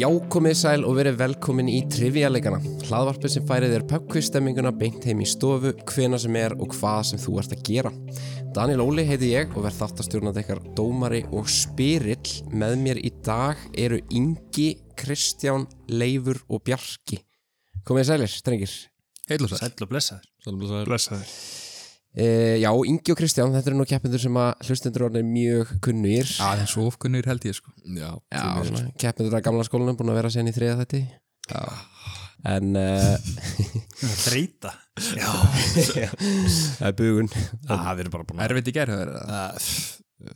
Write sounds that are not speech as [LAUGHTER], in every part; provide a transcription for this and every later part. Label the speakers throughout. Speaker 1: Já, komið sæl og verið velkomin í Trivialegana, hlaðvarpið sem færið þér pubquistemminguna beint heim í stofu, hvena sem er og hvað sem þú ert að gera. Daniel Óli heiti ég og verð þáttastjórnandi ykkar dómari og spyrill. Með mér í dag eru Ingi, Kristján, Leifur og Bjarki. Komið sælir, strengir.
Speaker 2: Heil og sæl.
Speaker 3: Sæll og blessaður.
Speaker 2: Blessaður.
Speaker 1: E, já, Ingi og Kristján, þetta eru nú keppendur sem að hlustendur orðin er mjög kunnir.
Speaker 2: Aðeins ofkunnir held ég sko. Já.
Speaker 1: Já, svona, keppendur að gamla skólanum, búin að vera sérn í þriða þetta. En... Uh,
Speaker 3: Þreita. Já.
Speaker 1: [LAUGHS] Það er bugun [LAUGHS]
Speaker 3: Það er bara búin að...
Speaker 2: Erfitt í gerðu þeirra.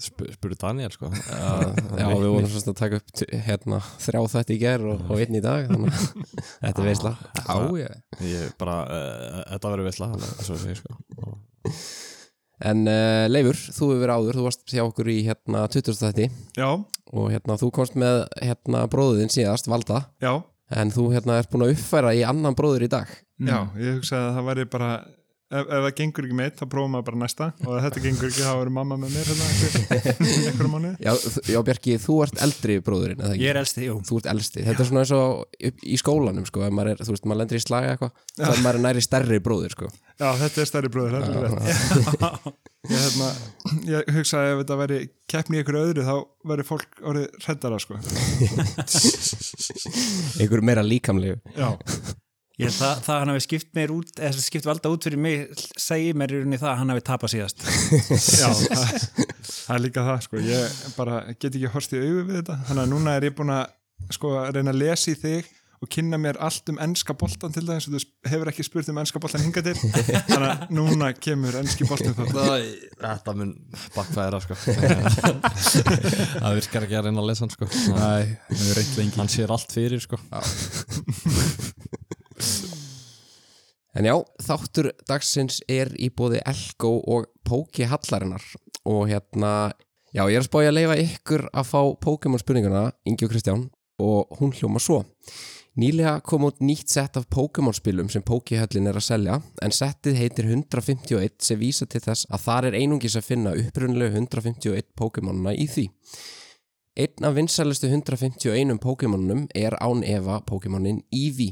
Speaker 4: spurði Daniel
Speaker 2: [LAUGHS]
Speaker 4: sko
Speaker 1: Já, við vorum svona að taka upp t- hérna, þrjá þetta í ger og, og einn í dag þannig að [LAUGHS] þetta er veisla
Speaker 2: Já, ég.
Speaker 4: ég bara, uh, þetta verður veitla svo segir sko Og-
Speaker 1: En uh, Leifur, þú hefur verið áður þú varst hjá okkur í hérna 20. þætti
Speaker 3: Já,
Speaker 1: og hérna þú komst með hérna bróðin síðast, Valda
Speaker 3: já,
Speaker 1: en þú hérna ert búin að uppfæra í annan bróður í dag
Speaker 3: já. Ég hugsaði að það væri bara... Ef, ef það gengur ekki meitt, þá prófum maður bara næsta og ef þetta gengur ekki, þá verður mamma með mér hérna einhver- einhverjum mánuði.
Speaker 1: Já, þ- já Bjarki, þú ert eldri bróðurinn eða ekki?
Speaker 5: Ég er elsti, jú.
Speaker 1: Þú ert elsti, þetta er svona eins og upp í skólanum sko, ef maður er, þú veist, maður lendir í slaga eitthvað þá er maður næri stærri bróður sko
Speaker 3: Já, þetta er stærri bróður, þetta er rétt. Ég, hérna, ég hugsaði að ef þetta væri keppni í ykkur öðru, þá væri fólk orðið hrættara, sko.
Speaker 1: einhver meira líkamlegu
Speaker 3: Já,
Speaker 5: Ég, held það, það hann hafi skipt mér út, eða skipt valda út fyrir mig, segi mér í rauninni það að hann hafi tapað síðast.
Speaker 3: já, það, það er líka það, sko. Ég bara get ekki horst í augu við þetta. Þannig að núna er ég búin að sko, að reyna að lesa í þig og kynna mér allt um ennska boltan til dæmis og þú hefur ekki spurt um ennska boltan hinga til. Þannig að núna kemur ennski boltan þá.
Speaker 4: þetta mun bakfæðra
Speaker 2: [LAUGHS]
Speaker 4: sko það virkar ekki að reyna að lesa hann sko
Speaker 2: Æ, við erum reynd lengi.
Speaker 4: hann sér allt fyrir sko
Speaker 1: En já, þáttur dagsins er í bóði Elko og Póki Hallarinnar og hérna, já ég er að spája að leifa ykkur að fá Pokémon spurninguna, Ingi og Kristján og hún hljóma svo. Nýlega kom út nýtt sett af Pokémon spilum sem Póki Höllin er að selja en settið heitir 151 sem vísa til þess að þar er einungis að finna upprunlega 151 Pokémonuna í því. Einn af vinsælustu 151 Pokémonunum er án efa Pokémonin Eevee,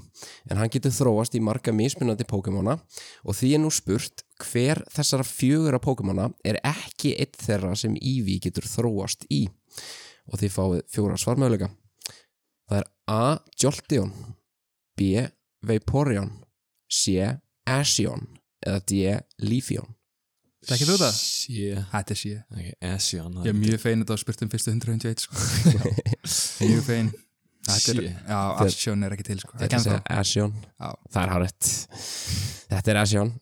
Speaker 1: en hann getur þróast í marga mismunandi Pokémona og því er nú spurt hver þessara fjögura Pokémona er ekki einn þeirra sem Eevee getur þróast í. Og því fáið fjóra svarmöðuleika. Það er A. Jolteon B. Vaporeon C. Ashion eða D. Leafeon.
Speaker 2: Þekkir þú það?
Speaker 4: sé
Speaker 2: Þetta sé ég.
Speaker 4: ekki Esjón
Speaker 2: Ég er mjög fein að það var spurt um fyrstu 101 sko. Já. mjög fein. Þetta er,
Speaker 4: Shit.
Speaker 2: já, Asjón er ekki til sko.
Speaker 1: Þetta
Speaker 2: Ekki ennþá.
Speaker 1: er Ashion.
Speaker 2: Já.
Speaker 1: Það er hárætt. Þetta er Ashion.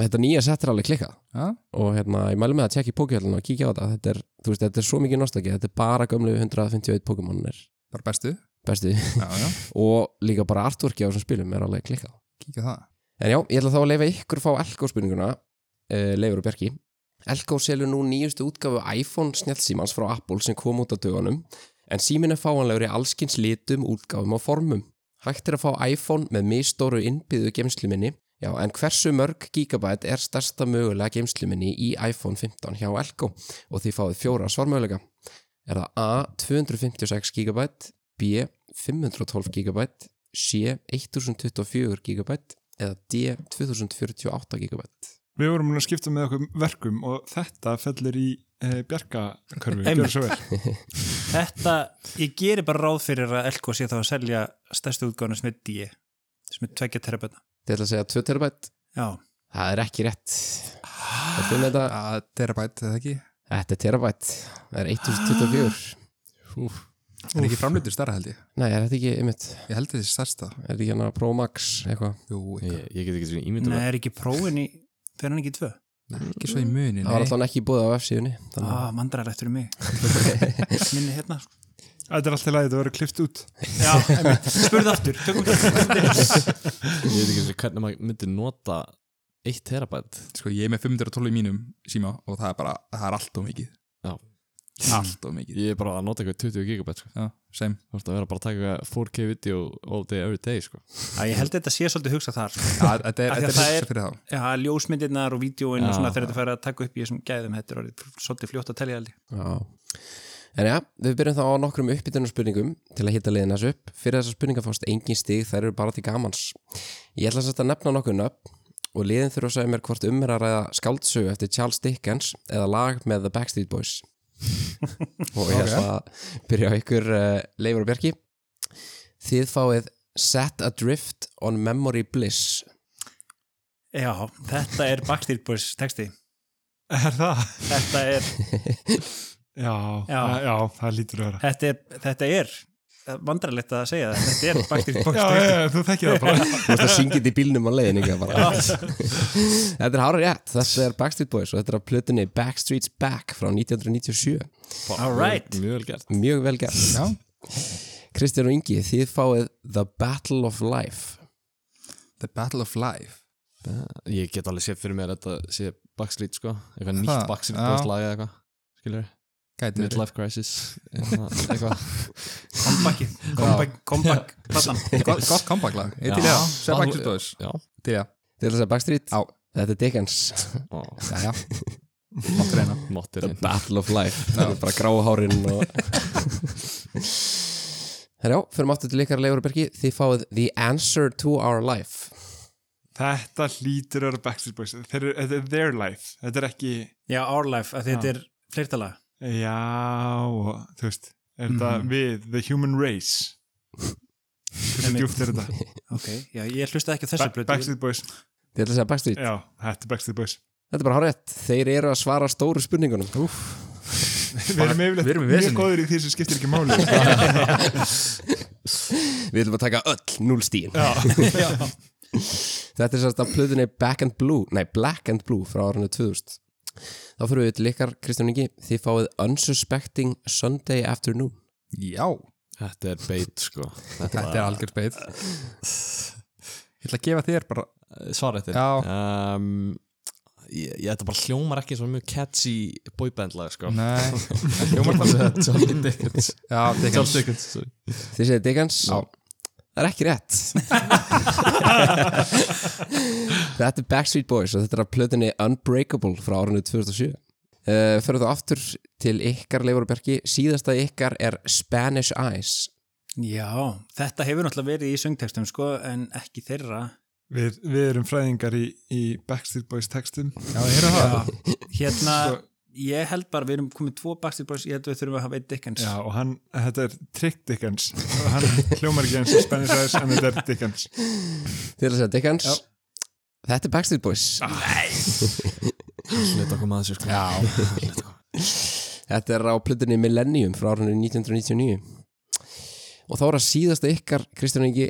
Speaker 1: Þetta nýja sett er alveg klikkað
Speaker 2: Já,
Speaker 1: og hérna, ég mælu með að tjekka í pókjölinu og kíkja á þetta. Þetta er, þú veist, þetta er svo mikið nostalgi. Þetta er bara gömlu 151 Pokémonir
Speaker 2: bara bestu.
Speaker 1: bestu
Speaker 2: Já, já,
Speaker 1: [LAUGHS] og líka bara artworki á þessum spilum er alveg klikkað.
Speaker 2: kíkja á það.
Speaker 1: En já, ég ætla þá að leifa ykkur að fá Elko spurninguna, uh, Leifur og Bjarki. Elko selur nú nýjustu útgafu iPhone snjallsímans frá Apple sem kom út á dögunum, en símin er fáanlegur í allskins litum, útgafum og formum. Hægt er að fá iPhone með misstóru innbyðu geimsluminni, já, en hversu mörg gigabæt er stærsta mögulega geimsluminni í iPhone 15 hjá Elko og því fáið fjóra svarmögulega. Er það A. 256 GB, B. 512 GB, C. 1024 GB eða D 2048 gigabyte
Speaker 3: Við vorum múin að skipta með okkur verkum og þetta fellir í e, bjargakörfu.
Speaker 5: Einmitt.
Speaker 3: Gjörðu svo vel.
Speaker 5: Þetta, ég gerir bara ráð fyrir að Elko sé þá að selja stærstu útgáðuna sem er D, sem er 2 terabæta.
Speaker 1: Þið ætla að segja 2 terabyte
Speaker 5: Já,
Speaker 1: Það er ekki rétt Þetta er, þetta,
Speaker 2: Já, Terabyte, eða ekki?
Speaker 1: þetta er terabyte Það er 1024
Speaker 2: Úf. Er ekki framleitur starra held ég?
Speaker 1: Nei, er þetta ekki einmitt
Speaker 2: Ég held þessi starsta.
Speaker 1: Er þetta ekki hérna Pro Max eitthvað
Speaker 2: Jú,
Speaker 4: ég,
Speaker 2: eitthvað.
Speaker 4: ég get ekki svona
Speaker 5: en
Speaker 4: ímyndum
Speaker 5: það er ekki prófin í, það er hann ekki í tvö.
Speaker 2: Ekki svo í muni,
Speaker 1: Það var
Speaker 2: nei.
Speaker 1: alltaf ekki búið á F-síðunni
Speaker 5: Á,
Speaker 1: Þannig að
Speaker 5: mandrarlegt Ah, [LAUGHS] fyrir mig. Minni hérna. sko.
Speaker 3: Þetta er allt í lagi, þetta verður klift út.
Speaker 5: Já, einmitt. spurðu aftur. Tökum þetta.
Speaker 4: ég veit ekki svona hvernig maður myndi nota 1 terabæt
Speaker 2: Sko, ég er með 512 í mínum síma og það er bara, það er allt og mikið.
Speaker 4: Já.
Speaker 2: Allt og mikið.
Speaker 4: ég er bara að nota eitthvað 20 gigabæt sko.
Speaker 2: Já,
Speaker 5: [LAUGHS]
Speaker 2: same.
Speaker 4: þú veist að vera bara að taka eitthvað 4K video all day every day sko
Speaker 5: Já, ég held að þetta sé svolítið hugsað þar. sko.
Speaker 2: Já, Þetta er,
Speaker 5: Af því að
Speaker 2: þetta er
Speaker 5: það
Speaker 2: hugsa
Speaker 5: er-
Speaker 2: fyrir þá.
Speaker 5: Já, ljósmyndirnar og vídjóin og
Speaker 4: Já.
Speaker 5: svona þegar þetta fær að taka upp í þessum gæðum, þetta er orðið svolítið fljótt að telja held ég.
Speaker 1: Já En já, við byrjum þá á nokkrum uppbytunar spurningum til að hitta liðin þessu upp. Fyrir þessar spurningar fást engin stig, þær eru bara til gamans. Ég ætla sem sagt að nefna nokkur nöfn og liðin þurfa að segja mér hvort um er að ræða skáldsögu eftir Charles Dickens eða lag með The Backstreet Boys. og ég ætla að byrja á ykkur uh, Leifur og Bjarki. Þið fáið Set Adrift on Memory Bliss.
Speaker 5: Já, þetta er Backstreet Boys texti
Speaker 3: Er það?
Speaker 5: Þetta er,
Speaker 3: Já, já.
Speaker 5: Já.
Speaker 3: já það lítur að vera
Speaker 5: þetta er, þetta er vandralegt að segja það, þetta er Backstreet Boys
Speaker 3: Já, já,
Speaker 5: texti
Speaker 3: já, þú þekkir það bara
Speaker 1: Þú veist að syngja þetta í bílnum á leiðin ykkur
Speaker 2: [LAUGHS]
Speaker 1: bara. þetta er hára rétt, þetta er Backstreet Boys og þetta er að plötunni Backstreet's Back frá 1997.
Speaker 5: All right.
Speaker 4: Mjög vel gert
Speaker 1: Mjög vel gert.
Speaker 2: Já,
Speaker 1: Kristján og Ingi, þið fáið The Battle of Life
Speaker 2: The Battle of Life
Speaker 4: Ég get alveg séð fyrir mér að þetta sé Backstreet sko Eitthvað
Speaker 2: Það,
Speaker 4: nýtt Backstreet
Speaker 2: já.
Speaker 4: Boys lag eða eitthvað Skiljur,
Speaker 2: Gæti verið
Speaker 4: Midlife Crisis Eitthvað eitthvað.
Speaker 5: Kompakið, kompakið, kompakið Platan,
Speaker 2: Gott- Gott comeback lag Ég
Speaker 4: Já.
Speaker 2: til í það
Speaker 4: Já.
Speaker 2: Sér Backstreet Boys
Speaker 4: Já
Speaker 2: Til í það
Speaker 1: Þið ætla að segja Backstreet?
Speaker 2: Já.
Speaker 1: Þetta er Dickens
Speaker 4: Ó,
Speaker 2: Jæja Mátt reyna
Speaker 4: Máttir
Speaker 1: The
Speaker 4: einn
Speaker 1: Battle of Life Það er bara gráhárin og Herjá, förum aftur til ykkar Leifurbergi Þið fáið The Answer to Our Life
Speaker 3: Þetta lítur að vera Backstreet Boys Þeir eru- Þetta er their life, þetta er ekki
Speaker 5: já, Our Life af því Þetta
Speaker 3: Já.
Speaker 5: er fleirtala
Speaker 3: Já, og, þú veist Er þetta
Speaker 2: Mhm.
Speaker 3: við, the human race Hversu
Speaker 5: Einmitt.
Speaker 3: djúpt er þetta?
Speaker 5: Ok, já, ég hlusta ekki á þessu
Speaker 3: Ba-
Speaker 5: blötu
Speaker 3: Backstreet Boys
Speaker 1: Þið ætla að segja Backstreet?
Speaker 3: Já, þetta er Backstreet Boys
Speaker 1: Þetta er bara hárið Þeir eru að svara stóru spurningunum Úf.
Speaker 3: Við
Speaker 2: við erum
Speaker 3: erum
Speaker 2: í
Speaker 3: yfirleitt mjög
Speaker 2: vesinni.
Speaker 3: góður í því sem skiptir ekki máli
Speaker 1: [LAUGHS] Við ætlum að taka öll núlstíin
Speaker 5: Já.
Speaker 1: Þetta er sérst að plöðunni Back and Blue Nei, Black and Blue frá árinu 2000 Þá fyrir við til ykkar, Kristján Ingi Þið fáið Unsuspecting Sunday Afternoon
Speaker 2: Já
Speaker 4: Þetta er beit sko
Speaker 2: Þetta er algjör beið Ég ætla að gefa þér bara
Speaker 4: Svara þetta um, ég, ég, Þetta bara hljómar ekki svo mjög catchy boyband lag sko [LAUGHS]
Speaker 5: [LAUGHS]
Speaker 2: Nei
Speaker 4: Hljómar bara Charlie Dickens
Speaker 2: Já, Dickens
Speaker 4: Charles Dickens sorry.
Speaker 1: Þið segið Dickens?
Speaker 2: Já.
Speaker 1: Það er ekki
Speaker 4: [LAUGHS]
Speaker 1: rétt Þetta er Backstreet Boys og þetta er að plöðinni Unbreakable frá árinu 2007 uh, Fyrir þá aftur til ykkar Leifur og Bjarki, síðasta ykkar er Spanish Eyes
Speaker 5: Já, þetta hefur náttúrulega verið í söngtextum sko, en ekki þeirra
Speaker 3: Við, við erum fræðingar í, í Backstreet Boys textum
Speaker 2: Já, ég eru það
Speaker 5: Já, hérna
Speaker 3: Sko-
Speaker 5: ég held bara við erum komið tvo Backstreet Boys ég held við þurfum að hafa eitt Dickens
Speaker 3: Já, og hann, þetta er Trick Dickens og hann hljómar ekki eins og Spanish Eyes en þetta er Dickens
Speaker 1: Þið er að segja Dickens Þetta er Backstreet Boys
Speaker 4: Hlita okkur maður sér sko
Speaker 2: Já
Speaker 1: Þetta er á plötunni Millennium frá árinu 1999 og þá er að síðasta ykkar Kristján Ingi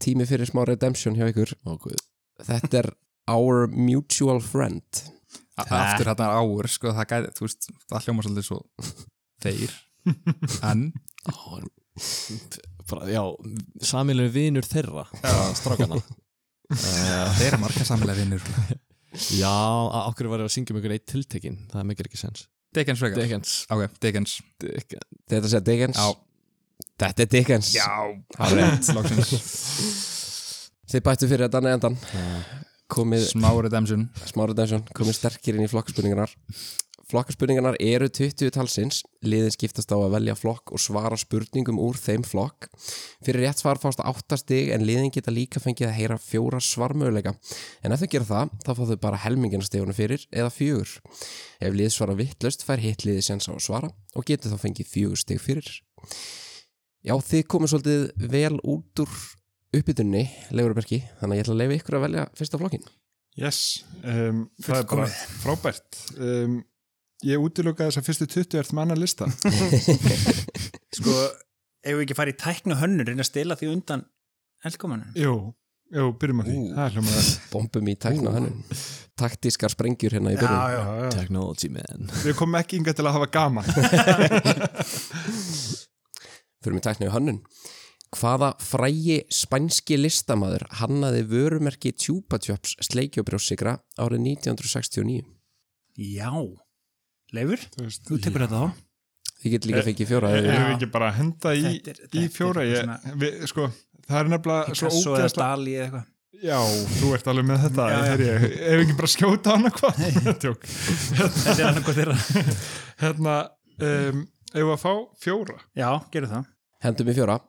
Speaker 1: tími fyrir smá redemption hjá ykkur
Speaker 4: Ó, guð.
Speaker 1: Þetta er Our Mutual Friend
Speaker 2: A- Aftur hérna er áur Sko það gæti Þú veist Það hljóma svolítið svo Þeir En
Speaker 4: Ó, bara, Já, samilinu vinur þeirra Strákana uh,
Speaker 2: Þeir eru marga samlega vinnur
Speaker 4: Já, á- á hverju var ég að syngja um einhvern eitt tiltekin Það mikir ekki sens
Speaker 2: Dickens frekar
Speaker 4: Dickens
Speaker 2: Ok, Dickens
Speaker 4: Dickens
Speaker 1: Þetta er að segja Dickens
Speaker 2: Já.
Speaker 1: Þetta er Dickens
Speaker 2: Það er rétt Lóksins
Speaker 1: Þið bættu fyrir þetta neðandan komið
Speaker 2: Smá redemption
Speaker 1: smá redemption, komið sterkir inn í flokkspurningarnar Flokkspurningarnar eru 20 talsins, liðin skiptast á að velja flokk og svara spurningum úr þeim flokk. Fyrir rétt svar fást 8 stig en liðin geta líka fengið að heyra fjóra svarmöguleika. En ef þau gera það, þá fá þau bara helmingina stigunum fyrir eða fjögur. Ef lið svara vittlust fær hitt liðið séns á að svara og getur þá fengið fjögur stig fyrir. Já, þið komið svolítið vel út úr uppbytunni, Leifurbergi, þannig að ég ætla að leifa ykkur að velja fyrsta flokkin.
Speaker 3: Yes, um, það er bara frábært um, Ég útilokaði þess að fyrstu 20 er manna lista
Speaker 5: sko, ef við ekki farið í tæknu hönnur reyna að stela því undan elkomanunum
Speaker 3: Jú, jú, byrjum á því
Speaker 1: Ú.
Speaker 3: Það er hljómar vel.
Speaker 1: bombum í tækna hönnun taktískar sprengjur hérna í byrjun
Speaker 3: Já, já, já.
Speaker 4: Technology man
Speaker 3: Við komum ekki inga til að hafa gaman
Speaker 1: fyrir mig tækna í hönnun hvaða frægi spænski listamaður hannaði vörumerki Tjúpa Tjöps sleikjóbrjósigra árið 1969
Speaker 5: já, Leifur,
Speaker 3: Þú veist,
Speaker 5: þú tekur þetta þá
Speaker 1: þið getur líka
Speaker 3: Eh,
Speaker 1: fengið fjóra
Speaker 3: Erum
Speaker 1: ef
Speaker 3: við ekki bara að henda í,
Speaker 5: Þetta er-
Speaker 3: í
Speaker 5: þetta er
Speaker 3: fjóra? Ég,
Speaker 5: svona-
Speaker 3: við, sko, það er nefnilega svo
Speaker 5: Picasso eða
Speaker 3: ógeðsla
Speaker 5: Dali eða eitthvað
Speaker 3: Já, þú ert alveg með þetta
Speaker 5: Já, já.
Speaker 3: Þegar ég, ef ekki bara skjóta hana hvað [LAUGHS] Tjók
Speaker 5: þetta er annað hvað þeirra
Speaker 3: Hérna, um, Ef að fá fjóra
Speaker 5: Já, gerðu það
Speaker 1: Hendum í fjóra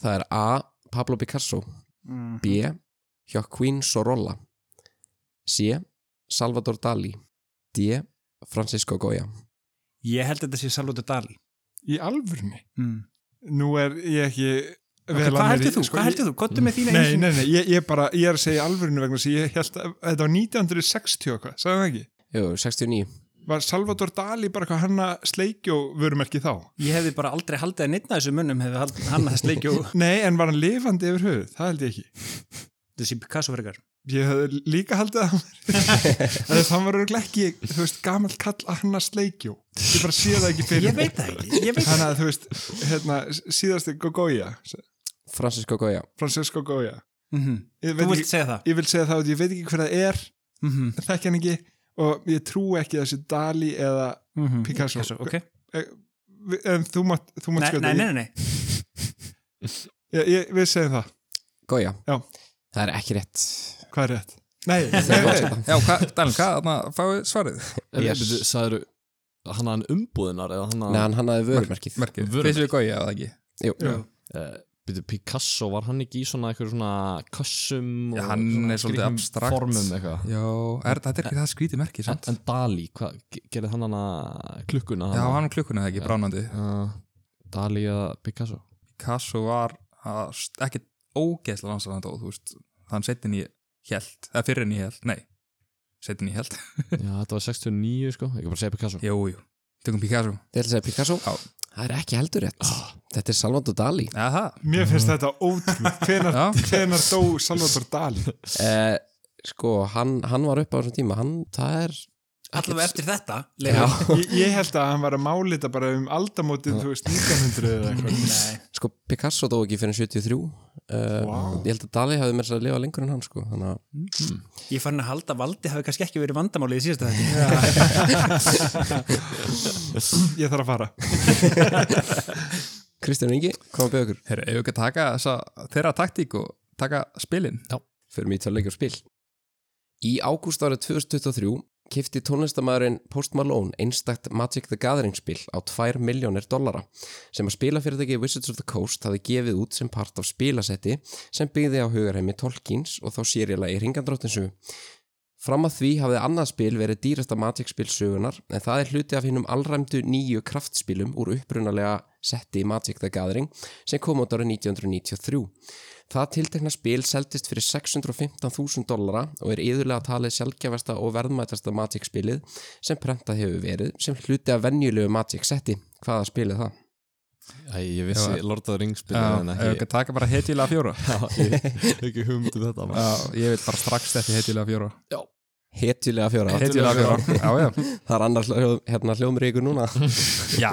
Speaker 1: Það er A. Pablo Picasso
Speaker 5: mm.
Speaker 1: B. Joaquín Sorolla C. Salvador Dali D. Francisco Goya
Speaker 5: Ég held að þetta sé Salvador Dali
Speaker 3: í alvörni
Speaker 5: mm.
Speaker 3: Nú er ég ekki
Speaker 5: okay,
Speaker 3: vel að
Speaker 5: Hvað
Speaker 3: mér í-
Speaker 5: heldur þú?
Speaker 3: sko,
Speaker 5: hvað
Speaker 3: ég-
Speaker 5: heldur þú? Kottu með þína
Speaker 3: Nei,
Speaker 5: einu-
Speaker 3: nei, nei, ég, ég, bara, ég er að segja alvörinu vegna þess að ég held að þetta var 1960 og eitthvað, sagði það ekki?
Speaker 1: Jú, 69
Speaker 3: Var Salvador Dali bara hvað hann að sleikjó vörumerki þá?
Speaker 5: Ég hefði bara aldrei haldið að nýtna þessu munum hefði hald- hann að sleikju
Speaker 3: [LAUGHS] Nei, en var hann lifandi yfir höfuð? Það held ég ekki.
Speaker 5: þessi Picasso frekar
Speaker 3: Ég hefði líka haldið að hann
Speaker 5: [LAUGHS]
Speaker 3: verið. Þannig var örugglega ekki, þú veist, gamall kall að hann að sleikjó. Ég bara sé það ekki fyrir.
Speaker 5: Ég veit það ekki, ég veit það
Speaker 3: Þannig að þú veist, hérna, síðasti Gogoya,
Speaker 1: Francisco Goya
Speaker 3: Francesco Goya.
Speaker 5: mm
Speaker 3: Ég
Speaker 5: Þú
Speaker 3: veit
Speaker 5: vilt
Speaker 3: ekki, Mhm.
Speaker 5: segja það
Speaker 3: ég vil segja það, að ég veit ekki hver það er,
Speaker 5: mm -hmm.
Speaker 3: þekk hann ekki og ég trú ekki þessi Dali eða Picasso.
Speaker 5: Mhm. Picasso, ok
Speaker 3: en þú mátt, þú mátt
Speaker 5: Nei,
Speaker 3: skjóta
Speaker 5: nei, nei, nei
Speaker 3: Ég, ég, við segjum það,
Speaker 1: Goya
Speaker 3: Já.
Speaker 1: Það er ekki rétt
Speaker 3: hvað er rétt nei,
Speaker 1: Það
Speaker 3: nei,
Speaker 1: er
Speaker 3: nei.
Speaker 1: gott.
Speaker 2: Já, hvað, Dalin, hvað, þarna fáið svarið?
Speaker 1: Yes.
Speaker 4: yes. Sæður hann hann umbúðinar eða hann
Speaker 1: Nei, hann hannaði vörumerkið
Speaker 2: Merkið,
Speaker 4: Vörumerkið.
Speaker 2: fyrst við gója eða ekki?
Speaker 1: Jú.
Speaker 3: Já.
Speaker 4: Býtu eh, Picasso, var hann ekki í svona eitthvað svona kössum
Speaker 2: Já,
Speaker 4: og
Speaker 2: hann
Speaker 4: svona
Speaker 2: er svolítið
Speaker 4: skrýtnum
Speaker 2: abstrakt.
Speaker 4: formum eitthvað
Speaker 2: Já, er, þetta er ekki það skrítið merkið
Speaker 4: en,
Speaker 2: samt.
Speaker 4: en Dali, hvað, ge- gerði hann hana klukkuna?
Speaker 2: Já, hann um klukkuna eða ekki, bránandi.
Speaker 4: uh, Dali eða
Speaker 2: [LAUGHS]
Speaker 4: Picasso
Speaker 2: Picasso var að st- ekkit ógeðslega langt sem hann dó, þú veist, hann settin í held, eða fyrir en í held, nei, settin í held.
Speaker 4: Já, þetta var 69 sko, ég kan bara segja Picasso
Speaker 2: [LAUGHS] Jú, jú, tökum Picasso.
Speaker 1: Þið ætla að segja Picasso
Speaker 2: Já.
Speaker 1: Það er ekki heldur rétt Þetta er Salvador Dali
Speaker 2: Aha,
Speaker 3: mér finnst þetta ótrúð hvenar,
Speaker 2: já,
Speaker 3: hvenar dó Salvador Dali
Speaker 1: eh, Sko, hann, hann var upp á þessum tíma Hann, það er
Speaker 5: Allavega eftir þetta
Speaker 1: Já.
Speaker 5: Leifur.
Speaker 3: ég, ég held að hann var að málita bara um aldamótið, þú veist, 1900 eða eitthvað
Speaker 5: Nei
Speaker 1: Sko, Picasso dó ekki fyrir 73 eh,
Speaker 3: Vá.
Speaker 1: Ég held að Dali hafði mér að lifa lengur en hann sko. Þannig að
Speaker 5: Ég fann að halda að valdi hafi kannski ekki verið vandamálið í síðasta þetta
Speaker 3: ég þarf að fara
Speaker 1: Kristján Ingi, hvað að byggja okkur?
Speaker 2: herru, ef við ekki að taka þessa, þeirra taktík og taka spilin.
Speaker 1: Fyrir mig í tölleikjur spil Í ágúst árið 2023 kifti tónlistamæðurinn Post Malone einstakt Magic the Gathering spil á 2 miljónir dollara sem að spilafyrirtæki Wizards of the Coast hafi gefið út sem part af spilasetti sem byggði á hugarheimi Tolkien's og þá sérjala í ringandróttinsu. Fram að því hafði annað spil verið dýrasta Magic spil sögunar en það er hluti af hinnum allræmdu nýju kraftspilum úr upprunalega setti Magic the Gathering sem kom út árið 1993. Það tiltekna spil seldist fyrir 615.000 dollara og er yðurlega talið sjálfgjafasta og verðmætasta Magic spilið sem prentað hefur verið sem hluti af venjulegu Magic setti. Hvaða spil er það?
Speaker 4: Æ, ég vissi
Speaker 2: Já.
Speaker 4: Lord of the Rings
Speaker 2: Já,
Speaker 4: byrjaði en
Speaker 2: ef við
Speaker 4: ekki
Speaker 2: hérna, ekki að taka bara hetjulega [LAUGHS] fjóra.
Speaker 4: [LAUGHS] Já, ég hef ekki humd um þetta
Speaker 2: Já, ég vil bara strax þetta hetjulega fjóra.
Speaker 1: Hetjulega fjóra.
Speaker 2: Hetjulega fjóra, já, já.
Speaker 1: Það er annar hljó, hérna, hljómríkur núna.
Speaker 2: Já,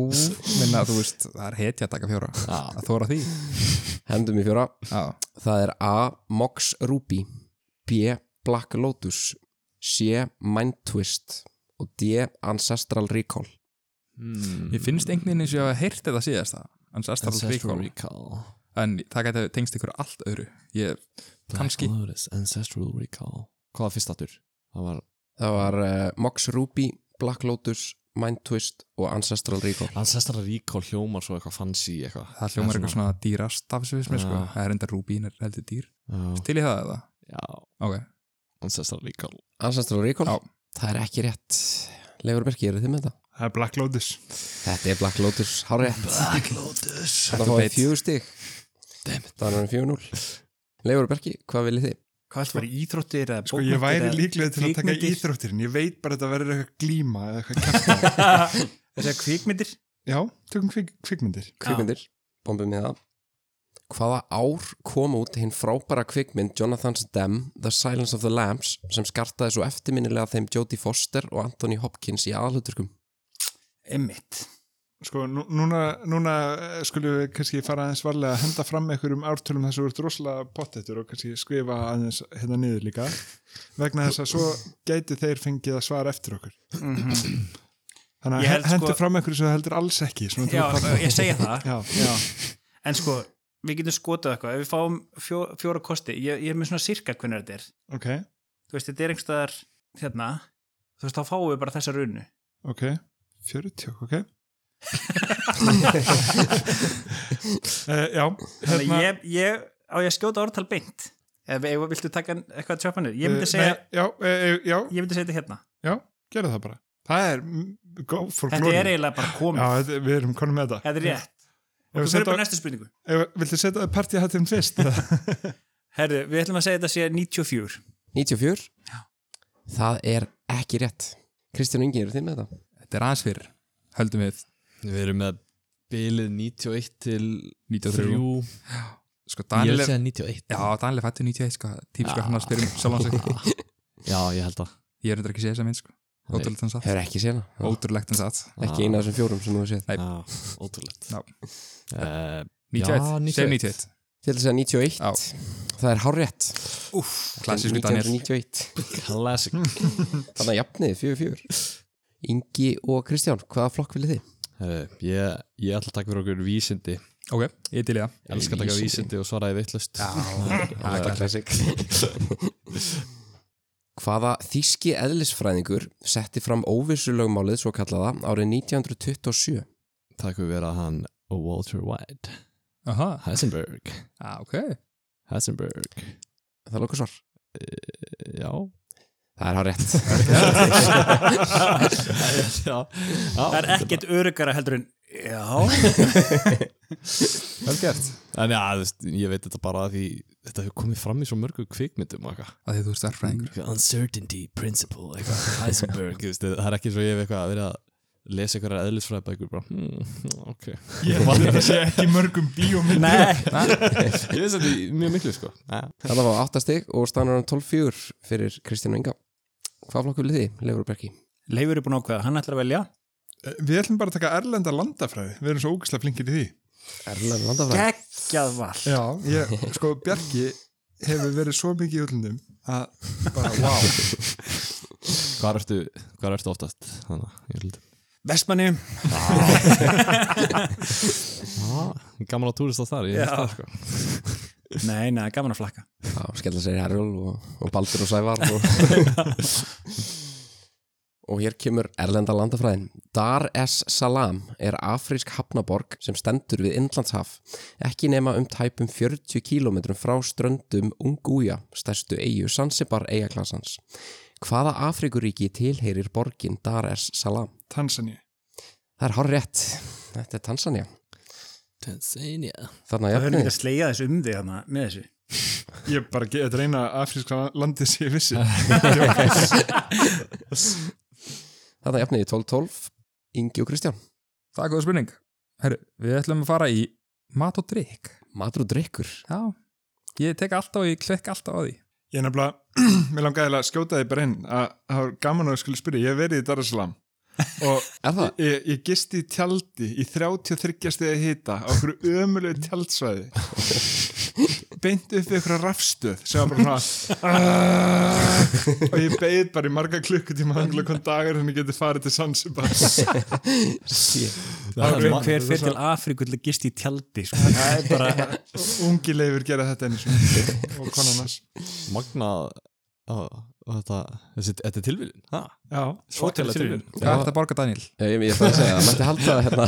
Speaker 2: minna, þú veist, það er hetja að taka fjóra.
Speaker 4: Já.
Speaker 2: Að þóra því.
Speaker 1: Hendum í fjóra.
Speaker 2: Já,
Speaker 1: Það er A. Mox Ruby B. Black Lotus C. Mind Twist og D. Ancestral Recall.
Speaker 4: mm.
Speaker 2: ég finnst einhvern veginn eins og ég hafa heyrt þetta síðast það. Ancestral
Speaker 4: Ancestral
Speaker 2: Recall.
Speaker 4: Recall
Speaker 2: en það gæti tengst ykkur allt öðru ég, Kannski.
Speaker 4: Black Lotus, Ancestral Recall Hvað var fyrst aftur? Það var
Speaker 1: Það var uh, Mox Ruby, Black Lotus, Mind Twist og Ancestral Recall.
Speaker 4: Ancestral Recall hljómar svo eitthvað fancy eitthvað
Speaker 2: það hljómar eitthvað svona dýrastafsvismi sko.
Speaker 4: Já.
Speaker 2: það er enda rúbín er heldur dýr
Speaker 4: svona
Speaker 2: til í það eða?
Speaker 4: Já,
Speaker 2: Ok,
Speaker 4: Ancestral Recall
Speaker 1: Ancestral Recall?
Speaker 2: Já.
Speaker 1: Það er ekki rétt. Leifur Berki, eru þið með þetta?
Speaker 3: það er Black Lotus
Speaker 1: Þetta er Black Lotus, hár rétt.
Speaker 4: Black Lotus
Speaker 1: Þetta
Speaker 2: þú
Speaker 1: fáið
Speaker 2: beit.
Speaker 1: fjögur stig. Það er hann 4-0. Leifur Berki, hvað viljið þið?
Speaker 5: Hvað ætti að vera íþróttir eða
Speaker 3: sko ég væri líklega til að taka
Speaker 5: kvikmyndir?
Speaker 3: íþróttirinn ég veit bara að þetta verður eitthvað glíma eða eitthvað kæft
Speaker 5: [LAUGHS] Þessi kvikmyndir
Speaker 3: já, tökum kvik, kvikmyndir
Speaker 1: Kvikmyndir, bombum með það. Hvaða ár kom út hinn frábæra kvikmynd Jonathan's Dam, The Silence of the Lambs, sem skartaði svo eftirminnilega þeim Jodie Foster og Anthony Hopkins í aðluturkum?
Speaker 5: Emmitt
Speaker 3: sko, nú- núna, núna eh, skulum við kannski fara aðeins varlega að henda fram einhverjum ártölum þess að þú ert rosalega pottettur og kannski skrifa aðeins hérna niður líka vegna þess að svo gæti þeir fengið að svara eftir okkur
Speaker 5: Ég
Speaker 3: Mhm. þannig að
Speaker 5: held sko-
Speaker 3: hendur fram einhverju sem þú heldur alls ekki svona til
Speaker 5: Já,
Speaker 3: að fara-
Speaker 5: ég segja það
Speaker 3: já,
Speaker 5: En sko, við getum skotað eitthvað Ef við fáum fjó, fjóra kosti ég, ég er með svona sirka hvernig þetta er
Speaker 3: ok,
Speaker 5: Þú veist, þetta er einhverstaðar hérna Þú veist, þá fáum við bara þessa runu
Speaker 3: ok Eh, 40, ok Uh, já,
Speaker 5: Þannig að ég, ég, á ég að skjóta orðtal beint eða ef- viltu taka eitthvað að tjöpa niður ég myndi
Speaker 3: eh,
Speaker 5: segja,
Speaker 3: nei, Já, uh, já,
Speaker 5: ég myndi segja þetta hérna
Speaker 3: já, gerðu það bara Það er, mm, go for
Speaker 5: þetta
Speaker 3: glory
Speaker 5: er eiginlega bara komið,
Speaker 3: Já, þetta, við erum konum með þetta
Speaker 5: þetta er rétt
Speaker 3: Ef
Speaker 5: og
Speaker 3: við
Speaker 5: þú fyrir
Speaker 3: setja-
Speaker 5: bara næstu spurningu
Speaker 3: ef- Viltu setja partíhattin fyrst?
Speaker 5: herðu, við ætlum að segja þetta sé 94
Speaker 1: 94 Það er ekki rétt Kristján og Ingi, eru þið með þetta?
Speaker 2: Þetta er aðeins fyrir, höldum við
Speaker 4: Við erum með bilið 91 til 3
Speaker 2: 93 Sko
Speaker 4: Ég vil
Speaker 2: Daniel er,
Speaker 4: segja 91
Speaker 2: já Daniel er fættur 91 sko Típisk
Speaker 4: Já.
Speaker 2: að hann að spyrja um sjálfan sig
Speaker 4: [LAUGHS] Já, ég held að
Speaker 2: Ég er reyndar ekki að segja þess að minn sko
Speaker 4: Nei.
Speaker 2: Ótrúlegt hann satt,
Speaker 1: Hefur ekki séna
Speaker 2: ótrúlegt hann satt
Speaker 1: Ekki eina af þessum fjórum sem þú hefur séð
Speaker 2: Nei.
Speaker 4: Já, ótrúlegt
Speaker 2: Já.
Speaker 4: Eh,
Speaker 2: 91, segjum 91
Speaker 1: Til þess að 91 Það er hárrétt
Speaker 2: Klassísku Daniel
Speaker 1: 1991
Speaker 4: Classic
Speaker 1: Þannig að jafniði 4-4 Ingi og Kristján, hvaða flokk viljið þið?
Speaker 4: Herru, Eh, ég, ég ætla að taka fyrir okkur vísindi
Speaker 2: Ok, ég til í það
Speaker 4: Ég elska að taka
Speaker 1: Vísindi.
Speaker 4: vísindi og svaraði vittlust
Speaker 1: Það er klassik Hvaða þíski eðlisfræðingur setti fram óvissulögmálið svo kallaða árið 1927?
Speaker 4: Takk fyrir vera hann Walter White
Speaker 2: Aha,
Speaker 4: Heisenberg
Speaker 2: ah, ok
Speaker 4: Heisenberg
Speaker 1: Það er okkur svar
Speaker 4: Já
Speaker 1: Það er hárrétt
Speaker 4: Já,
Speaker 5: það er ekkert örugara heldur en
Speaker 3: [LAUGHS]
Speaker 5: já,
Speaker 2: Vel gert
Speaker 4: En já, þú veist, ég veit þetta bara að því þetta hefur komið fram í svo mörgu kvikmyndum og eitthvað.
Speaker 2: að því þú ert erfræðingur
Speaker 4: Uncertainty Principle eitthvað, Heisenberg, [LAUGHS] þú veist, það er ekki svo ég hef eitthvað að vera að lesa einhverjar eðlisfræði bækur bara, hmm, [LAUGHS] ok
Speaker 3: Ég held að þetta sé ekki mörgum [LAUGHS] bíómynd
Speaker 5: nei,
Speaker 4: Ég veist þetta í mjög miklu, sko
Speaker 1: Þannig var 8 stig og stannur hann 12-4 fyrir Kristján og Inga. Hvað flokk viljið þið, Leifur og Berki?
Speaker 5: Leifur er búin að ákveða, hann ætlar að velja
Speaker 3: Eh, Við ætlum bara að taka erlenda landafræði Við erum svo ógæslega flinkir í því
Speaker 1: Erlend landafræði.
Speaker 5: geggjað val
Speaker 3: Já, ég, sko, Bjarki hefur verið svo mikið í öllundum að bara, wow
Speaker 4: Hvar ertu, hvar ertu oftast? Þannig, að ég held
Speaker 5: Vestmanni,
Speaker 4: ah, Gaman á túrist á þar, ég held
Speaker 5: Já.
Speaker 4: það, sko
Speaker 5: nei, nei, gaman að flakka
Speaker 1: Já, skella sér í Herjól og, og Baldur og Sævar. Og, og hér kemur Erlenda landafræðin. Dar es Salaam er afrísk hafnaborg sem stendur við Inlandshaf, ekki nema um tæpum 40 kílómetrum frá ströndum Unguja, stærstu eigu Sansibar eigaklassans. Hvaða Afrikuríki tilheyrir borgin Dar es Salaam?
Speaker 3: Tansaníu
Speaker 1: Það er hár rétt. Þetta er Tanzania.
Speaker 4: Tanzania
Speaker 1: Þannig að
Speaker 5: það verður
Speaker 1: jafnir.
Speaker 5: ekki að slegja þessu um þig hana, með þessu
Speaker 3: Ég bara, ge- þetta er eina afríska landið sem ég vissi
Speaker 1: Þannig að jafnir 12-12. Ingi og Kristján.
Speaker 2: Það er góð spurning Herru, við ætlum að fara í mat og drikk
Speaker 1: Matur og drikkur.
Speaker 2: Já Ég tek alltaf, ég klikk alltaf á því
Speaker 3: Ég nefnilega, [CLEARS THROAT] mér langaði eiginlega að skjóta þig bara inn að það var gaman að þú skulle spyrja, ég hef verið í Darussalam og
Speaker 1: Er það?
Speaker 3: ég, ég gisti í tjaldi í 33 stegi hita á okkur ömulegu tjaldsvæði beint upp við okkur rafstöð sem var bara svona "Ah", og ég beið bara í marga klukkutíma hangla hvern dagur henni geti farið til Sansibar það
Speaker 4: Það er
Speaker 5: hver, hver fyrir til Afríku til að gist í tjaldi sko. það er [LAUGHS] bara,
Speaker 3: ungi leifur gera þetta einu sinni og konanars
Speaker 4: magna að að þetta, þessi, þetta er tilvílin ha,
Speaker 3: já,
Speaker 4: svakalega tilvílin
Speaker 2: Hvað er þetta að borga Daniel?
Speaker 1: Já, ég, ég ætla að segja það. Mætti halda það hérna.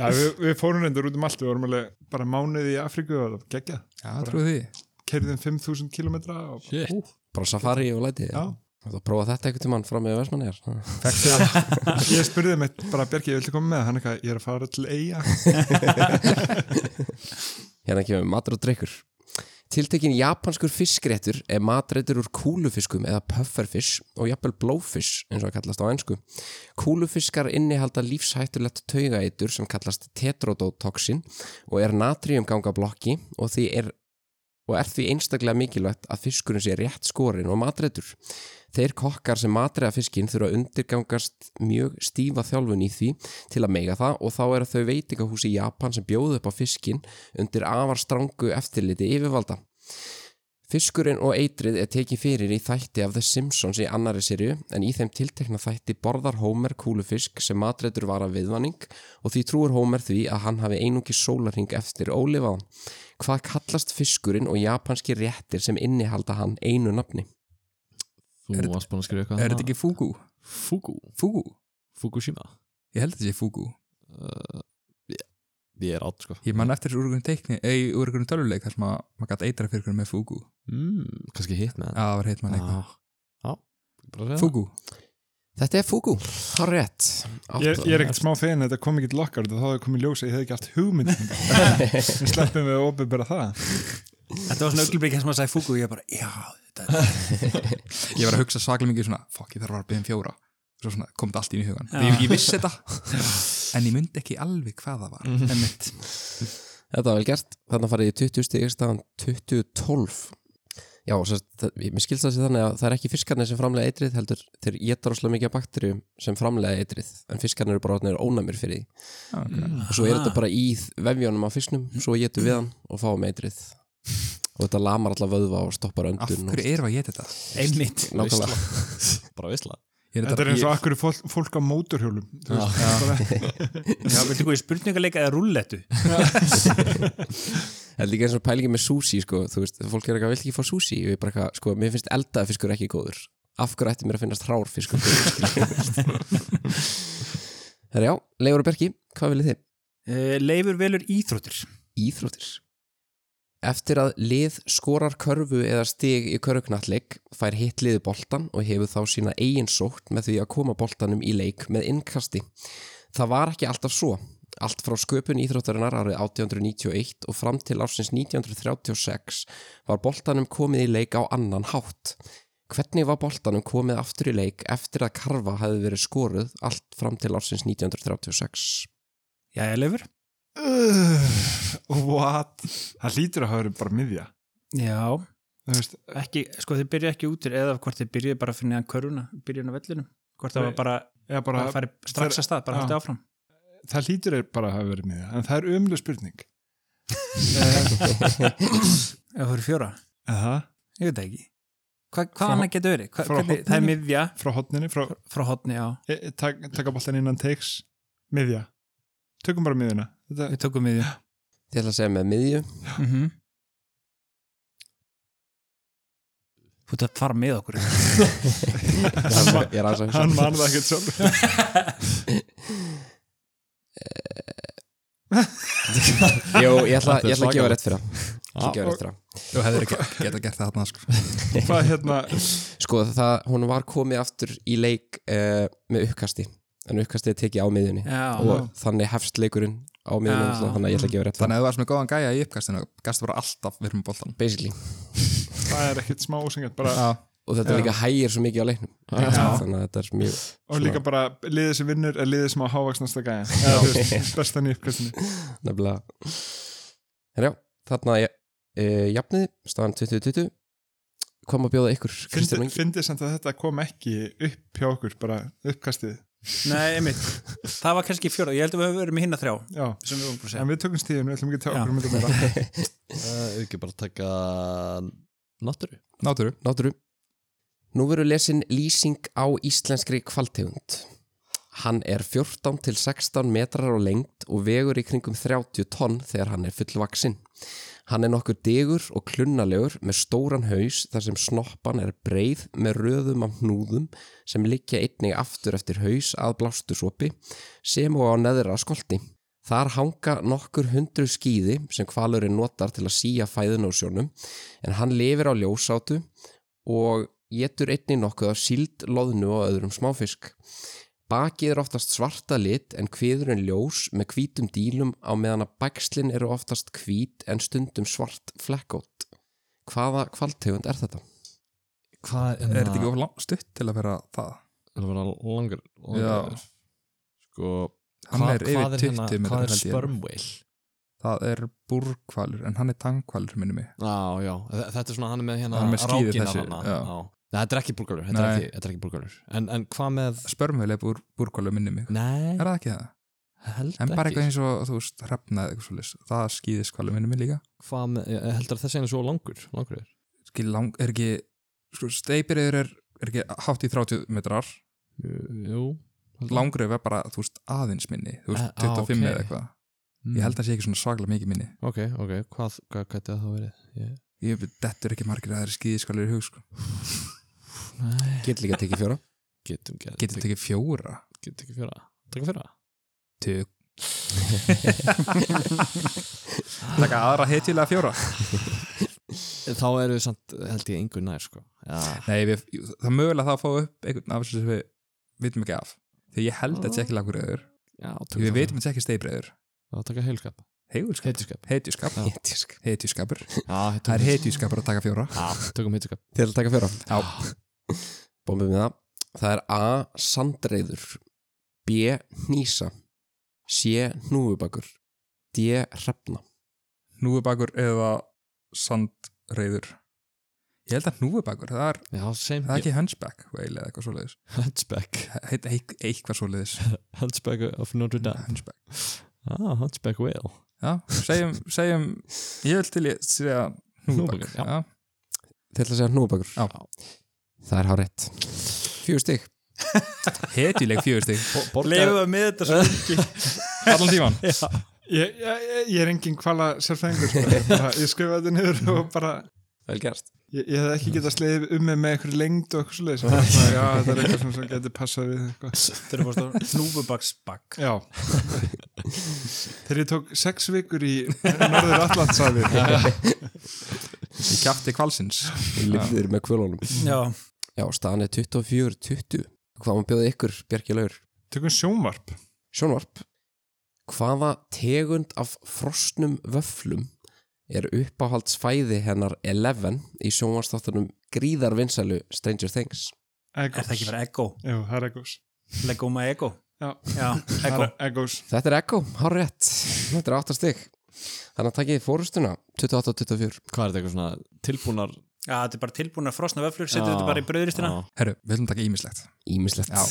Speaker 3: já við, við fórum reyndur út um allt við vorum alveg bara mánuði í Afríku og það var geggjað
Speaker 2: Já, trúið því
Speaker 3: kerðum 5.000 kilometra og
Speaker 4: shit,
Speaker 1: Bara safari og læti. Já. Það prófa þetta eitthvað til mann fram með versmanniðar.
Speaker 3: ég spurði mig bara Bjarki, ég vilti koma með hann eitthvað, ég er að fara til eiga
Speaker 1: Hérna kemur matur og drikkur. Tiltekin japanskur fiskréttur er matrættur úr kúlufiskum eða pufferfish og jafnvel blowfish eins og það kallast á ennsku. Kúlufiskar innihalda lífshættulegt taugaitur sem kallast tetrodotoxin og er natriumgangablokki og því er og er því einstaklega mikilvægt að fiskurinn sé rétt skorinn og matrættur. Þeir kokkar sem matræða fiskinn þurfa að undirgangast mjög stífa þjálfun í því til að mega það og þá eru þau veitingahús í Japan sem bjóðu upp á fiskinn undir afar strangu eftirliti yfirvalda. Fiskurinn og eitrið er tekið fyrir í þætti af The Simpsons í annari sériu en í þeim tiltekna þætti borðar Homer kúlufisk sem matrættur var af viðvanning og því trúir Homer því að hann hafi einungi sólarhing eftir ólifaðan. Hvað kallast fiskurinn og japanski réttir sem innihalda hann einu nafni?
Speaker 4: þú varst búin að skrifa eitthvað
Speaker 2: Er þetta
Speaker 4: þarna.
Speaker 2: ekki Fugu?
Speaker 4: Fugu,
Speaker 2: Fugu?
Speaker 4: Fukushima
Speaker 2: Ég held að þetta sé Fugu
Speaker 4: uh, ég, ég er átt sko
Speaker 2: Ég man eftir þessu úr einhverjum teikni, ei, úr einhverjum töluleik þar sem að maður gæti eitra fyrir einhverjum með fúgu.
Speaker 4: mm, kannski hitt Ah. með
Speaker 2: Já, það var heitt mann eitthvað.
Speaker 4: eitthvað
Speaker 2: Fúgu.
Speaker 1: Þetta er Fugu, hár rétt
Speaker 3: Ég, ég er ekkert smá fegin að þetta kom ekki til okkar þá hefði komið ljósa, ég hefði ekki allt hugmynd um en sleppum við að opinbera það
Speaker 5: Þetta var svona auglubrik sem að sagði fúku og ég bara, já, þetta er
Speaker 2: Ég var að hugsa svaklega mikið svona, fuck, ég þarf að vera að byggja um fjóra. Svo svona kom þetta allt inn í hugan.
Speaker 5: Já.
Speaker 2: Ég, ég vissi þetta, en ég myndi ekki alveg hvað það var. Einmitt.
Speaker 1: Þetta var vel gert, þannig að farið í 20 stík staðan 2012 Já, svo, það, mér skilst það sér þannig að það er ekki fiskarnir sem framlega eitrið heldur þeir geta rosalega mikið af bakterjum sem framlega eitrið en fiskarnir eru bara orðnir ónæmir fyrir því
Speaker 2: Já, ok.
Speaker 1: og svo er þetta bara í vefjónum á fisknum svo getum við hann og fáum eitrið og þetta lamar alla vöðva og stoppar
Speaker 2: Af
Speaker 1: öndun
Speaker 2: hverju erum við að geta þetta?
Speaker 5: [LAUGHS] einmitt
Speaker 1: og nákvæmlega
Speaker 4: bara vissla
Speaker 2: Ég
Speaker 3: Þetta er eins og akkur fólk, fólk á móturhjólum þú veist, bara-
Speaker 5: Já, viltu hvað í spurningarleika eða rúllettu?
Speaker 1: Það er líka eins og pælingi með sushi sko, þú veist, fólk er ekki að vilja ekki fá sushi og ég er bara eitthvað, sko, mér finnst eldaða fiskur ekki góður af hverju ætti mér að finnast hrár fiskur Herra já, Leifur og Berki, hvað viljið þið?
Speaker 5: Uh, leifur velur íþróttir
Speaker 1: Íþróttir Eftir að lið skorar körfu eða stig í körfknalleg fær hitt liði boltan og hefur þá sína eigin sótt með því að koma boltanum í leik með innkasti. Það var ekki alltaf svo. Allt frá sköpun íþróttarinnar árið 1891 og fram til ársins 1936 var boltanum komið í leik á annan hátt. Hvernig var boltanum komið aftur í leik eftir að karfa hefði verið skoruð allt fram til ársins 1936?
Speaker 5: Jæja, leifur?
Speaker 3: Ugh, What? Það hlýtur að hafa verið bara miðja
Speaker 5: Já,
Speaker 3: Þú veist,
Speaker 5: ekki, sko þið byrja ekki útir eða hvort þið byrjuð bara að finna hann köruna, byrjun á vellinu hvort það
Speaker 3: Nei,
Speaker 5: var bara,
Speaker 3: eða
Speaker 5: bara
Speaker 3: bara,
Speaker 5: að fara strax að stað, bara
Speaker 3: Já.
Speaker 5: haldið áfram
Speaker 3: það hlýtur að bara að hafa verið miðja en það er umlega spurning
Speaker 5: Eh, [CLEARS THROAT] eða fyrir fjóra,
Speaker 3: Aha,
Speaker 5: ég veit það ekki Hva, hvað
Speaker 3: Frá-
Speaker 5: annað getur verið? Hva,
Speaker 3: frá
Speaker 5: hvernig, það er
Speaker 3: horninu?
Speaker 5: miðja
Speaker 3: frá hotninni, frá
Speaker 5: frá hotni, já,
Speaker 3: e, e, tak, taka boltan innan teiks miðja, tökum bara miðjuna þetta,
Speaker 5: við tókum miðju
Speaker 1: Þið ætla að segja með miðju
Speaker 5: mm -hmm. Þú ert að fara með okkur
Speaker 1: Ég er aðeins að
Speaker 3: hann
Speaker 1: hugsa
Speaker 3: man það ekkert sjálf
Speaker 1: Jó, ég ætla, ég ætla að gefa
Speaker 4: svakalegt.
Speaker 1: rétt fyrir það. Ég
Speaker 4: Ah,
Speaker 1: ætla að gefa rétt fyrir það.
Speaker 2: Þú hefðir ekki geta gert það þarna, sko.
Speaker 3: hvað hérna,
Speaker 1: Sko, það, hún var komið aftur í leik uh, með uppkasti en uppkastið tekið á miðjunni
Speaker 5: Já,
Speaker 1: og þannig hefst leikurinn á miðjunni
Speaker 5: Já.
Speaker 1: náttúrulega, þannig að ég ætla að gefa rétt fyrir
Speaker 2: Þannig að þú varst með góðan gæja í uppkastinu, gastu bara alltaf verið með boltan.
Speaker 1: það Basically,
Speaker 3: það er ekkert smá ósengat bara,
Speaker 2: Já,
Speaker 1: og þetta líka hægir svo mikið á leiknum [LAUGHS] þannig að þetta er mjög
Speaker 3: og líka bara liðið sem vinnur er liðið sem á hávaksnasta gæja eða, þú veist, bestan í uppkastinu
Speaker 1: nefnilega Herjá, þarna ég e, jafnið, staðan 2020 kom að bjóða ykkur Kristján Ingi
Speaker 3: fyndið samt að þetta kom ekki upp hjá okkur, bara uppkastið
Speaker 5: nei, einmitt Það var kannski fjóra, ég held að við höfum verið með hinna þrjá
Speaker 3: já,
Speaker 5: sem við vorum búin að segja
Speaker 3: en við tökum stíðum, við ætlum ekki að
Speaker 5: Já.
Speaker 3: tjá okkur um þetta meira
Speaker 4: uh, ekki bara taka náttúru
Speaker 2: náturu.
Speaker 1: Náttúru Nú verður lesin lýsing á íslenskri kvaltegund. Hann er 14 til 16 metrar á lengt og vegur í kringum 30 tonn þegar hann er fullvaksinn. Hann er nokkur degur og klunnalegur með stóran haus þar sem snoppan er breið með röðum af hnúðum sem liggja einnig aftur eftir haus að blástusopi sem og á neðra skolti. Þar hanga nokkur hundru skýði sem kvalurinn notar til að síja fæðun á sjónum en hann lifir á ljósátu og getur einnig nokkuð af síld, loðnu og öðrum smáfisk. Bakið er oftast svarta lit en kviðurinn ljós með hvítum dílum á meðan að bækslinn eru oftast hvít en stundum svart flekkótt. Hvaða kvaltegund er þetta?
Speaker 4: hvað
Speaker 2: Er þetta ekki of langt stutt til að vera það?
Speaker 4: Hérna, það var langar, langar. sko
Speaker 2: Hann
Speaker 4: hvað-
Speaker 2: er yfir
Speaker 4: hvað
Speaker 2: 20
Speaker 4: hérna-
Speaker 2: metrar,
Speaker 4: hvað er
Speaker 2: held ég.
Speaker 4: sperm whale
Speaker 2: Það er búrkvalur, en hann er tangkvalur, minnum mig.
Speaker 4: Já, já, Þe- þetta er svona hann er með hérna
Speaker 2: Hann er með skíðið
Speaker 4: rákina
Speaker 2: þessu,
Speaker 4: þarna.
Speaker 2: já.
Speaker 4: Já. Nei, þetta er ekki búrgalur, þetta, er
Speaker 2: Nei.
Speaker 4: ekki- þetta er ekki búrgalur en, en hvað með,
Speaker 2: Spörmvel er búr, búrkvalur, minnum mig.
Speaker 4: nei,
Speaker 2: Er það ekki það?
Speaker 4: held
Speaker 2: En bara
Speaker 4: ekki
Speaker 2: eitthvað eins og, þú veist, hrefna eða eitthvað svolítið. Það er skýðiskvalur, minnum mig líka.
Speaker 4: hvað með, ég heldur að þessi einu svo langur langur er,
Speaker 2: Skil lang, er ekki, sko, steipirður er, er ekki hátt í 30 metrar.
Speaker 4: jú held að-
Speaker 2: Langröf er bara, þú veist, aðeins minni. Þú veist,
Speaker 4: Eh, á,
Speaker 2: 25
Speaker 4: ok.
Speaker 2: eða eitthvað.
Speaker 4: Mm.
Speaker 2: Ég held að það sé ekki svona svaglega mikið minni.
Speaker 4: ok, ok, hvað, hvað gæti það þá verið ég,
Speaker 2: Ég dettur ekki margir að það er skýðiskvalur í hug, sko.
Speaker 4: nei,
Speaker 1: Get líka tekið fjóra.
Speaker 4: getum gert
Speaker 2: Getur tekið fjóra.
Speaker 4: getum ekki fjóra, taka fjóra
Speaker 2: Tök, [LAUGHS] Taka aðra heitilega fjóra
Speaker 4: Eh, Þá erum við samt, held ég, engu nær sko. Já,
Speaker 2: Nei, við, það er mögulega það að fá upp einhvern af þessu sem við vitum ekki af Þegar ég held að þetta sé ekki lagur eður
Speaker 4: já
Speaker 2: Við vitum að þetta sé ekki steibreiður
Speaker 4: Það taka heilskap,
Speaker 2: Heitjúskap
Speaker 4: heitjuskap
Speaker 2: Heitjúskap
Speaker 1: Hetjuskap.
Speaker 2: Heitjúskapur
Speaker 4: Já,
Speaker 2: Það er heitjúskapur að taka fjóra
Speaker 4: Já, sko. tökum sko. heitjuskap
Speaker 1: Til að taka fjóra
Speaker 2: Já.
Speaker 1: Bombum við það Það er A. Sandreiður B. Nýsa C. Núfubakur D. Hrefna
Speaker 2: Núfubakur eða sandreiður Ég held að núfubakur, það er,
Speaker 4: Já, same
Speaker 2: það er ekki hunchback whale eða eitthvað svoleiðis
Speaker 4: Hunchback
Speaker 2: Heit, eit, Eitthvað
Speaker 1: [LAUGHS]
Speaker 2: svoleiðis
Speaker 4: Hunchback of Notre Dame
Speaker 2: Hunchback
Speaker 4: ah, Hunchback whale
Speaker 2: Já, segjum, segjum Ég vil til ég segja núfubakur
Speaker 4: Hnúfubakur, já.
Speaker 2: Já,
Speaker 1: Til að segja núfubakur
Speaker 2: Já.
Speaker 1: Það er hár rétt Fjú stig
Speaker 2: hetjuleg fjögustig
Speaker 5: Leifum við með
Speaker 3: [LAUGHS]
Speaker 5: þetta svo ekki
Speaker 2: Allan
Speaker 4: [LAUGHS]
Speaker 2: tíman
Speaker 3: ég, ég, ég er engin kvala sérfæðingur sko. Ég bara, ég skrifa þetta niður og bara
Speaker 1: Vel gerst
Speaker 3: ég, ég hef ekki getað sleið um mig með einhver lengd og eitthvað svoleiðis Bara svona, já, þetta er eitthvað sem, sem getur passað við eitthvað.
Speaker 5: Þeir eru bara núfubaksbakk
Speaker 3: já þegar ég tók sex vikur í norður Atlantsafi
Speaker 2: Ég kjafti kvalsins
Speaker 1: Ég lifðir með kvölunum
Speaker 5: Já,
Speaker 1: Já, staðan er 24-20 Hvað maður bjóði ykkur, Bjarki Laugur?
Speaker 3: tökum sjónvarp
Speaker 1: Sjónvarp Hvaða tegund af frosnum vöflum er uppáhaldsfæði hennar Eleven í sjónvarstáttunum gríðarvinsælu Stranger Things?
Speaker 5: er það ekki
Speaker 3: Eggos
Speaker 5: fyrir Ego?
Speaker 3: Jú, það er Eggos
Speaker 5: Lego my Ego?
Speaker 3: Já.
Speaker 5: Já,
Speaker 3: Það
Speaker 5: Ego
Speaker 3: er Eggos
Speaker 1: Þetta er Echo, hár rétt Þetta er 8 stygg Þannig að takið fórustuna 28-24
Speaker 4: Hvað er þetta eitthvað svona tilbúnar
Speaker 5: Já, þetta er bara tilbúin að frosna vöflur, setja
Speaker 4: Já,
Speaker 5: þetta bara í brauðristina
Speaker 4: já.
Speaker 2: Herru, við viljum taka ímislegt
Speaker 1: Ímislegt
Speaker 2: Já.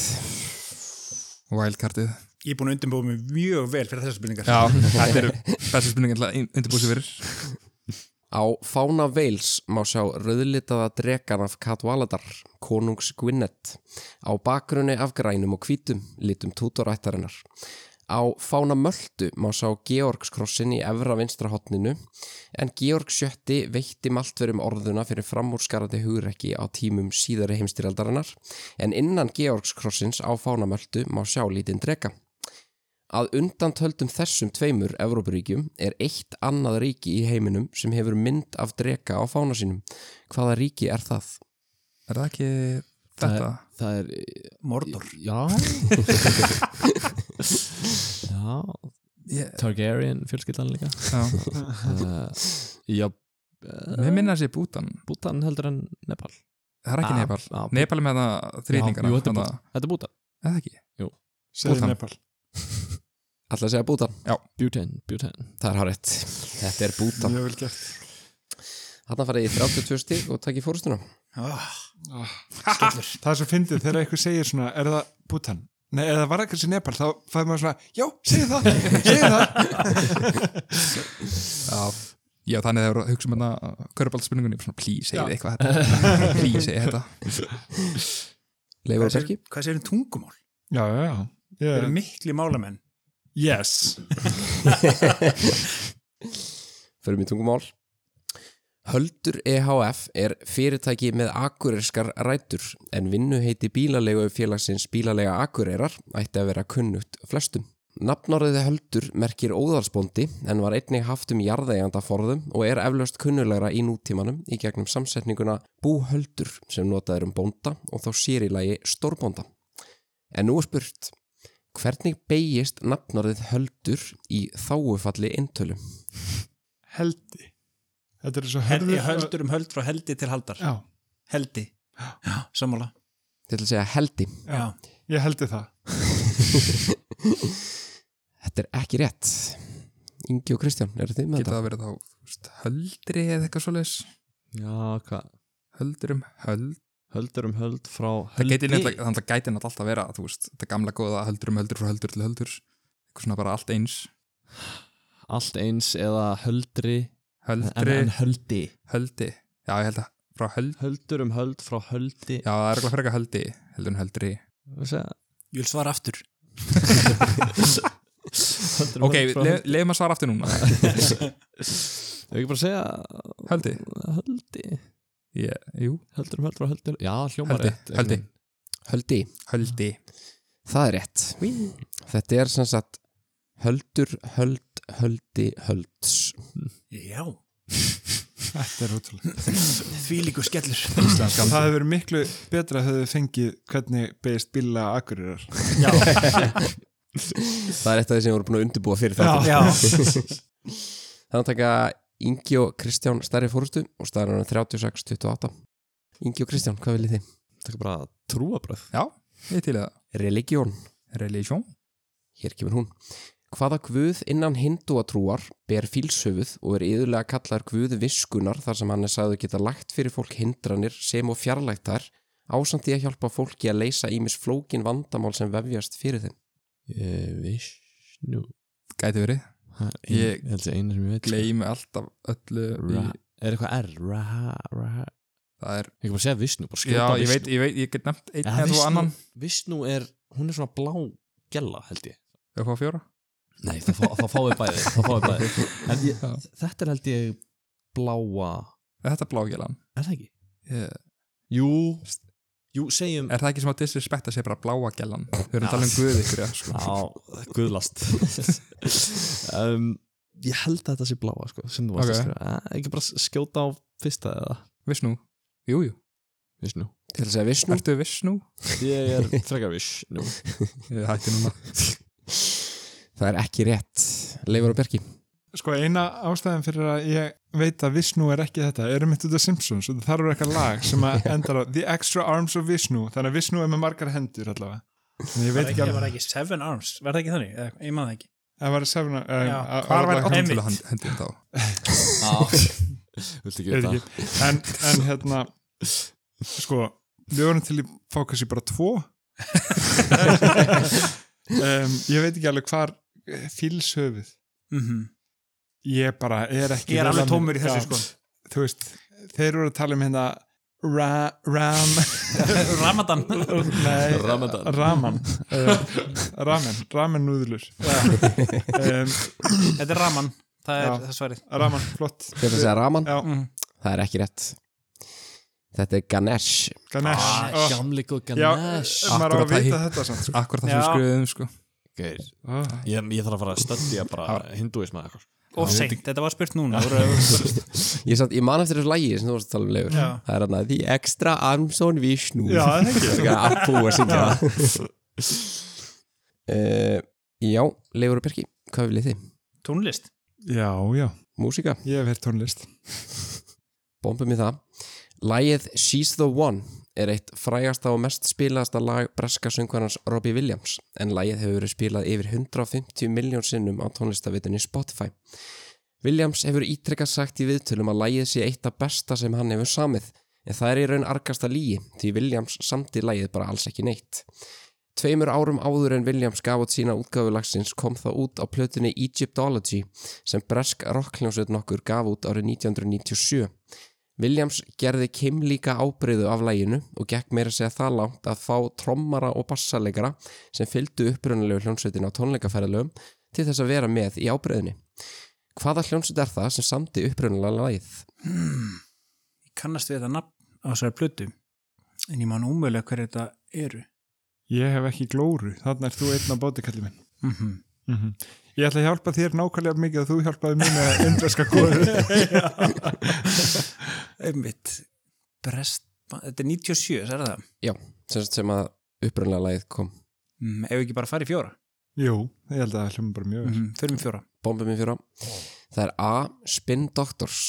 Speaker 2: Wildcardið
Speaker 5: Ég er búin að undirbúið mig mjög vel fyrir þessar spurningar
Speaker 2: Já, [LAUGHS] þetta eru bestu spurningar til að undirbúið sér fyrir
Speaker 1: Á fána Wales má sjá rauðlitaða drekan af Katvaladar, konungs Gwynedd, á bakgrunni af grænum og hvítum, litum tútorættarinnar. Á fána Möldu má sjá Georgskrossin í efra vinstra hotninu, en Georg sjötti veitti maltverum orðuna fyrir framúrskarandi hugrekki á tímum síðari heimstyrjaldarinnar, en innan Georgskrossins á fána Möldu má sjá lítinn dreka. Að undantöldum þessum tveimur Evrópuríkjum er eitt annað ríki í heiminum sem hefur mynd af drega á fána sínum. Hvaða ríki er það?
Speaker 2: Er það ekki
Speaker 4: Það
Speaker 2: þetta?
Speaker 4: Það er
Speaker 5: Mordor
Speaker 4: [LAUGHS] Já Já
Speaker 2: Ég,
Speaker 4: Targaryen fjölskyldan líka
Speaker 2: já,
Speaker 4: uh, Já uh,
Speaker 2: mér minna þessi Bútan
Speaker 4: Bútan heldur en Nepal
Speaker 2: Það er ekki
Speaker 4: Ah,
Speaker 2: Nepal
Speaker 4: ah, Bú-
Speaker 2: Nepal er með það þrýningar
Speaker 4: Já, jú, þetta er Bútan Þetta er Bútan
Speaker 2: Það ekki
Speaker 3: segir
Speaker 2: Bútan.
Speaker 3: Nepal
Speaker 1: Alltaf að segja Bútan.
Speaker 4: Bhutan Bhutan
Speaker 1: Það er hárætt. Þetta er Bútan.
Speaker 3: mjög vel gert
Speaker 1: Þarna farið í 32 stík og takk í fórustuna.
Speaker 5: ah,
Speaker 3: það er svo fyndið þegar eitthvað segir svona er það Bhutan? Nei, eða var það kannski Nepal þá fæði maður svona, já, segir það segir það,
Speaker 2: Já, já þannig það eru að hugsa um þetta Körbaldspurningunni, svona please segið eitthvað þetta
Speaker 4: [LAUGHS]
Speaker 2: Please segið þetta
Speaker 1: Leifur og Bergi.
Speaker 5: Hvað segir um tungumál?
Speaker 3: [LAUGHS] já, já, já
Speaker 5: Þeir
Speaker 3: yeah.
Speaker 5: eru mikli málamenn
Speaker 3: yes,
Speaker 1: Förum í tungumál. Höldur EHF er fyrirtæki með akureyskar rætur en vinnu heiti bílalegu félagsins bílalega akureyrar ætti að vera kunnugt flestum. Nafnorðið Höldur merkir óðalsbóndi en var einnig haft um jarðeiganda forðum og er eflaust kunnulegra í nútímanum í gegnum samsetninguna búhöldur sem notað er um bónda og þá sér í lagi stórbónda. En nú er spurt, hvernig beigist nafnorðið Höldur í þáufalli eintölu?
Speaker 3: heldi þetta er svo
Speaker 5: Heldi,
Speaker 3: hörður
Speaker 5: Höldur um höld frá heldi til haldar
Speaker 3: já,
Speaker 5: Heldi Já, sammála
Speaker 1: Til að segja heldi.
Speaker 5: Já,
Speaker 3: ég heldi það
Speaker 1: Þetta er ekki rétt Ingi og Kristján, eru þið með
Speaker 2: Geta
Speaker 1: þetta?
Speaker 2: það verið þá þú veist, höldri eða eitthvað svoleiðis
Speaker 4: Já, hvað
Speaker 2: Höldur um höld
Speaker 4: Höldur um höld frá
Speaker 2: Það
Speaker 4: höldi
Speaker 2: gæti náttúrulega þannig að gæti náttúrulega alltaf að vera þú veist, þetta gamla góða höldur um höldur frá höldur til höldur eitthvað svona bara allt eins
Speaker 4: Allt eins eða höldri en,
Speaker 2: Höldri,
Speaker 4: en höldi
Speaker 2: höldi Já, ég held að frá höld
Speaker 4: Höldur um höld frá höldi
Speaker 2: Já, það er eitthvað frekar höldi heldur en höldri
Speaker 4: Já.
Speaker 5: ég vil svara aftur
Speaker 4: [LAUGHS] Höldur um
Speaker 2: Ok,
Speaker 4: höld frá höldi
Speaker 2: leiðum að svara aftur núna
Speaker 4: [LAUGHS] Ef ekki bara að segja
Speaker 2: Höldi
Speaker 4: Höldi
Speaker 2: yeah, Jú,
Speaker 4: Höldur um höld frá höldur Já, hljómar
Speaker 2: Höldi,
Speaker 4: rétt
Speaker 2: höldi.
Speaker 1: Höldi,
Speaker 2: höldi
Speaker 1: það er rétt Þetta er sem sagt Höldur, höld, höldi, hölds
Speaker 5: Já,
Speaker 3: Þetta er ótrúlega.
Speaker 5: því líku skellur
Speaker 3: Það
Speaker 5: [LAUGHS]
Speaker 3: hefur verið miklu betra að hefur fengið hvernig beðist bíla akkurirar.
Speaker 5: Já,
Speaker 1: Það er eitt af því sem voru búin að undirbúa fyrir þetta
Speaker 5: já
Speaker 1: [LAUGHS]
Speaker 5: [LAUGHS]
Speaker 1: Þannig að taka Ingi og Kristján stærri fórustu og staðan er 36-28 Ingi og Kristján, hvað viljið þið?
Speaker 4: Takk bara trúabröð
Speaker 2: Já, ég er til í það.
Speaker 1: Religion,
Speaker 2: Religion.
Speaker 1: hér kemur hún Hvaða guð innan hindúatrúar ber fílshöfuð og er yðurlega kallar guð viskunar þar sem hann er sagður geta lagt fyrir fólk hindranir sem og fjarlægtar ásamt því að hjálpa fólki að leysa ímis flókin vandamál sem vefjast fyrir þeim
Speaker 4: Vishnu
Speaker 2: Gæti verið.
Speaker 4: Ha, ein-
Speaker 2: Ég-
Speaker 4: ég held að einu sem ég veit
Speaker 2: Gleimi alltaf öllu. Í,
Speaker 4: ra, Er eitthvað R? Ra, ra
Speaker 2: það er,
Speaker 4: Ég kan bara segja Vishnu bara skjóta
Speaker 2: já, ég
Speaker 4: Vishnu.
Speaker 2: veit, ég veit, ég get nefnt einn
Speaker 4: Ja,
Speaker 2: eða þú
Speaker 4: Vishnu-
Speaker 2: annan.
Speaker 4: Vishnu er, hún er svona blá gella held ég
Speaker 2: Ég fá fjóra.
Speaker 4: Nei, það, fá, það fáið bæði, það fáið bæði. En ég, Þetta er held ég bláa
Speaker 2: Er Þetta er blágélan.
Speaker 4: Er það ekki?
Speaker 2: Ég-
Speaker 4: Jú, jú, segjum
Speaker 2: Er það ekki sem að disrespekta sér bara bláa gælan? Þau erum að tala um guði ykkur, já, sko.
Speaker 4: Já, guðlast [LAUGHS] um, Ég held að þetta sé bláa sko, sem þú varst
Speaker 2: Ok.
Speaker 4: að skrifa Eh, Ekki bara skjóta á fyrsta eða
Speaker 2: Vissnú. Jú, jú.
Speaker 4: Vishnu
Speaker 1: Til að segja vissnum
Speaker 2: Ertu vissnú?
Speaker 4: Ég er frekar Vishnu
Speaker 2: Ég hætti núna.
Speaker 1: Það er ekki rétt Leifur og Bjarki
Speaker 3: Sko eina ástæðan fyrir að ég veit að Vishnu er ekki þetta, erum mitt út af Simpsons og það eru eitthvað lag sem [LAUGHS] að endar á The Extra Arms of Vishnu, þannig að Vishnu er með margar hendur allavega. En ég veit ekki
Speaker 5: Það
Speaker 3: alveg,
Speaker 5: var ekki Seven Arms, var það ekki þannig? Eða, Ég maður það ekki
Speaker 3: það var sefna, um,
Speaker 5: Já,
Speaker 3: að-
Speaker 5: hvar var
Speaker 3: að-
Speaker 5: Odd?
Speaker 2: Til
Speaker 5: Einmitt.
Speaker 2: að hand- hendum þá.
Speaker 4: [LAUGHS] Viltu ekki
Speaker 3: Ég veit
Speaker 4: þetta?
Speaker 3: ekki. En, en hérna, sko, við vorum til í fókasi bara [LAUGHS] tvo. um, ég veit ekki alveg hvar fýls höfuð.
Speaker 5: Mhm.
Speaker 3: Ég bara er ekki...
Speaker 5: Ég er alveg
Speaker 3: vel að mér.
Speaker 5: tómur í þessu
Speaker 3: Já. [LAUGHS]
Speaker 5: sko
Speaker 3: þú veist, þeir voru að tala um hérna ra, ram
Speaker 5: Ramadan
Speaker 3: nei,
Speaker 4: Ramadan.
Speaker 5: [LAUGHS]
Speaker 3: raman uh, ramen, ramen núðlur um,
Speaker 5: Þetta er Raman, það
Speaker 3: Já.
Speaker 5: er það svarið
Speaker 3: raman, flott
Speaker 1: Til að segja Raman
Speaker 3: já,
Speaker 5: Mhm.
Speaker 1: Það er ekki rétt. Þetta er Ganesh.
Speaker 3: Ganesh
Speaker 4: Ah,
Speaker 3: oh,
Speaker 4: Gamli góð
Speaker 3: já,
Speaker 4: Ganesh
Speaker 3: maður
Speaker 2: Akkurat
Speaker 3: á að
Speaker 2: það
Speaker 3: vita þetta samt sko.
Speaker 2: Akkur það sem við
Speaker 5: Já.
Speaker 2: skriðum, sko.
Speaker 4: Geir,
Speaker 3: oh.
Speaker 4: Ég, ég þarf að fara að stöndja bara hinduism eða eitthvað. sko.
Speaker 5: Og seint, þetta var spurt núna Það voru-
Speaker 3: [LAUGHS]
Speaker 1: Ég, satt, ég man eftir þessu lægi sem þú varst að tala um lefur.
Speaker 5: Já.
Speaker 1: Það er hann að The Extra Armson Vishnu.
Speaker 3: já, það er ekki
Speaker 1: Það er að búa að syngja það. uh, já, Leifur og Birki, hvað viljið þið?
Speaker 5: Tónlist
Speaker 3: [LAUGHS] já, já,
Speaker 1: Músíka,
Speaker 3: ég hef hér tónlist
Speaker 1: bombum í það. Lægið She's the One er eitt frægasta og mest spilaðasta lag breska söngvarnans Robbie Williams en lægið hefur verið spilað yfir 150 miljón sinnum á tónlistavitunni Spotify. Williams hefur ítrekkað sagt í viðtölum að lægið sé eitt af besta sem hann hefur samið en það er í raun argasta lígi því Williams samti lægið bara alls ekki neitt. Tveimur árum áður en Williams gaf út sína útgáfulagsins kom það út á plötunni Egyptology sem bresk rockljónsveit nokkur gaf út árið 1997. Williams gerði Kim líka ábreyðu af læginu og gekk meira að segja það langt að fá trommara og bassalegra sem fylgdu upprunalegu hljónsveitin á tónleikaferðalögum til þess að vera með í ábreyðinni. Hvaða hljónsveit er það sem samti upprunalega lægið?
Speaker 5: Ég kannast við þetta nafn á þessari plötu En ég man umöðlega hverju þetta eru
Speaker 3: ég hef ekki glóru, þannig er þú einn á bóti kallið minn
Speaker 5: Mhm.
Speaker 3: Ég ætla að hjálpa þér nákvæmlega mikið að þú hjálpaði mér með indverska kóru. [LAUGHS]
Speaker 5: Einmitt Brest, þetta er 97, er það?
Speaker 1: Sem, sagt sem að upprunalega lægið kom.
Speaker 5: Mm, ef við ekki bara farið í fjóra
Speaker 3: Jú, ég held að það hljóma bara mjög vel.
Speaker 5: mm, Fyrir mig fjóra
Speaker 1: Bombum í fjóra. Það er A. Spin Doctors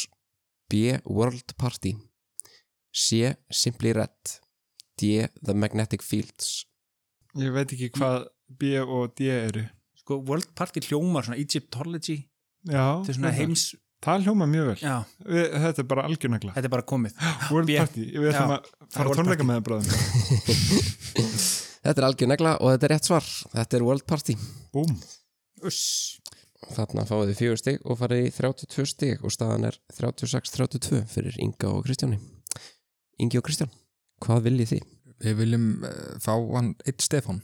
Speaker 1: B. World Party C. Simply Red D. The Magnetic Fields
Speaker 3: Ég veit ekki hvað B og D eru.
Speaker 5: Sko, World Party hljómar svona Egyptology
Speaker 3: Já,
Speaker 5: Þetta er svona heims
Speaker 3: Það hljóma mjög vel.
Speaker 5: Já,
Speaker 3: Við, þetta er bara algjörnagla.
Speaker 5: þetta er bara komið
Speaker 3: World
Speaker 5: B.
Speaker 3: Party, við ætlum
Speaker 5: Já,
Speaker 3: að fara
Speaker 5: World
Speaker 3: að tónleika með það bráðum.
Speaker 1: Þetta er algjör negla og þetta er rétt svar. Þetta er World Party.
Speaker 3: [LAUGHS] Búm.
Speaker 5: Uss
Speaker 1: Þarna fáið þið fjögur stig og farið í 32 stig og staðan er 36-32 fyrir Inga og Kristjáni. Ingi og Kristján, hvað viljið þið?
Speaker 2: Við viljum uh, fá hann eitt Stefán.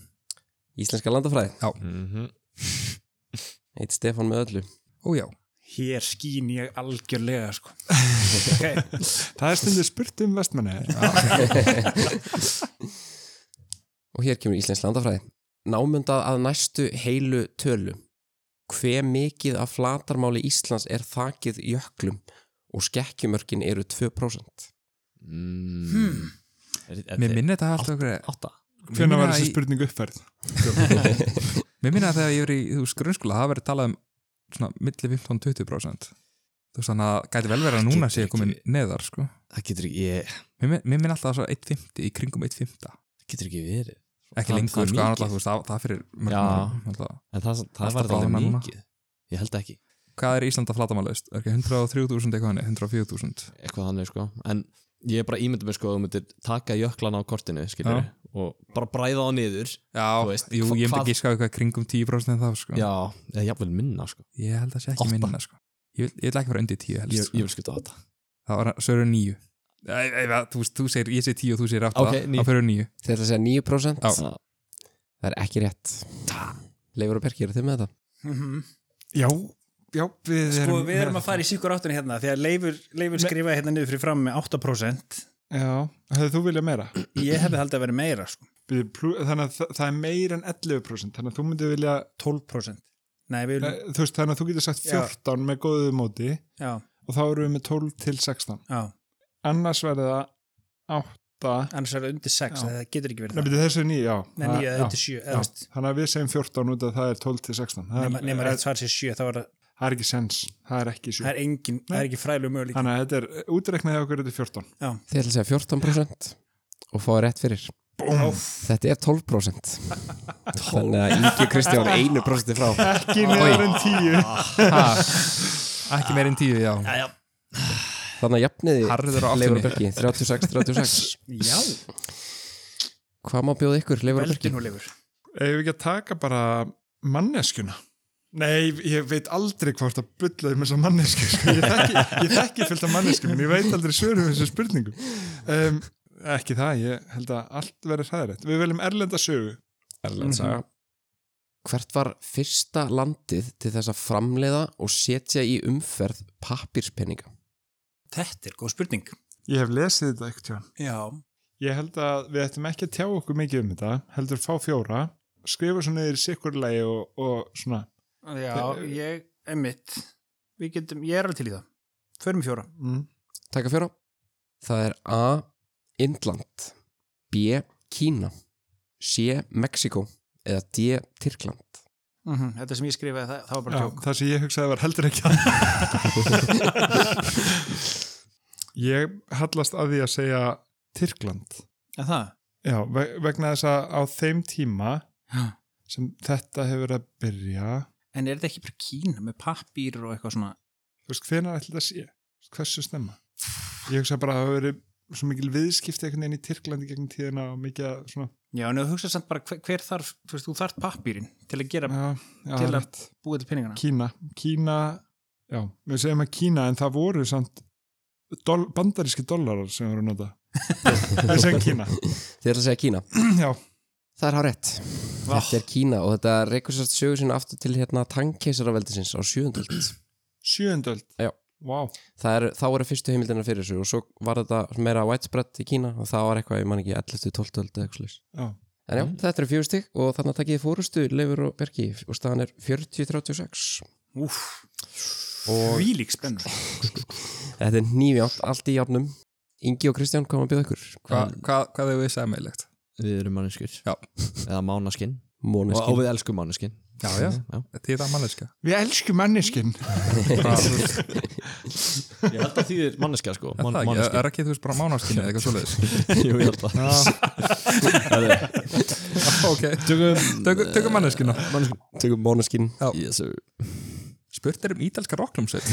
Speaker 1: Íslenska landafræði,
Speaker 4: Mm
Speaker 2: Mhm.
Speaker 4: -hmm.
Speaker 1: eitt Stefán með öllu.
Speaker 2: Ó já.
Speaker 5: Hér skín ég
Speaker 3: [LAUGHS]
Speaker 5: algjörlega sko.
Speaker 3: Það er stundu spurt um vestmenni.
Speaker 1: Og hér kemur Íslenska landafræði. Námundað að næstu heilu tölu. hve mikið af flatarmáli Íslands er þakið jöklum og skekkjumörkin eru 2%.
Speaker 4: mm.
Speaker 5: Hmm.
Speaker 4: Er- er-
Speaker 2: Mér minni þetta alltaf okkur
Speaker 4: Átta
Speaker 3: Hvernig var þessi spurning uppfærð?
Speaker 2: Mér minna að þegar ég verið í þú veist, grunnskóla það verið talað um svona milli 15-20% þú veist þannig að gæti vel verið að núna sé ég komin neðar sko.
Speaker 4: Það getur ekki, ég,
Speaker 2: Mér, min- mér minna alltaf að svo 1.50 í kringum 1.50
Speaker 4: það getur ekki verið
Speaker 2: ekki
Speaker 4: Það- það
Speaker 2: lengur sko,
Speaker 4: er mikið.
Speaker 2: annars, þú veist, það, það fyrir mörgum
Speaker 4: Já.
Speaker 2: árum, náttúrulega.
Speaker 4: En það, það
Speaker 2: Alltaf
Speaker 4: var alveg
Speaker 2: bráðnar hérna núna.
Speaker 4: mikið Ég held ekki
Speaker 2: Hvað er Íslanda flatamalaust? Er ekki 103.000 eitthvað hann? 104.000?
Speaker 4: eitthvað þannig sko en ég er bara ímyndið mér sko að þú myndir taka jöklana á kortinu skilur og bara bræða á niður
Speaker 2: Já,
Speaker 4: Þú veist,
Speaker 2: jú,
Speaker 4: hva-
Speaker 2: ég myndi
Speaker 4: hvað-
Speaker 2: ekki skáðu eitthvað kringum 10% en það sko.
Speaker 4: já, eða jafnvel minna sko
Speaker 2: Ég held að sé ekki
Speaker 4: Átta.
Speaker 2: minna sko. ég, vil, ég vil ekki vera undir 10
Speaker 4: ég,
Speaker 2: helst sko.
Speaker 4: ég vil skipta á þetta
Speaker 2: Það var sörur 9 Æ, æ, æ, þú, veist, þú segir, ég segir 10 og þú segir 8
Speaker 4: Ok, níu.
Speaker 2: Það fyrir 9
Speaker 1: Þið ætla að segja 9%?
Speaker 2: Já.
Speaker 4: Já.
Speaker 1: Það er ekki rétt. Leifur og Berki, eru þið með þetta?
Speaker 3: Já, já, við
Speaker 5: Mhm. Sko,
Speaker 3: erum
Speaker 5: við erum að fara í síkur áttun hérna því að Leifur, Leifur skrifaði hérna niður fyrir fram með 8%
Speaker 3: Já, hefðu þú viljað meira?
Speaker 5: ég hefði haldið að vera meira sko.
Speaker 3: Við- plú- Þannig að það- það er meira en 11% þannig að þú myndir vilja
Speaker 5: 12% Nei, við
Speaker 3: eh,
Speaker 5: viljum,
Speaker 3: þú veist, þannig að þú getur sagt
Speaker 5: Já.
Speaker 3: 14 með góðu móti
Speaker 5: já,
Speaker 3: og þá erum við með 12 til 16
Speaker 5: já
Speaker 3: annars verður það 8
Speaker 5: annars er það undir
Speaker 3: Já.
Speaker 5: 6, það getur ekki verið
Speaker 3: Nei,
Speaker 5: það
Speaker 3: beti, þessu er 9, já
Speaker 5: Nei,
Speaker 3: Það-
Speaker 5: 9
Speaker 3: já.
Speaker 5: eða undir 7,
Speaker 3: Já.
Speaker 5: eða veist
Speaker 3: Þannig að við segjum 14 út að það er 12 til 16 Það er,
Speaker 5: nema, nema rétt svar sér 7, það, var,
Speaker 3: það er ekki sens, það er ekki 7
Speaker 5: það er engin það er ekki fræðilegu möguleik
Speaker 3: Þannig að þetta er útreiknaði okkur þetta er 14
Speaker 1: Þið ætla að segja 14% og fáið rétt fyrir.
Speaker 3: Búm,
Speaker 1: Þetta er 12%. Þannig að Ingi Kristján er 1% frá.
Speaker 3: ekki neður en 10
Speaker 2: Ekki meir en 10, já
Speaker 4: Ah,
Speaker 5: já,
Speaker 1: Þannig að jafniði
Speaker 2: Harður á
Speaker 1: Leifur og
Speaker 2: áttunni
Speaker 1: Berki, 36-36.
Speaker 5: já,
Speaker 1: Hvað má bjóða ykkur, Leifur og Berki?
Speaker 5: veldur nú Leifur
Speaker 3: Ef við ekki að taka bara manneskjuna Nei, ég veit aldrei hvort að bullaði með þessa mannesku sko. ég, þekki, ég þekki fyllt af mannesku en ég veit aldrei svörum þessu spurningu um, Ekki það, ég held að allt verður hræðrætt Við veljum erlenda sögu
Speaker 1: Erlend saga. Mhm. Hvert var fyrsta landið til þess að framleiða og setja í umferð pappírspenninga?
Speaker 5: þetta er góð spurning
Speaker 3: Ég hef lesið þetta ekkert hjá
Speaker 5: já,
Speaker 3: Ég held að við ættum ekki að tjá okkur mikið um þetta heldur fá fjóra skrifa svo niður í sikkur lagi og, og svona
Speaker 5: já, ég emitt, við getum, ég er alveg til í það förum í fjóra
Speaker 3: mm.
Speaker 1: Takk að fjóra. Það er A. Indland B. Kína C. Mexiko eða D. Tyrkland
Speaker 5: Mhm, þetta sem ég skrifaði, það, það var bara
Speaker 3: Já,
Speaker 5: tjók
Speaker 3: það sem ég hugsaði var heldur ekki að [LAUGHS] Ég hallast að því að segja Tyrkland
Speaker 5: en það,
Speaker 3: Já, ve- vegna þess að á þeim tíma
Speaker 5: Já.
Speaker 3: sem þetta hefur verið að byrja
Speaker 5: en er þetta ekki bara kína með pappýr og eitthvað svona
Speaker 3: þú veist, hvenær ætli þetta sé? Hversu snemma? Ég hugsa bara að það hafa verið svo mikil viðskipti einhvern veginn í Tyrklandi gegn tíðina og mikið að svona
Speaker 5: Já, en þú hugsaði samt bara hver, hver þarf, þú veist, þú þarf pappýrin til að gera
Speaker 3: já, já,
Speaker 5: Til að-
Speaker 3: rétt.
Speaker 5: búið til peningana.
Speaker 3: Kína, Kína já, við segjum að Kína en það voru samt doll, bandaríski dollarar sem
Speaker 1: [LAUGHS]
Speaker 3: voru að nota við segjum Kína
Speaker 1: Þið ætla að segja Kína
Speaker 3: [CLEARS THROAT] já,
Speaker 1: Það er hár rétt Þetta er Kína og þetta reykur sérst sögur sinna aftur til hérna tangkeisaraveldisins á 7. öld.
Speaker 3: sjöundöld
Speaker 1: Já.
Speaker 3: Vá.
Speaker 1: Það er, þá eru fyrstu heimildina fyrir þessu og svo var þetta meira widespread í Kína og það var eitthvað, ég man ekki, 11. 12. öld eða eitthvað slags
Speaker 3: Já. Mm.
Speaker 1: En já, þetta eru fjögustig og þannig að takkið fórustu Leifur og Bergi og staðan er 40-36
Speaker 5: Úf,
Speaker 1: og
Speaker 5: výlík spennur.
Speaker 1: þetta er nýfjátt allt í jafnum Ingi og Kristján koma að bjóða ykkur
Speaker 2: Hva, hva, Hvað hefur við sammeilegt?
Speaker 4: við erum manneskjur
Speaker 2: Já.
Speaker 4: eða mánaskinn og, og
Speaker 1: Móneskin
Speaker 4: við elskum manneskinn
Speaker 2: Já, já, þetta er það manneska
Speaker 4: [LAUGHS]
Speaker 3: við elskum manniskin
Speaker 4: ég held að því er manneskja sko
Speaker 2: Er það ekki, er ekki þú veist bara mánaskinni eða eitthvað
Speaker 4: [LAUGHS]
Speaker 2: svoleiðis
Speaker 4: jú, ég held að
Speaker 2: Ok, tökum tökum manneskina
Speaker 1: Tökum Móneskin
Speaker 4: yes, sir.
Speaker 2: Spurt er um ítalska rocklumsveit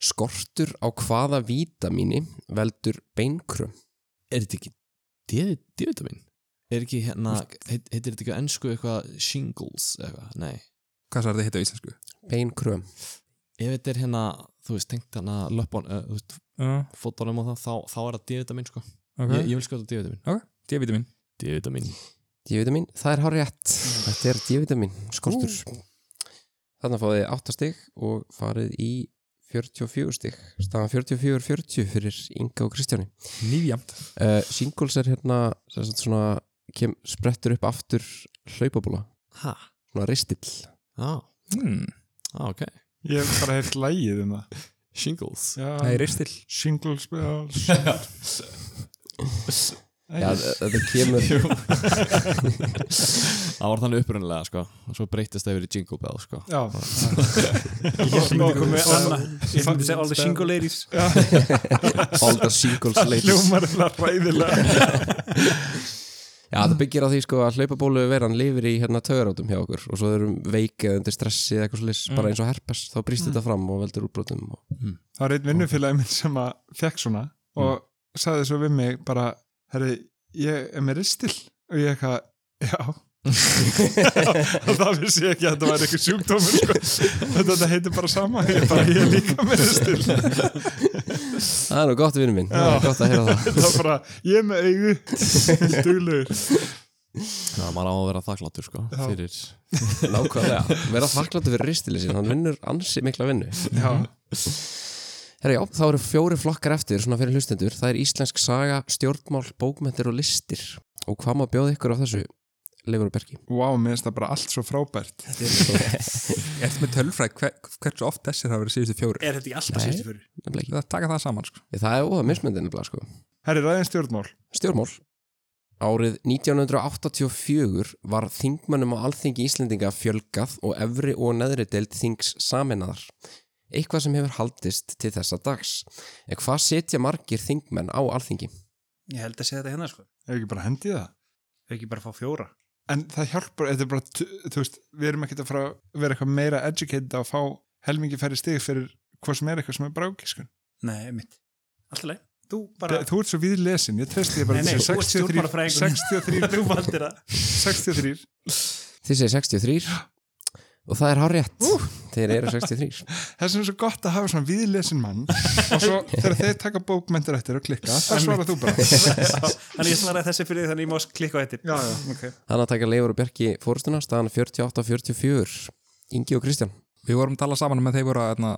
Speaker 1: Skortur á hvaða vítamíni veldur beinkrömm
Speaker 4: er þetta ekki D- D-vitamin er ekki hérna heit, heitir þetta ekki á ennsku eitthvað shingles eða eitthvað nei
Speaker 2: Hvað svar þetta heita á íslensku?
Speaker 1: Beinkrömm
Speaker 4: ef þetta er hérna þú veist tengt hérna löpun uh, þú veist
Speaker 2: Uh,
Speaker 4: fótunum og það þá, þá er það D-vitamin sko ég,
Speaker 2: okay.
Speaker 4: ég vil skjóta D-vitamin
Speaker 2: D-vitamin
Speaker 4: D-vitamin
Speaker 1: D-vitamin, það er hár rétt Þetta er D-vitamin, skortur Þannig að fáið þið 8 stig og farið í 44 stig staðan 44-40 fyrir Inga og Kristjáni
Speaker 2: Nýfjamt
Speaker 1: uh, Singles er hérna sem sagt, svona, kem, sprettur upp aftur hlaupabóla
Speaker 4: ha
Speaker 1: svona ristill
Speaker 4: Já,
Speaker 2: hmm.
Speaker 4: ah, ok
Speaker 3: Ég hef bara heilt lægið um það
Speaker 4: Shingles
Speaker 2: Nei,
Speaker 3: Já,
Speaker 2: ristil
Speaker 3: Shingles
Speaker 1: [LAUGHS]
Speaker 3: bells Nei,
Speaker 1: Já, þ- þetta kemur
Speaker 4: Það var þannig upprunnilega sko og svo breytist það yfir í Jingle Bell sko
Speaker 3: Já
Speaker 5: [LAUGHS] Ég held myndi
Speaker 3: Og-
Speaker 5: komið
Speaker 3: og-
Speaker 5: annað. Ég myndi segja all the single ladies
Speaker 1: all the seagulls ladies
Speaker 3: Hljómar eða ræðilega
Speaker 1: Já, það byggir á því sko að hlaupabólu veran lifir í hérna tögarátum hjá okkur og svo erum veikið undir stressi eða eitthvað slis, bara eins og herpes, þá brýst þetta fram og veldur útbrotum og...
Speaker 3: Það var einn vinnufélagi minn sem að fekk svona og sagði svo við mig bara, herri, ég er með ristil og ég eitthvað, já og það vissi ég ekki að þetta var eitthvað sjúkdómur sko. þetta, þetta heitir bara sama ég, bara, ég er líka með ristil
Speaker 1: Það er nú gott vinnu minn, það
Speaker 3: Já.
Speaker 1: er gott að heyra það [LAUGHS]
Speaker 3: það var bara, ég er með augu duglegur
Speaker 4: Já, maður á að vera þakklátur sko
Speaker 3: Já.
Speaker 4: fyrir
Speaker 1: Nákvæmlega, vera þakkláttu fyrir ristili sín, hann vinnur ansi mikla vinnu
Speaker 3: já,
Speaker 1: Herra já, þá eru fjóri flokkar eftir svona fyrir hlustendur, það er íslensk saga, stjórnmál, bókmentir og listir og hvað má bjóða ykkur af þessu, Leifur og Bergi?
Speaker 3: wow, mér finnst það bara allt svo frábært
Speaker 2: Ég eftir með tölfræð hver, hversu oft þessir hafa verið síðustu fjóri
Speaker 5: Er þetta ekki alltaf
Speaker 1: Nei.
Speaker 5: síðustu fyrir?
Speaker 1: Nefnilega ekki.
Speaker 2: Það taka það saman sko
Speaker 1: Það er óða mismyndin nefnilega sko
Speaker 3: herri, ræðin stjórnmál
Speaker 1: Stjórnmál Árið 1984 var þingmönnum á alþingi Íslendinga fjölgað og efri og neðri deild þings saminaðar. Eitthvað sem hefur haldist til þessa dags. En hvað setja margir þingmenn á alþingi?
Speaker 5: Ég held að segja þetta hérna sko
Speaker 3: ef ekki bara hendi í það
Speaker 5: Ef Ekki bara fá fjóra
Speaker 3: en það hjálpar, þetta er bara t- þú veist, við erum ekkert að fara að vera eitthvað meira educated að fá helmingi færri stig fyrir hvað sem er eitthvað sem er brákiskun
Speaker 5: Nei, mitt Alltaf leið Þú bara
Speaker 3: Bara- Þú ert svo við lesin, ég treysti ég bara
Speaker 5: Nei, nei,
Speaker 3: til
Speaker 5: þú ert
Speaker 3: 63,
Speaker 5: stjórnmálafræðingur.
Speaker 3: 63,
Speaker 5: Þú [LAUGHS]
Speaker 2: [LAUGHS]
Speaker 5: valdir það
Speaker 3: 63
Speaker 1: Þið segir 63 og það er hár rétt. Þeir eru 63.
Speaker 3: Þess vegna er svo gott að hafa svona viðlesin mann og
Speaker 5: [LAUGHS]
Speaker 3: svo þegar þeir taka bókmyndir eftir og klikka, það svarar þú bara
Speaker 5: Þannig ég svaraði þessi fyrir því, þannig ég má klikka á eittir
Speaker 3: Já, já, ok
Speaker 1: Þannig að taka Leifur og Bjarki fórstuna, staðan 48-44. Ingi og Kristján.
Speaker 2: Við vorum að tala saman með þeir voru að na,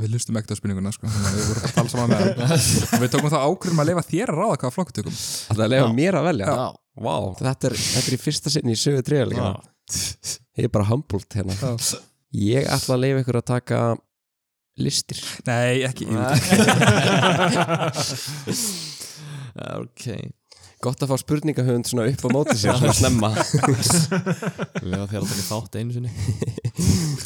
Speaker 2: Við hlustum ekkert á spurninguna sko þannig að Við vorum bara að tala saman með [LAUGHS] þeim Við tókum þá ákvörðum að leifa þér að ráða hvaða flokku tökum
Speaker 1: Það er að leifa mér að velja.
Speaker 4: Já,
Speaker 1: Vá. Þetta er, þetta er í fyrsta sinni í sögu treyðalega. Ég er bara humbled hérna. Ég ætla að leifa ykkur að taka listir.
Speaker 2: Nei, ekki ég veit
Speaker 4: [LAUGHS] Ok
Speaker 1: Gott að fá spurningahöfund svona upp á móti sér, svona snemma.
Speaker 4: Lega þér að taka þátt einu sinni
Speaker 2: ekki.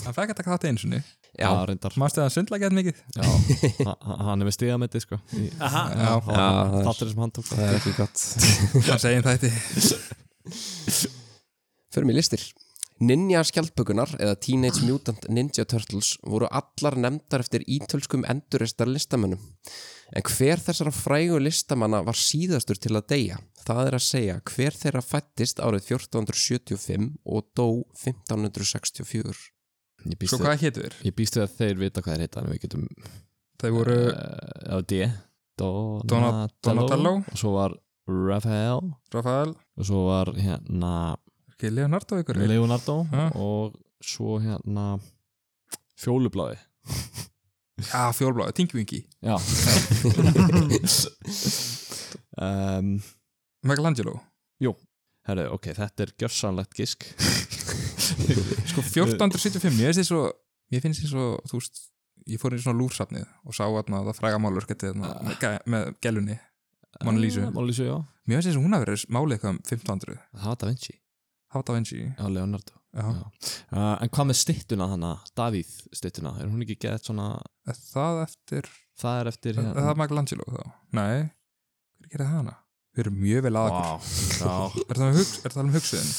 Speaker 2: Hann fekk að taka þátt einu sinni
Speaker 1: Já,
Speaker 4: reyndar
Speaker 2: Mástu að hann sundla gett mikið?
Speaker 4: Já, hann hann er með stigametti sko í-
Speaker 5: Aha
Speaker 2: Já,
Speaker 4: Það
Speaker 1: Já,
Speaker 4: var
Speaker 1: það er-
Speaker 4: Þátturinn sem hann tók sko.
Speaker 1: það er ekki gott.
Speaker 2: hann segir það þetta
Speaker 1: Förum í listir. Ninja skjaldbökunar eða Teenage Mutant Ninja Turtles voru allar nefndar eftir ítölskum enduristar listamönnum. En hver þessara frægu listamanna var síðastur til að deyja? Það er að segja hver þeirra fættist árið 1475 og dó 1564.
Speaker 4: Ég býst
Speaker 2: Sko
Speaker 4: við-
Speaker 2: hvað hétu þér?
Speaker 4: ég býst við að þeir vita hvað þeir heita en við getum
Speaker 2: Þeir voru
Speaker 4: uh, Já, D
Speaker 2: Donatello.
Speaker 4: og svo var Raphael
Speaker 2: Rafael
Speaker 4: og svo var hérna
Speaker 2: ekki Leonardo ykkur
Speaker 4: Leonardo
Speaker 2: Ha?
Speaker 4: og svo hérna fjólublaði
Speaker 2: Já, fjólbláði, Tingbjöngi
Speaker 1: [LAUGHS]
Speaker 4: já [LAUGHS] um,
Speaker 2: Michelangelo
Speaker 4: herru, ok, þetta er gjörsanlegt [LAUGHS] gisk
Speaker 2: Sko 1475, ég finnst því svo ég finnst því svo, þú veist ég fór inn í svona lúrsafnið og sá að það fræga málur getið þarna
Speaker 4: Ah.
Speaker 2: með, gæ- með gælunni Mona Lisa.
Speaker 4: Eh, Mona Lisa, já
Speaker 2: Mér finnst því svo hún að vera málið eitthvað um 1500
Speaker 4: það var Da Vinci,
Speaker 2: Háta Vinci Já,
Speaker 4: já, Leonardo
Speaker 2: Já.
Speaker 4: uh, en hvað með styttuna hana, Davíð styttuna er hún ekki gett svona
Speaker 2: Er það eftir,
Speaker 4: það er eftir hérna-
Speaker 2: er er það Michelangelo þá? Nei, hver gerði það hana? Við erum mjög vel aðakur
Speaker 4: Vá, já.
Speaker 2: Er það um hugsuðin? Er það um hugsuðin?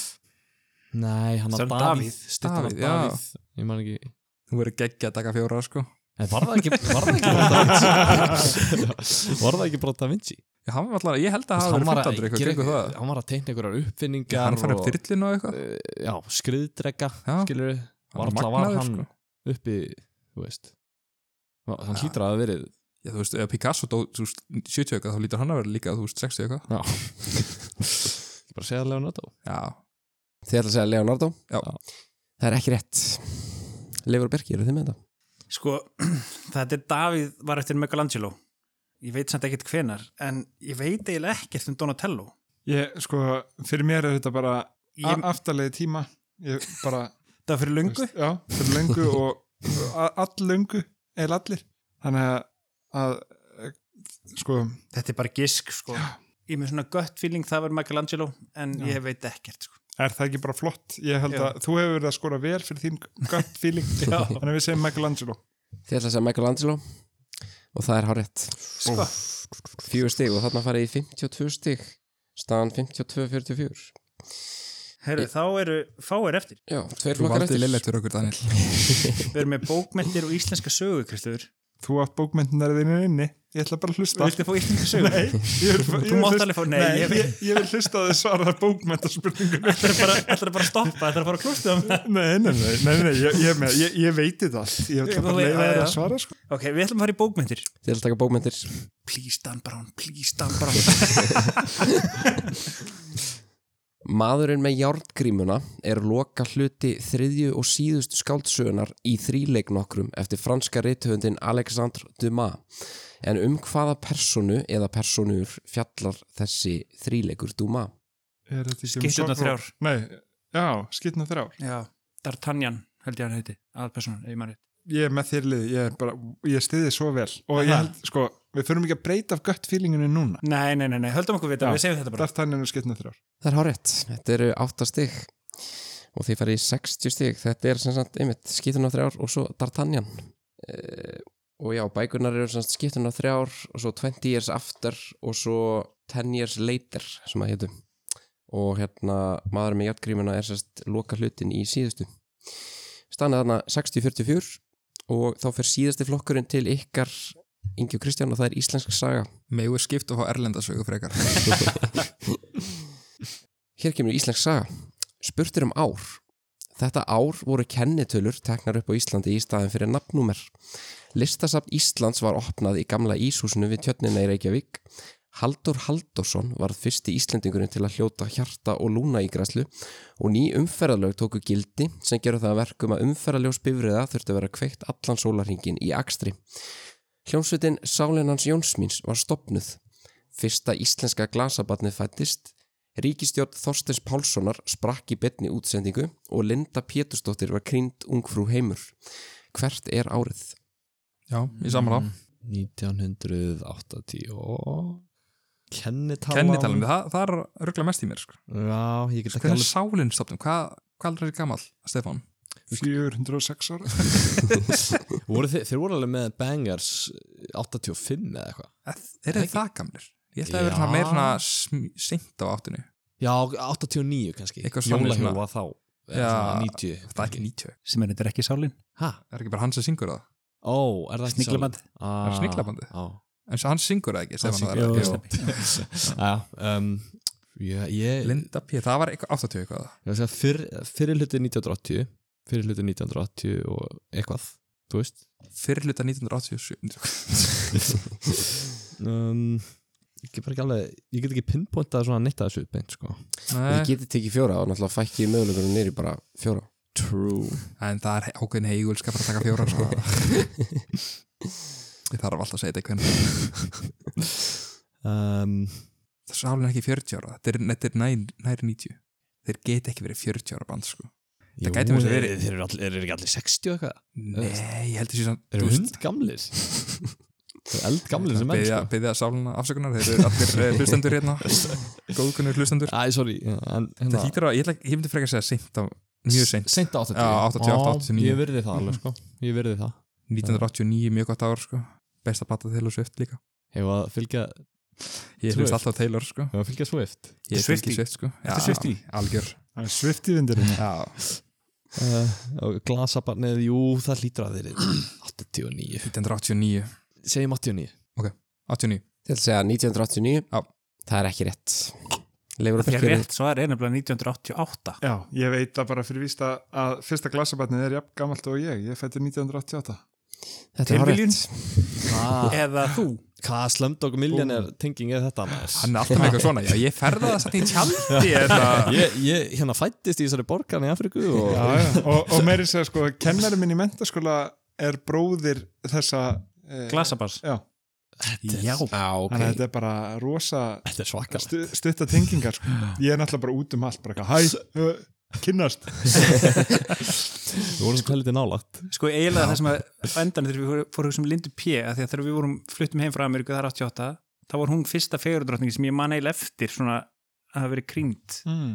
Speaker 4: nei, hann
Speaker 5: Sem
Speaker 4: að
Speaker 5: Davíð.
Speaker 4: Davíð styttuna
Speaker 2: Davíð,
Speaker 4: Davíð,
Speaker 2: já.
Speaker 4: ég man ekki
Speaker 2: Þú verður geggja að taka fjóra sko
Speaker 4: En var það ekki, var [LAUGHS] það ekki bara Da Vinci? Var það ekki bara Da Vinci?
Speaker 2: Ég, alltaf, ég held að það hafa
Speaker 4: Hann var
Speaker 2: verið
Speaker 4: að,
Speaker 2: 1500 eitthvað kringu
Speaker 4: gera eitthvað-
Speaker 2: það
Speaker 4: hann var að teikna einhverjar uppfinningar
Speaker 2: Hann fann upp
Speaker 4: og,
Speaker 2: þyrlinu og eitthvað
Speaker 4: uh, Já, skriðdrega,
Speaker 2: Já.
Speaker 4: skilur
Speaker 2: var
Speaker 4: Varla var
Speaker 2: magnaður,
Speaker 4: hann
Speaker 2: sko.
Speaker 4: uppi, þú veist Já, Hann
Speaker 2: Já.
Speaker 4: hlýtur að hafa
Speaker 2: [LAUGHS]
Speaker 4: verið
Speaker 2: Já, þú veist, ef Picasso dó, þú veist, 70 eitthvað, þá lítur hann að vera líka, þú veist, 60 eitthvað.
Speaker 4: Já Ekki bara að segja Leonardo
Speaker 2: Já,
Speaker 1: Þið ætla að segja Leonardo?
Speaker 2: Já.
Speaker 1: Það er ekki rétt. Leifur og Birki, eru þið með þetta?
Speaker 5: Sko, [CLEARS THROAT] þetta er Davíð var eftir Michelangelo Ég veit samt ekkert hvenar En ég veit eiginlega ekkert um Donatello
Speaker 3: Ég, sko, fyrir mér er þetta bara
Speaker 5: Ég,
Speaker 3: aftalegi tíma Ég bara,
Speaker 5: það var fyrir lungu
Speaker 3: Veist, Já, fyrir löngu og a- all löngu, eða allir þannig að, að eh, sko,
Speaker 5: þetta er bara gisk sko. ég er með svona gött feeling það verður Michelangelo en
Speaker 3: Já.
Speaker 5: ég veit ekkert sko.
Speaker 3: er það ekki bara flott ég held
Speaker 5: Já.
Speaker 3: að þú hefur verið að skora vel fyrir þín gött [LAUGHS] feeling, þannig að við segjum Michelangelo
Speaker 1: Þið ætla að segja Michelangelo og það er hárétt
Speaker 5: Sko.
Speaker 1: Fjögur stig og þarna farið í 52 stig staðan 52-44
Speaker 5: Heru, þá eru fáir eftir
Speaker 1: Já, tveir
Speaker 2: Þú
Speaker 1: flokkar
Speaker 2: valdi
Speaker 1: eftir
Speaker 2: lillett fyrir okkur, Daniel
Speaker 5: við erum með bókmyndir og íslenska sögu Kristofur
Speaker 3: þú átt bókmyndinar þínu inni ég ætla bara að hlusta
Speaker 5: viltu fá íslenska sögu? Nei,
Speaker 3: Ég vil- ég
Speaker 5: þú
Speaker 3: vil
Speaker 5: mátt
Speaker 3: hlusta-
Speaker 5: alveg fá- nei,
Speaker 3: Nei,
Speaker 5: ég
Speaker 3: ég,
Speaker 5: vil-
Speaker 3: ég, vil hlusta að þið svara bókmyndarspurningunum
Speaker 5: þetta er bara, þetta er bara að stoppa, þetta er bara að klústa um það
Speaker 3: [LAUGHS] Nei, nei, nei, nei, nei ég, ég, er með- ég, ég veiti það allt Ég ætla
Speaker 5: Þú
Speaker 3: bara að
Speaker 5: veit-
Speaker 3: leiða
Speaker 5: já,
Speaker 3: þér
Speaker 5: já.
Speaker 3: að svara sko.
Speaker 5: ok, við ætlum að fara í bókmyndir
Speaker 1: Þið ætla að taka bókmyndir
Speaker 5: please Dan Brown, please Dan [LAUGHS] Brown
Speaker 1: Maðurinn með járngrímuna er loka hluti þriðju og síðustu skáldsögunar í þríleik nokkrum eftir franska rithöfundin Alexandre Dumas. En um hvaða personu eða personur fjallar þessi þríleikur Dumas?
Speaker 3: Er þetta ekki um
Speaker 5: Skytturnar
Speaker 3: sorg-
Speaker 5: þrjár.
Speaker 3: Nei, já, skitna þrjár
Speaker 5: já, D'Artagnan held ég hann heiti aðalpersonan, ef ég mann
Speaker 3: Ég er með þér liði, ég, er bara, ég stiði svo vel Og ég held, sko, við þurfum ekki að breyta af gött feelinginu núna
Speaker 5: nei, nei, nei, nei, höldum okkur við
Speaker 3: Já.
Speaker 5: þetta, við segjum þetta bara
Speaker 3: Dartaninn og skitna þrjár
Speaker 1: Það er hárétt. Þetta eru 8 stig og þið farið í 60 stig. Þetta er sem sagt einmitt skýtun á þrjár og svo D'Artagnan. Uh, og já, bækurnar eru sem sagt skýtun á þrjár og svo 20 years after og svo 10 years later sem að hétu. Og hérna maður með hjartgrímuna er sem sagt loka hlutin í síðustu. Stanið þarna 60-44 og þá fer síðasti flokkurinn til ykkar Ingi og Kristján og það er íslensk saga.
Speaker 2: Megu skipt og fá erlendasögu frekar
Speaker 1: Hér kemur íslensk saga. Spurt er um ár. Þetta ár voru kennitölur teknar upp á Íslandi í staðin fyrir nafnúmer. Listasafn Íslands var opnað í gamla Íshúsinu við tjörnina í Reykjavík. Haldur Haldursson var fyrsti Íslendingurinn til að hljóta hjarta og lúna ígræslu og ný umferðalög tóku gildi sem gerur það að verkum að umferðaljós bifriða þurfti að vera kveikt allan sólarhingin í akstri. Hljómsveitin Sálinans Jónsmins var stopnuð. Fyrsta íslenska glasabarnið fættist Ríkistjórn Þorstins Pálssonar sprakk í betni útsendingu og Linda Pétursdóttir var krýnd ungfrú heimur. Hvert er árið?
Speaker 2: Já, í samanlá
Speaker 4: 1980 og Kennitala
Speaker 2: Kennitalum, það, það er ruggla mest í mér sko.
Speaker 4: Já, ég get ekki
Speaker 2: Hvernig er
Speaker 4: alveg
Speaker 2: sálinn stofnum? Hvað hva er gammal, Stefán?
Speaker 3: 406 ára
Speaker 4: [LAUGHS] voru þeir, þeir voru alveg með bangers 85 eða eitthvað
Speaker 2: Er þið það gamlir? Ég ætla að vera svona
Speaker 4: Já.
Speaker 2: meira svona sm- seint á áttinu
Speaker 4: Já, 89 kannski
Speaker 2: Eitthvað svona,
Speaker 4: Jólahjóð
Speaker 2: svona-
Speaker 4: var þá
Speaker 2: Já.
Speaker 4: eða svona 90
Speaker 2: Það er ekki 90
Speaker 5: sem er þetta er ekki sálin
Speaker 4: Hæ?
Speaker 2: Er ekki bara hann sem syngur það?
Speaker 4: Ó, er það ekki
Speaker 5: Sniglaband.
Speaker 4: ah,
Speaker 2: Er sniglabandið? En svo hann syngur það ekki, Stefán
Speaker 4: syngur-
Speaker 2: það er
Speaker 4: Jú.
Speaker 2: ekki-
Speaker 4: Já, um, já, ég
Speaker 2: Linda P, það var eitthvað 80 eitthvað
Speaker 4: Ég var að segja fyrr, fyrir hluti 1980 fyrir hluti 1980 og eitthvað þú [LAUGHS] veist
Speaker 2: Fyrir hluta 1987
Speaker 4: um, ég get bara ekki alveg ég get ekki pinpointað svona neitt að þessu beint sko
Speaker 1: Þið
Speaker 2: Nei,
Speaker 1: getið tekið fjóra og náttúrulega fækkið möguleikunum nýri bara fjóra.
Speaker 4: True
Speaker 2: En það er ákveðin heigulskap að taka fjórar [LAUGHS] sko. Ég þarf alltaf að segja þetta hvernig
Speaker 4: um,
Speaker 2: Það er sálinn ekki 40 ára Þetta er, þetta er nær, nær 90 Þeir geta ekki verið 40 ára band sko.
Speaker 4: jú,
Speaker 2: gæti verið-
Speaker 4: þeir, þeir eru all- eru ekki allir 60 og eitthvað
Speaker 2: Nei, ég held þessi samt
Speaker 4: Þeir eru hund gamlir Þeir eru eld gamlir sem menn
Speaker 2: Beðja,
Speaker 4: sko
Speaker 2: beðja sálinna afsökunar Þeir eru allir eh, hlustendur hérna Góðkunnur
Speaker 4: [LAUGHS]
Speaker 2: hlustendur
Speaker 4: Æ, sorry en, hérna,
Speaker 2: Þetta hýtur að, ég, ætla- ég myndi frekar að segja seint á, Mjög seint,
Speaker 4: Seint á 80
Speaker 2: Já, 88,
Speaker 4: Á,
Speaker 2: 89.
Speaker 4: Ég verði það alveg sko Ég verði það
Speaker 2: 1989, mjög gott ár sko. Besta platta Taylor Swift líka
Speaker 4: Ég var að fylgja
Speaker 2: Ég
Speaker 4: Swift.
Speaker 2: hlust alltaf á Taylor sko.
Speaker 4: Ég var að fylgja Swift
Speaker 2: Ég er Swifty
Speaker 5: Swiftie.
Speaker 2: Swift sko.
Speaker 5: Ertu Swiftie?
Speaker 2: Algjör
Speaker 3: Það er svift í [LAUGHS] vindurinn
Speaker 2: Já,
Speaker 4: uh, og Glasabarnið, jú, það hlýtur að þeir 89
Speaker 2: 1989
Speaker 4: Segjum 89
Speaker 2: 89
Speaker 1: Þið ætla að segja 1989?
Speaker 2: Já.
Speaker 1: Það er ekki rétt. Leifur og
Speaker 5: því að
Speaker 1: fylgir
Speaker 5: rétt svar er nefnilega 1988
Speaker 3: Já, ég veit það bara fyrir vísta að fyrsta glasabarnið er jafn gamalt og ég Ég fættur 1988
Speaker 1: Þetta er
Speaker 5: Tilviljun?
Speaker 1: hárétt.
Speaker 4: ah,
Speaker 5: eða þú [LAUGHS]
Speaker 4: Hvað slömdokk milljónir tenging er þetta maður?
Speaker 2: Hann er alltaf með eitthvað svona Já, ég ferða það satt í tjaldi
Speaker 5: [LAUGHS]
Speaker 2: þetta-
Speaker 4: Ég, ég hérna fættist í þessari borgarni í Afriku og
Speaker 3: já, já. [LAUGHS] Og, og meiri segja sko, kennari minn í mentaskóla er bróðir þessa eh,
Speaker 5: glasabars
Speaker 3: Já,
Speaker 5: já,
Speaker 1: Já, ok.
Speaker 3: þannig að þetta er bara rosa
Speaker 4: þetta er svakar
Speaker 3: stu, stutta tengingar sko. Ég er náttúrulega bara út um allt bara, eitthvað, Hæ, eh, kynnast
Speaker 4: Við vorum svona helviti nálagt
Speaker 5: Sko eiginlega það sem að á endan þegar við fórum fór að hugsa um Lindu P að því að þegar við vorum fluttum heim frá Ameríku þar 88 þá var hún fyrsta fegurðardrottningi sem ég man eiginlega eftir svona að hafa verið krýnd
Speaker 3: mm.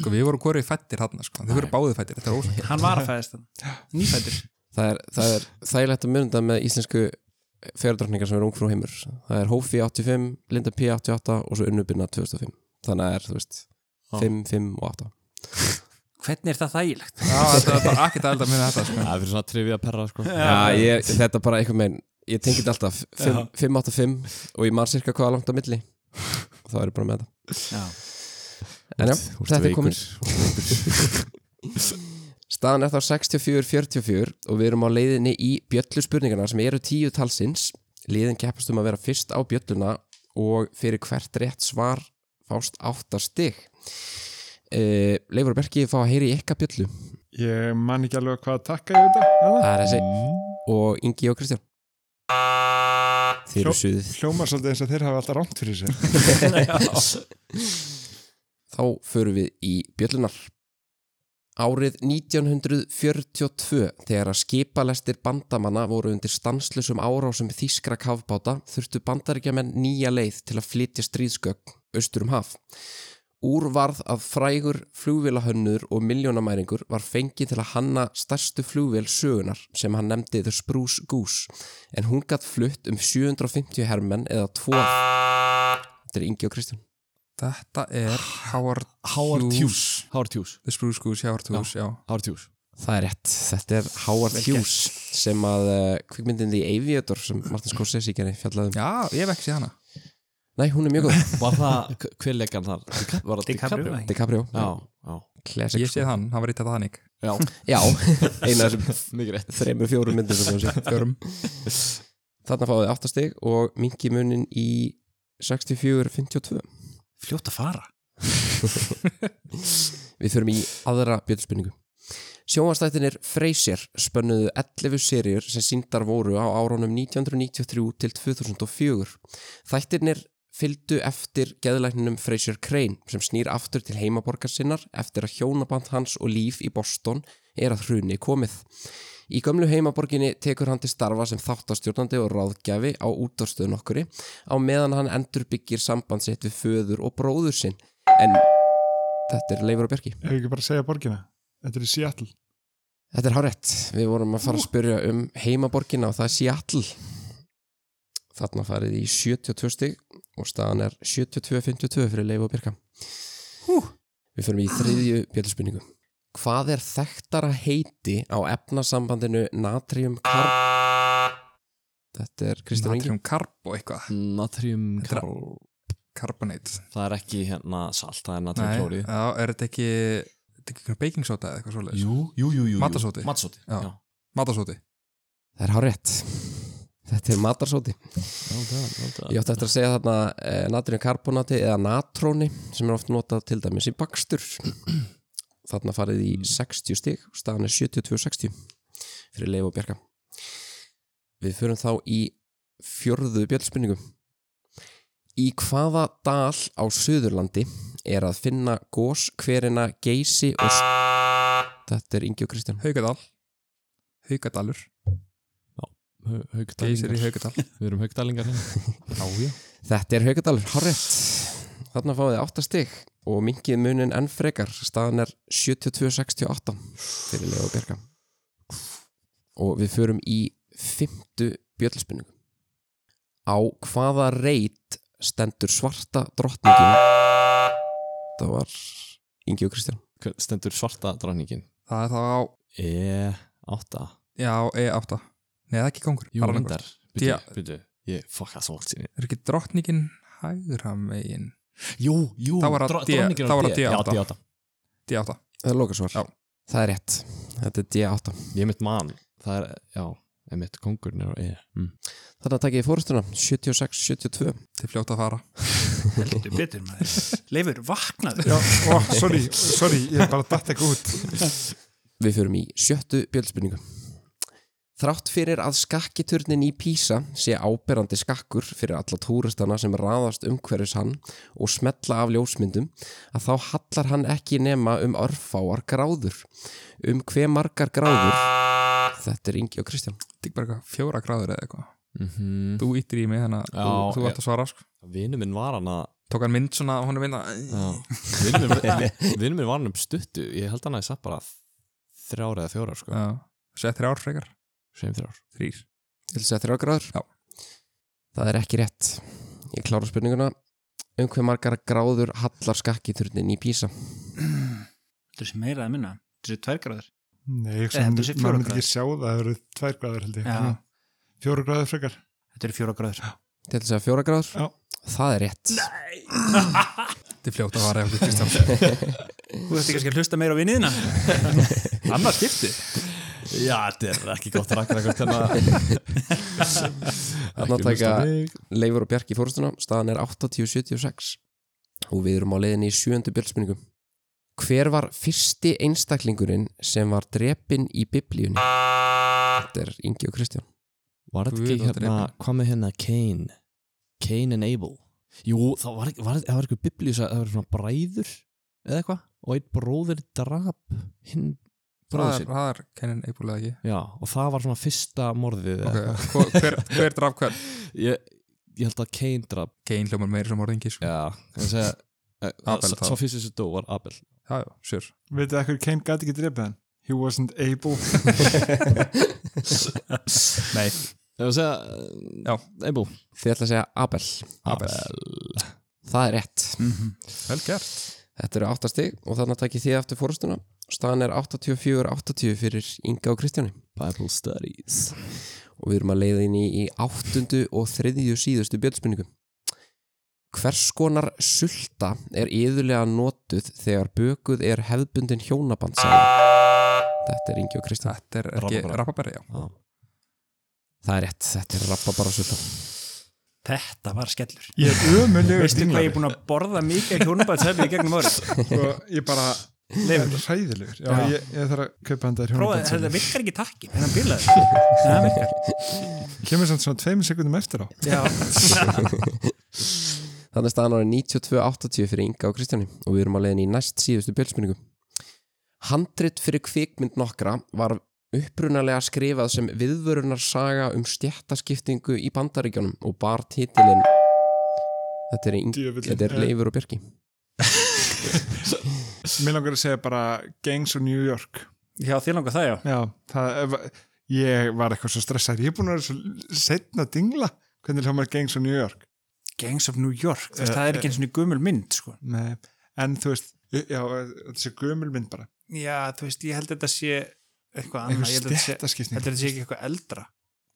Speaker 2: sko við vorum hvorið fættir hann sko. þau voru báðið fættir, þetta er
Speaker 5: [LAUGHS]
Speaker 2: ósætt
Speaker 5: hann var að fæðast hann, nýfættir
Speaker 1: það er, það er þægilegt að mynda með íslensku fjörðardrattningar sem er ungfrú heimur það er Hófi 85, Linda P 88 og svo Unnubinna 2005 þannig að er, þú veist,
Speaker 4: Já.
Speaker 1: 5, 5 og 8
Speaker 5: hvernig er það þægilegt?
Speaker 2: það er bara [LAUGHS] ekkert aðeins að minna þetta sko.
Speaker 4: Það er fyrir svona trivia perra sko
Speaker 1: Já, ég, þetta bara einhvern veginn ég tengi þetta alltaf 5, 5, 8, 5 og ég man cirka hvaða langt á milli og þá er ég bara með
Speaker 5: Já.
Speaker 1: þetta en já,
Speaker 4: Þú ert
Speaker 1: þetta er
Speaker 4: veikur.
Speaker 1: komin staðan er þá 64-44 og við erum á leiðinni í bjöllu spurningarna sem eru tíu talsins liðin keppast um að vera fyrst á bjölluna og fyrir hvert rétt svar fást áttar stig Uh, Leifur og Berki fá að heyri í ekka bjöllu
Speaker 3: ég man ekki alveg hvað að takka ég þetta
Speaker 1: Það er þessi Og Ingi og Kristján Þeir eru
Speaker 3: Hjó-
Speaker 1: suðið
Speaker 3: hljómar svolítið eins og þeir hafa alltaf rámt fyrir sér
Speaker 1: Þá förum við í bjöllunar. Árið 1942, þegar að skipalestir bandamanna voru undir stanslusum árásum þýskra kafbáta, þurftu bandaríkjamenn nýja leið til að flytja stríðskögn austur um haf. Úr varð að frægur flugvélahönnur og miljónamæringur var fengið til að hanna stærstu flugvél sögunar sem hann nefndi The Spruce Goose, en hún gatt flutt um 750 hermenn eða tvo af... Þetta er Ingi og Kristján.
Speaker 2: þetta er Howard,
Speaker 4: Howard Hughes Howard Hughes
Speaker 2: The Spruce Goose, Howard Hughes, já,
Speaker 4: Howard Hughes
Speaker 1: Það er rétt, þetta er Howard Hughes sem að uh, kvikmyndin The Aviator sem Martin Scorsese gerði fjallaðum
Speaker 2: já, ég hef ekki séð hana
Speaker 1: Nei, hún er mjög
Speaker 2: [LAUGHS]
Speaker 1: góð,
Speaker 4: Var það, hver leikann þar? Dicap- Var það
Speaker 5: DiCaprio,
Speaker 4: DiCaprio?
Speaker 5: ekki?
Speaker 1: DiCaprio
Speaker 4: Já, já
Speaker 1: Classic, sko.
Speaker 2: ég séð hann, hann var í Titanic
Speaker 4: Já,
Speaker 1: Já, eina af þessum
Speaker 4: [LAUGHS] mikið rétt
Speaker 1: þreimur fjórum myndir sem þú sé
Speaker 2: fjörum,
Speaker 1: Þarna fáið áttastig og mingi munin í 64-52
Speaker 5: fljótt að fara
Speaker 1: [LAUGHS] Við förum í aðra bjöldspurningu Sjónvastættinir Freysér spönnuðu 11 seríur sem síndar voru á árunum 1993 til 2004. Þættirnir fylgdu eftir geðlækninum Freysér Crane sem snýr aftur til heimaborgar sinnar eftir að hjónaband hans og líf í Boston er að hruni komið. Í gömlu heimaborginni tekur hann til starfa sem þáttastjórnandi og ráðgjafi á útvarstöðun okkuri á meðan hann endurbyggir samband sitt við föður og bróður sinn. En þetta er Leifur og Björki.
Speaker 3: ef ekki bara að segja borgina þetta er í Seattle
Speaker 1: Þetta er hárétt. Við vorum að fara að spyrja um heimaborgina og það er Seattle. Þarna farið í 72 stig og staðan er 72-52 fyrir Leif og Birka.
Speaker 5: Hú.
Speaker 1: Við förum í þriðju bjöldspurningu. Hvað er þekktara heiti á efnasambandinu natrium karb? Þetta er Kristján Ingi.
Speaker 2: natrium karb og eitthvað
Speaker 4: Natrium
Speaker 2: Þetta er-
Speaker 4: karl
Speaker 2: carbonate
Speaker 4: Það er ekki hérna salt, það er natrium
Speaker 2: Nei,
Speaker 4: klóri
Speaker 2: já, er þetta ekki þetta ekki einhver baking soda eða eitthvað svoleiðis
Speaker 4: Jú, jú, jú, jú
Speaker 2: Matasóti.
Speaker 4: Matasóti,
Speaker 2: Já.
Speaker 4: já
Speaker 2: matasóti,
Speaker 1: Það er hárétt. Þetta er matarsóti.
Speaker 4: Well done, well done.
Speaker 1: Ég átti eftir að segja þarna eh, natriumkarbonati eða natróni sem er oft notað til dæmis í bakstur. [CLEARS THROAT] Þarna farið í 60 stig og staðan er 72-60 fyrir Leif og Bjarka. Við förum þá í fjörðu bjöldspinningu. Í hvaða dal á Suðurlandi er að finna gós hverina geysi og... S- Þetta er Ingi og Kristján.
Speaker 2: haugadal haugadalur,
Speaker 4: Hau-
Speaker 2: geysir í
Speaker 4: Haukdalingar
Speaker 2: haugadal
Speaker 4: Við erum haugdalingar hérna Já, já
Speaker 1: Þetta er Haukadalur, horrið. Þarna fáið þið 8 stig og mingið munin enn frekar. Staðan er 72-68 fyrir Leo Berga. Og við förum í fymtu bjöllspinningu. Á hvaða reit stendur svarta drottningin? Það var Ingi og Kristján.
Speaker 4: Hvern- Stendur svarta E dráningin
Speaker 2: það er þá á,
Speaker 4: E8
Speaker 2: já, E8 nei, það er ekki kongur,
Speaker 4: Jú, reyndar Byrju,
Speaker 2: Já.
Speaker 4: byrju Ég fokka svo allt síni
Speaker 2: er ekki drottningin hægra megin
Speaker 4: Jú, jú
Speaker 2: Þá var það
Speaker 4: dro-
Speaker 2: D-
Speaker 4: dráningin
Speaker 2: þá var
Speaker 4: á
Speaker 2: það
Speaker 4: D- Já,
Speaker 2: D8.
Speaker 4: D8
Speaker 2: D8,
Speaker 1: Það er lokasvar.
Speaker 2: Já.
Speaker 1: Það er rétt. Þetta er D8.
Speaker 4: Ég mitt mann Það er, já Ég mitt kongurinn er á E mm.
Speaker 1: Þarna takk ég fórstuna 76-72.
Speaker 2: til fljóta að fara
Speaker 5: heldur betur maður Leifur, vaknaðu
Speaker 3: já, ó, sorry,
Speaker 2: [LAUGHS]
Speaker 3: sorry, ég bara datt ekki út
Speaker 1: Við förum í sjöttu bjöldspurningu. Þrátt fyrir að skakkiturnin í Písa sé áberandi skakkur fyrir alla túristana sem raðast umhverfis hann og smetla af ljósmyndum að þá hallar hann ekki nema um örfáar gráður. Um hve margar gráður? Þetta er Ingi og Kristján.
Speaker 2: Þetta er bara eitthvað fjóra gráður eða eitthvað
Speaker 4: Mhm.
Speaker 2: Þú íttir í mig þannig að
Speaker 4: Já,
Speaker 2: þú- þú
Speaker 4: já.
Speaker 2: ert að svara sko.
Speaker 4: Vinur minn var hann að
Speaker 2: Tók hann mynd svona, hún er mynd að
Speaker 4: Vinur minn- vinur minn var hann um stuttu Ég held hann að ég satt bara þrjár eða fjórar sko.
Speaker 2: Já. Sett þrjár frekar
Speaker 4: Sveim þrjár
Speaker 2: Þrýr
Speaker 1: Til þess að þrjá gráður?
Speaker 2: Já.
Speaker 1: Það er ekki rétt. Ég klára spurninguna. Um hve margar gráður hallar skakkiturnin í Písa?
Speaker 5: Þetta er sem meira að minna Þetta er tvergráður
Speaker 3: Nei, ég
Speaker 5: Eh, heldur þessi
Speaker 3: sem, maður myndi
Speaker 5: fjóra
Speaker 3: ekki sjá það, það eru tvær gráður held ég.
Speaker 5: Já.
Speaker 3: Svona Fjórar gráður frekar.
Speaker 5: Þetta er fjóra gráður
Speaker 1: Til þess að fjóra gráður?
Speaker 3: Já.
Speaker 1: Það er rétt.
Speaker 2: [LAUGHS] Þetta er fljótt að vara hjá okkur Kristján
Speaker 5: Þú ætti kannski að hlusta meira á vinniðina Annað skipti
Speaker 4: Já, þetta er ekki gott rakkar Þannig
Speaker 1: Þarna taka [LAUGHS] Leifur og Bjarki í fórstuna, staðan er 80-76 og við erum á leiðinni í sjööndu bjöldsmynningum. Hver var fyrsti einstaklingurinn sem var drepinn í biblíunni? Þetta er Ingi og Kristján.
Speaker 4: Var þetta ekki
Speaker 2: Guð, þetta er
Speaker 4: hérna, hvað með hérna Cain Cain and Abel Jú, það var, ekki- var, það var eitthvað biblíus að það var svona bræður eða eitthvað og einn bróðir drap hinn
Speaker 2: Það
Speaker 4: bróður
Speaker 2: er-
Speaker 4: sinn
Speaker 2: það er kennin eipúlega ekki
Speaker 4: Já, og það var svona fyrsta morðið eða
Speaker 2: okay. hvo- hver, hver draf hvern?
Speaker 4: eitthvað. ég, ég held að Cain drap
Speaker 2: Kein hljómar meira sem orðingi sko.
Speaker 4: Já, en
Speaker 2: [LAUGHS]
Speaker 4: segja eh,
Speaker 2: Abel,
Speaker 4: sá-
Speaker 2: þá.
Speaker 4: Sá fyrst þessi dó var Abel
Speaker 2: Já, já, sure
Speaker 3: Veitu það hverju Kane gæti ekki drefið hann? He wasn't
Speaker 5: [LAUGHS]
Speaker 3: able.
Speaker 4: Nei Ef að segja, eh,
Speaker 2: Já.
Speaker 4: Abel
Speaker 1: Þið ætla að segja Abel.
Speaker 2: Abel.
Speaker 1: Það er rétt.
Speaker 2: Vel gert
Speaker 1: Þetta eru 8 stig og þannig að takki þið aftur fórstuna. Staðan er 84-80 fyrir Inga og Kristjáni.
Speaker 4: Bible Studies
Speaker 1: og við erum að leiða inn í, í áttundu og þriðju síðustu bjöldspunningu. Hvers konar sulta er yðurlega notuð þegar bökuð er hefðbundin hjónabandssaga? Þetta er Ingi og Kristján.
Speaker 2: Þetta er ekki
Speaker 4: Rabarbara.
Speaker 2: rappabæri,
Speaker 4: [LAUGHS]
Speaker 2: já
Speaker 4: Já.
Speaker 1: Það er rétt, þetta er rappabara sulta.
Speaker 5: Þetta var skellur
Speaker 3: Ég er ömulegur
Speaker 5: Veistu hvað ég er búin að borða mikið hjónabæðshefni í gegnum árið?
Speaker 3: og Sko, ég bara
Speaker 5: Leifur.
Speaker 3: hræðilegur. Já,
Speaker 5: Já.
Speaker 3: Ég, ég þarf að kaupa hann þær
Speaker 5: Prófaði,
Speaker 3: hjónaband.
Speaker 5: þetta virkar ekki takki En hann bílaði En hann virkar
Speaker 3: Kemur samt svona tveimur sekundum eftir á.
Speaker 5: Já
Speaker 1: Þannig staðan árið 92-80 fyrir Inga og Kristjáni og við erum að leiðin í næst síðustu bjöldsmyningu. Handrit fyrir kvikmynd nokkra var upprunalega skrifað sem viðvörunarsaga um stjættaskiptingu í bandaríkjónum og bar titilinn Þetta er, Ingi,
Speaker 3: Djöfullinn.
Speaker 1: þetta er Leifur og Björki.
Speaker 3: Mér langar að segja bara Gangs of New York.
Speaker 5: Já, þér langar það já
Speaker 3: Já, það, ef- ég var eitthvað svo stressað. Ég er búin að vera svo setna að dingla hvernig hljómar Gangs of New York.
Speaker 5: Gangs of New York, þú veist, það er ekki eins og gömul mynd sko.
Speaker 3: Nei. En þú veist, já, þetta sé gömul mynd bara.
Speaker 5: Já, þú veist, ég held að þetta sé eitthvað annað,
Speaker 3: Einhver
Speaker 5: ég held að þetta sé, ég
Speaker 3: stjættaskipning.
Speaker 5: held að þetta sé ekki eitthvað eldra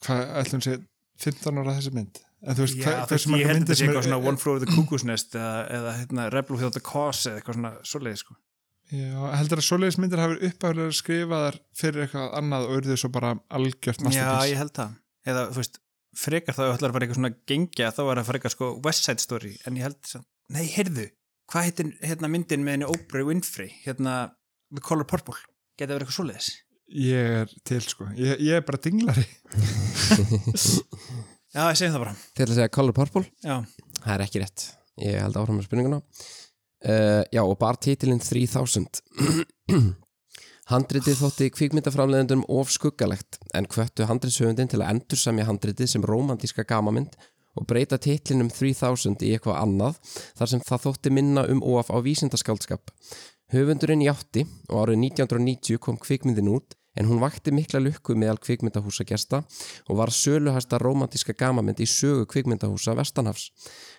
Speaker 3: hvað ætlum sé 15 ára þessi mynd en þú veist,
Speaker 5: Já,
Speaker 3: hvað,
Speaker 5: þú veist,
Speaker 3: hversu
Speaker 5: ég
Speaker 3: marga
Speaker 5: held að
Speaker 3: myndir
Speaker 5: þetta sé
Speaker 3: sem
Speaker 5: eitthvað svona One Flew Over the Cuckoo's Nest eða, eða hérna, Rebel Without a Cause eða eitthvað svona svoleiði sko.
Speaker 3: já, heldur að svoleiðis myndir hafi uppáðulega skrifaðar fyrir eitthvað annað og urðu svo bara algjört
Speaker 5: Já,
Speaker 3: masterpiece
Speaker 5: ég held það, eða þú veist frekar þá ætlar að vera eitthvað svona gengja þá var það frekar sko West Side Story en ég held þess að, nei, heyrðu, hvað heitir hérna myndin með henni Oprah Winfrey hérna The Color Purple geta verið eitthvað svoleiðis
Speaker 3: ég er til sko, ég, ég er bara dinglari
Speaker 5: Já, ég segi það bara,
Speaker 1: Til að segja Color Purple,
Speaker 5: já,
Speaker 1: það er ekki rétt. Ég held áfram með spurninguna. Uh, já, og bar titilinn 3000. [CLEARS THROAT] Handritið þótti kvikmyndaframleðendum of skuggalegt en hvöttu handritshöfundin til að endursamja handritið sem romantíska gamamynd og breyta titlinum 3000 í eitthvað annað þar sem það þótti minna um of á vísindaskáldskap. Höfundurinn játti og árið 1990 kom kvikmyndin út en hún vakti mikla lukku meðal kvikmyndahúsagesta og var söluhæsta romantíska gamamynd í sögu kvikmyndahúsa Vestanhafs.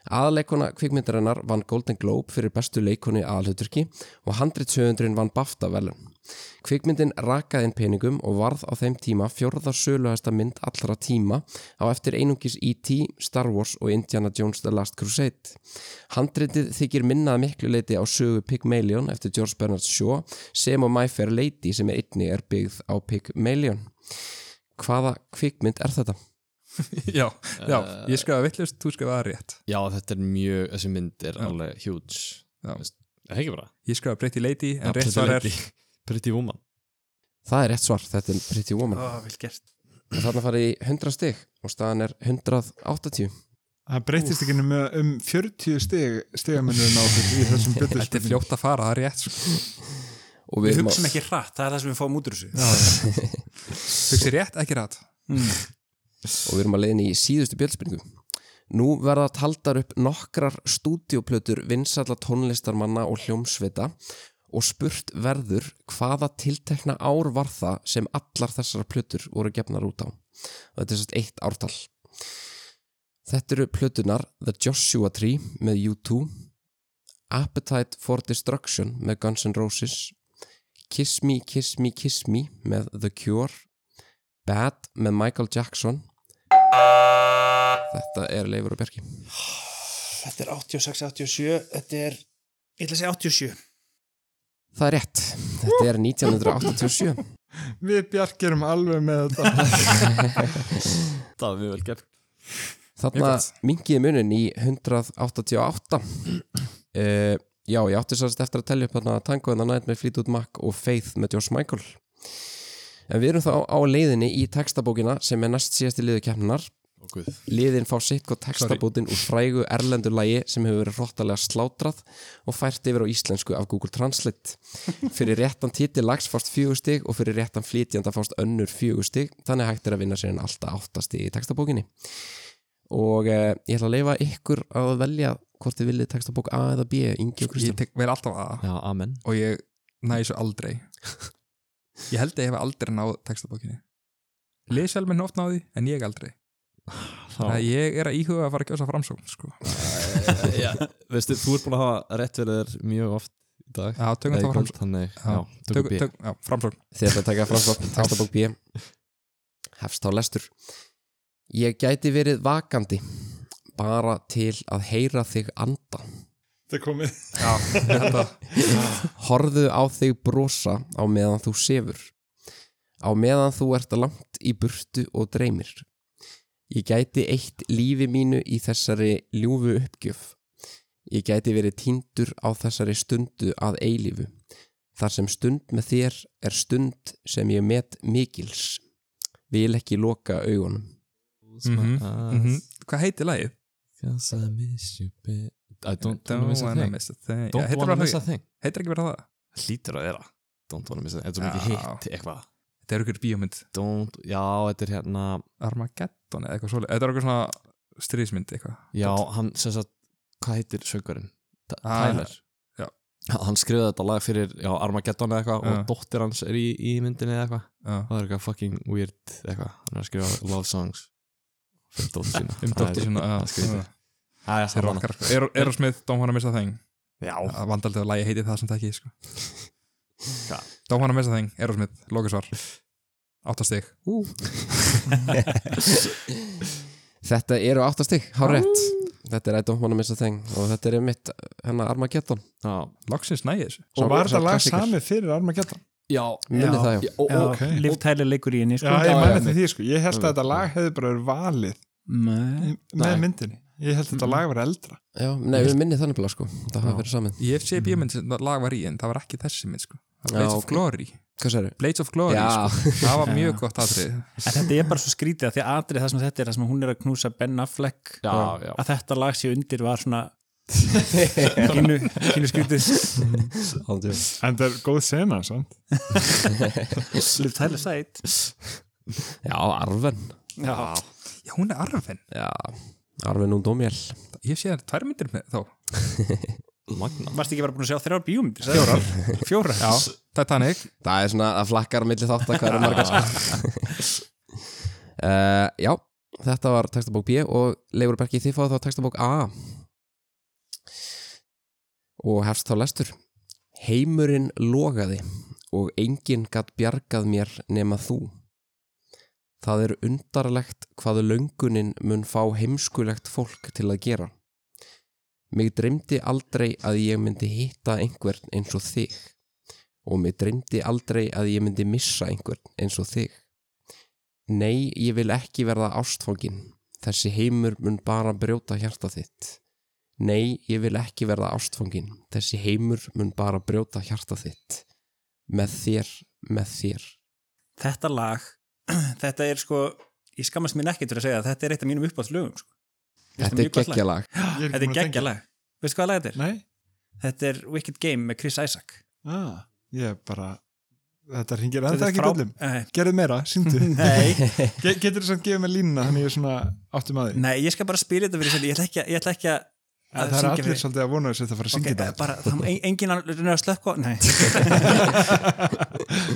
Speaker 1: Aðleikona kvikmyndarinnar vann Golden Globe fyrir bestu leikonu í aðhluturki og handritshöfundurinn vann BAFTA velum. Kvikmyndin rakaði inn peningum og varð á þeim tíma fjórðar söluhæsta mynd allra tíma á eftir einungis E.T., Star Wars og Indiana Jones The Last Crusade. Handritið þykir minnað miklu leiti á sögu Pygmalion eftir George Bernard Shaw sem og My Fair Lady sem einni er byggð á Pygmalion. Hvaða kvikmynd er þetta?
Speaker 2: Já, já, ég skrifaði vittlust, þú skrifaði rétt
Speaker 4: Eh, Já, þetta er mjög, þessi mynd er
Speaker 2: Já.
Speaker 4: alveg huge
Speaker 2: Já.
Speaker 4: Veist, Það hekki bara
Speaker 2: Ég skrifaði Pretty Lady, en
Speaker 4: Absolutely
Speaker 2: rétt svar er
Speaker 4: Pretty- Pretty Woman
Speaker 1: Það er rétt svar, þetta er Pretty Woman.
Speaker 5: ó, vel gert
Speaker 1: og þarna farið í 100 stig og staðan er 180
Speaker 3: Það breytist ekki um, um 40 stig, stigamennurinn á okkur
Speaker 5: [LAUGHS]
Speaker 3: í þessum sko.
Speaker 2: Þetta er
Speaker 3: byrðuspilningum.
Speaker 2: fljótt að fara, það er rétt sko.
Speaker 1: og
Speaker 5: Við
Speaker 1: erum
Speaker 5: hugsum
Speaker 1: að-
Speaker 5: ekki hratt, það er það sem við fáum út úr þessu
Speaker 2: Hugsi rétt, ekki rætt
Speaker 5: Mm.
Speaker 1: og við erum að leiðin í síðustu bjöldspurningu Nú verða taldar upp nokkrar stúdíoplötur vinsalla tónlistarmanna og hljómsveita og spurt verður hvaða tiltekna ár var það sem allar þessar plötur voru gefnar út á og þetta er sérst eitt ártal Þetta eru plötunar The Joshua Tree með U2 Appetite for Destruction með Guns N' Roses Kiss Me, Kiss Me, Kiss Me með The Cure Bad með Michael Jackson Þetta er Leifur og Bjarki
Speaker 5: Þetta er 86, 87 Þetta er, ég ætla að segja 87
Speaker 1: Það er rétt, þetta er 1987
Speaker 3: Við bjarkirum alveg með
Speaker 5: [LAUGHS]
Speaker 3: þetta.
Speaker 4: Það var mjög vel gert
Speaker 1: Þarna mingiði munin í 188 uh, Já, ég átti sérst eftir að tellja upp þarna Tango en það nætt með Fleetwood Mac og Faith með Josh Michael En við erum þá á leiðinni í textabókina sem er næst síðasti liðu keppnunar
Speaker 4: Og guð
Speaker 1: Liðin fá sitt hvað textabótin úr frægu erlendu lægi sem hefur verið hróttalega slátrað og fært yfir á íslensku af Google Translate. Fyrir réttan títil lags fást fjögur stig og fyrir réttan flytjanda fást önnur fjögur stig, þannig hægt er að vinna sér en alltaf áttastig í textabókinni. Og eh, ég ætla að leifa ykkur að velja hvort þið viljið textabók A eða B, Ingi og
Speaker 2: Ég
Speaker 1: Kristján.
Speaker 2: tek, vel alltaf að
Speaker 4: Já, amen
Speaker 2: og ég næ þessu aldrei Ég held að ég hef aldrei náð textabókinni Liðsjálmenn oft náði, en ég aldrei Það
Speaker 4: Æ,
Speaker 2: ég er að íhuga að fara að kjósa framsókn sko.
Speaker 4: já, Veistu, þú ert búin að hafa rétt fyrir þér mjög oft í dag
Speaker 2: Já, tökum
Speaker 4: Eða í
Speaker 2: það
Speaker 4: kvöld,
Speaker 2: framsókn
Speaker 4: Þannig,
Speaker 2: Já,
Speaker 4: já, tökum
Speaker 2: Tök-
Speaker 4: B
Speaker 2: tök- já, Framsókn
Speaker 1: Þið ætla að taka framsókn textabók B. Hefst þá lestur. Ég gæti verið vakandi bara til að heyra þig anda.
Speaker 3: Þetta er komið.
Speaker 2: Já, ég held að
Speaker 1: Horðu á þig brosa á meðan þú sefur. Á meðan þú ert langt í burtu og dreymir. Ég gæti eitt lífi mínu í þessari ljúfu uppgjöf. Ég gæti verið týndur á þessari stundu að eilífu. Þar sem stund með þér er stund sem ég met mikils. Vil ekki loka augunum.
Speaker 2: Mhm,
Speaker 4: Mm-hmm.
Speaker 2: mhm. Hvað heitir lagið?
Speaker 4: Cause I miss you, babe I don't,
Speaker 2: Don't
Speaker 4: wanna miss a
Speaker 2: wanna
Speaker 4: thing
Speaker 2: miss a thing Já,
Speaker 4: Don't
Speaker 2: heitir
Speaker 4: wanna
Speaker 2: bara
Speaker 4: miss a
Speaker 2: það-
Speaker 4: thing
Speaker 2: Heitir ekki bara það?
Speaker 4: Hlýtur að vera Don't wanna miss a thing Þetta er svo
Speaker 2: Já.
Speaker 4: mikið hitt eitthvað
Speaker 2: Þetta er ykkur bíómynd
Speaker 4: Don't, já, þetta er hérna
Speaker 2: Armageddon eða eitthvað svolítið Þetta er ykkur svona stríðsmynd eitthvað
Speaker 4: Já, hann, sem sagt, hvað heitir söngurinn? T-
Speaker 2: Ah,
Speaker 4: Tyler
Speaker 2: já.
Speaker 4: Hann skrifaði þetta lag fyrir, já, Armageddon eða eitthvað
Speaker 2: Já.
Speaker 4: og dóttir hans er í, í myndinni eða eitthvað
Speaker 2: Já.
Speaker 4: Það er eitthvað fucking weird eitthvað Hann er að skrifa love songs fyrir dóttir sína
Speaker 2: Um dóttir sína
Speaker 4: Það er skrítið Æja,
Speaker 2: Það er okkar sko Er- Aerosmith, Don't wanna miss a thing
Speaker 4: Já,
Speaker 2: Það vandaldið að lagi heiti það sem það ekki sko
Speaker 4: Já.
Speaker 2: Don't wanna miss a thing, Aerosmith, Lókisvar Áttastig Ú,
Speaker 1: Þetta eru áttastig, hár rétt. Þetta er I don't wanna miss a thing og þetta er mitt hennar Armageddon.
Speaker 4: já
Speaker 2: loksins næði þessu
Speaker 3: Og var
Speaker 1: Sá- sá
Speaker 3: þetta lag
Speaker 1: klassiker.
Speaker 3: samið fyrir Armageddon?
Speaker 4: Já,
Speaker 1: Minnið það já.
Speaker 4: já og, og,
Speaker 3: ok.
Speaker 5: Liv Tyler leikur í henni
Speaker 3: Já,
Speaker 5: sko.
Speaker 3: ég
Speaker 1: já,
Speaker 3: mæli
Speaker 1: já.
Speaker 3: eftir því sko. Ég held að þetta lag hefði bara verið valið
Speaker 5: Nei.
Speaker 3: með
Speaker 1: Nei.
Speaker 3: myndinni. Ég held að þetta lag var eldra.
Speaker 1: Já, nei, við minnið þannig bara sko. Það hafa
Speaker 3: Já.
Speaker 1: verið saman.
Speaker 2: Ég hef séð bíómynd sem lag var í en það var ekki þessi mynd sko Það var Blades
Speaker 1: Já,
Speaker 2: of
Speaker 1: ok.
Speaker 2: Glory
Speaker 1: Hvað sér
Speaker 2: Blades of Glory
Speaker 1: Já.
Speaker 2: sko Það var
Speaker 5: Já.
Speaker 2: mjög gott atrið
Speaker 5: En þetta er bara svo skrítið að því að atrið það sem þetta er það sem hún er að knúsa Ben Affleck
Speaker 4: Já,
Speaker 5: og
Speaker 4: já.
Speaker 5: að þetta lag sé undir var svona [LAUGHS] kínu, kínu skrítið
Speaker 1: Aldrei.
Speaker 3: En þetta er góð sena, sant?
Speaker 5: Liv Tyler sætt
Speaker 1: Já, Arven.
Speaker 5: Já,
Speaker 2: Já, hún er arfin
Speaker 1: Já, Arven og Dómjál.
Speaker 2: Ég hef séð tvær myndir með þá
Speaker 4: Magna
Speaker 5: varst ekki bara búin að sjá þrjár bíómyndir Fjórar Fjórar, já
Speaker 2: Titanic
Speaker 1: Það er svona að flakkar á milli þátt að hvað eru margar sko. [LAUGHS] uh, Já, þetta var textabók B og Leifur Bergi þið fáið þá textabók A og hefst þá lestur Heimurinn logaði og enginn gatt bjargað mér nema þú Það er undarlegt hvað löngunin mun fá heimskulegt fólk til að gera Mig dreymdi aldrei að ég myndi hitta einhvern eins og þig og mig dreymdi aldrei að ég myndi missa einhvern eins og þig. Nei, ég vil ekki verða ástfókin. Þessi heimur mun bara brjóta hjarta þitt. Nei, ég vil ekki verða ástfókin. Þessi heimur mun bara brjóta hjarta þitt. Með þér, með þér.
Speaker 5: Þetta lag [CLEARS THROAT] þetta er sko, ég skammast mín ekkert fyrir að segja að þetta er eitt af mínum uppáðslögum sko. Mér finnst
Speaker 1: Þetta er
Speaker 5: mjög gott lag.
Speaker 1: geggjalag
Speaker 3: Ég er ekki
Speaker 5: Þetta er
Speaker 3: búin að tengja.
Speaker 5: geggjalag, veistu hvað lag þetta er?
Speaker 3: Nei,
Speaker 5: Þetta er Wicked Game með Chris Isaac
Speaker 3: ah, ég er bara þetta ringir
Speaker 5: Þetta
Speaker 3: ennþá
Speaker 5: er
Speaker 3: ekki
Speaker 5: frá-
Speaker 3: frá... bjöllum
Speaker 5: Nei,
Speaker 3: Gerðu meira,
Speaker 5: [LAUGHS]
Speaker 3: síndu
Speaker 5: Nei,
Speaker 3: Ge Getur þú samt gefið mér línuna þannig ég er svona áttum að því
Speaker 5: nei, ég skal bara spila þetta fyrir sem ég ætla ekki, að- ég ætla ekki að
Speaker 3: En Það er
Speaker 5: syngja
Speaker 3: allir
Speaker 5: fyrir-
Speaker 3: svolítið að vona þess að þetta fara að
Speaker 5: Ok,
Speaker 3: syngja þetta
Speaker 5: bara, það, en, engin að reyna að slökka
Speaker 3: [LAUGHS]
Speaker 5: Nei,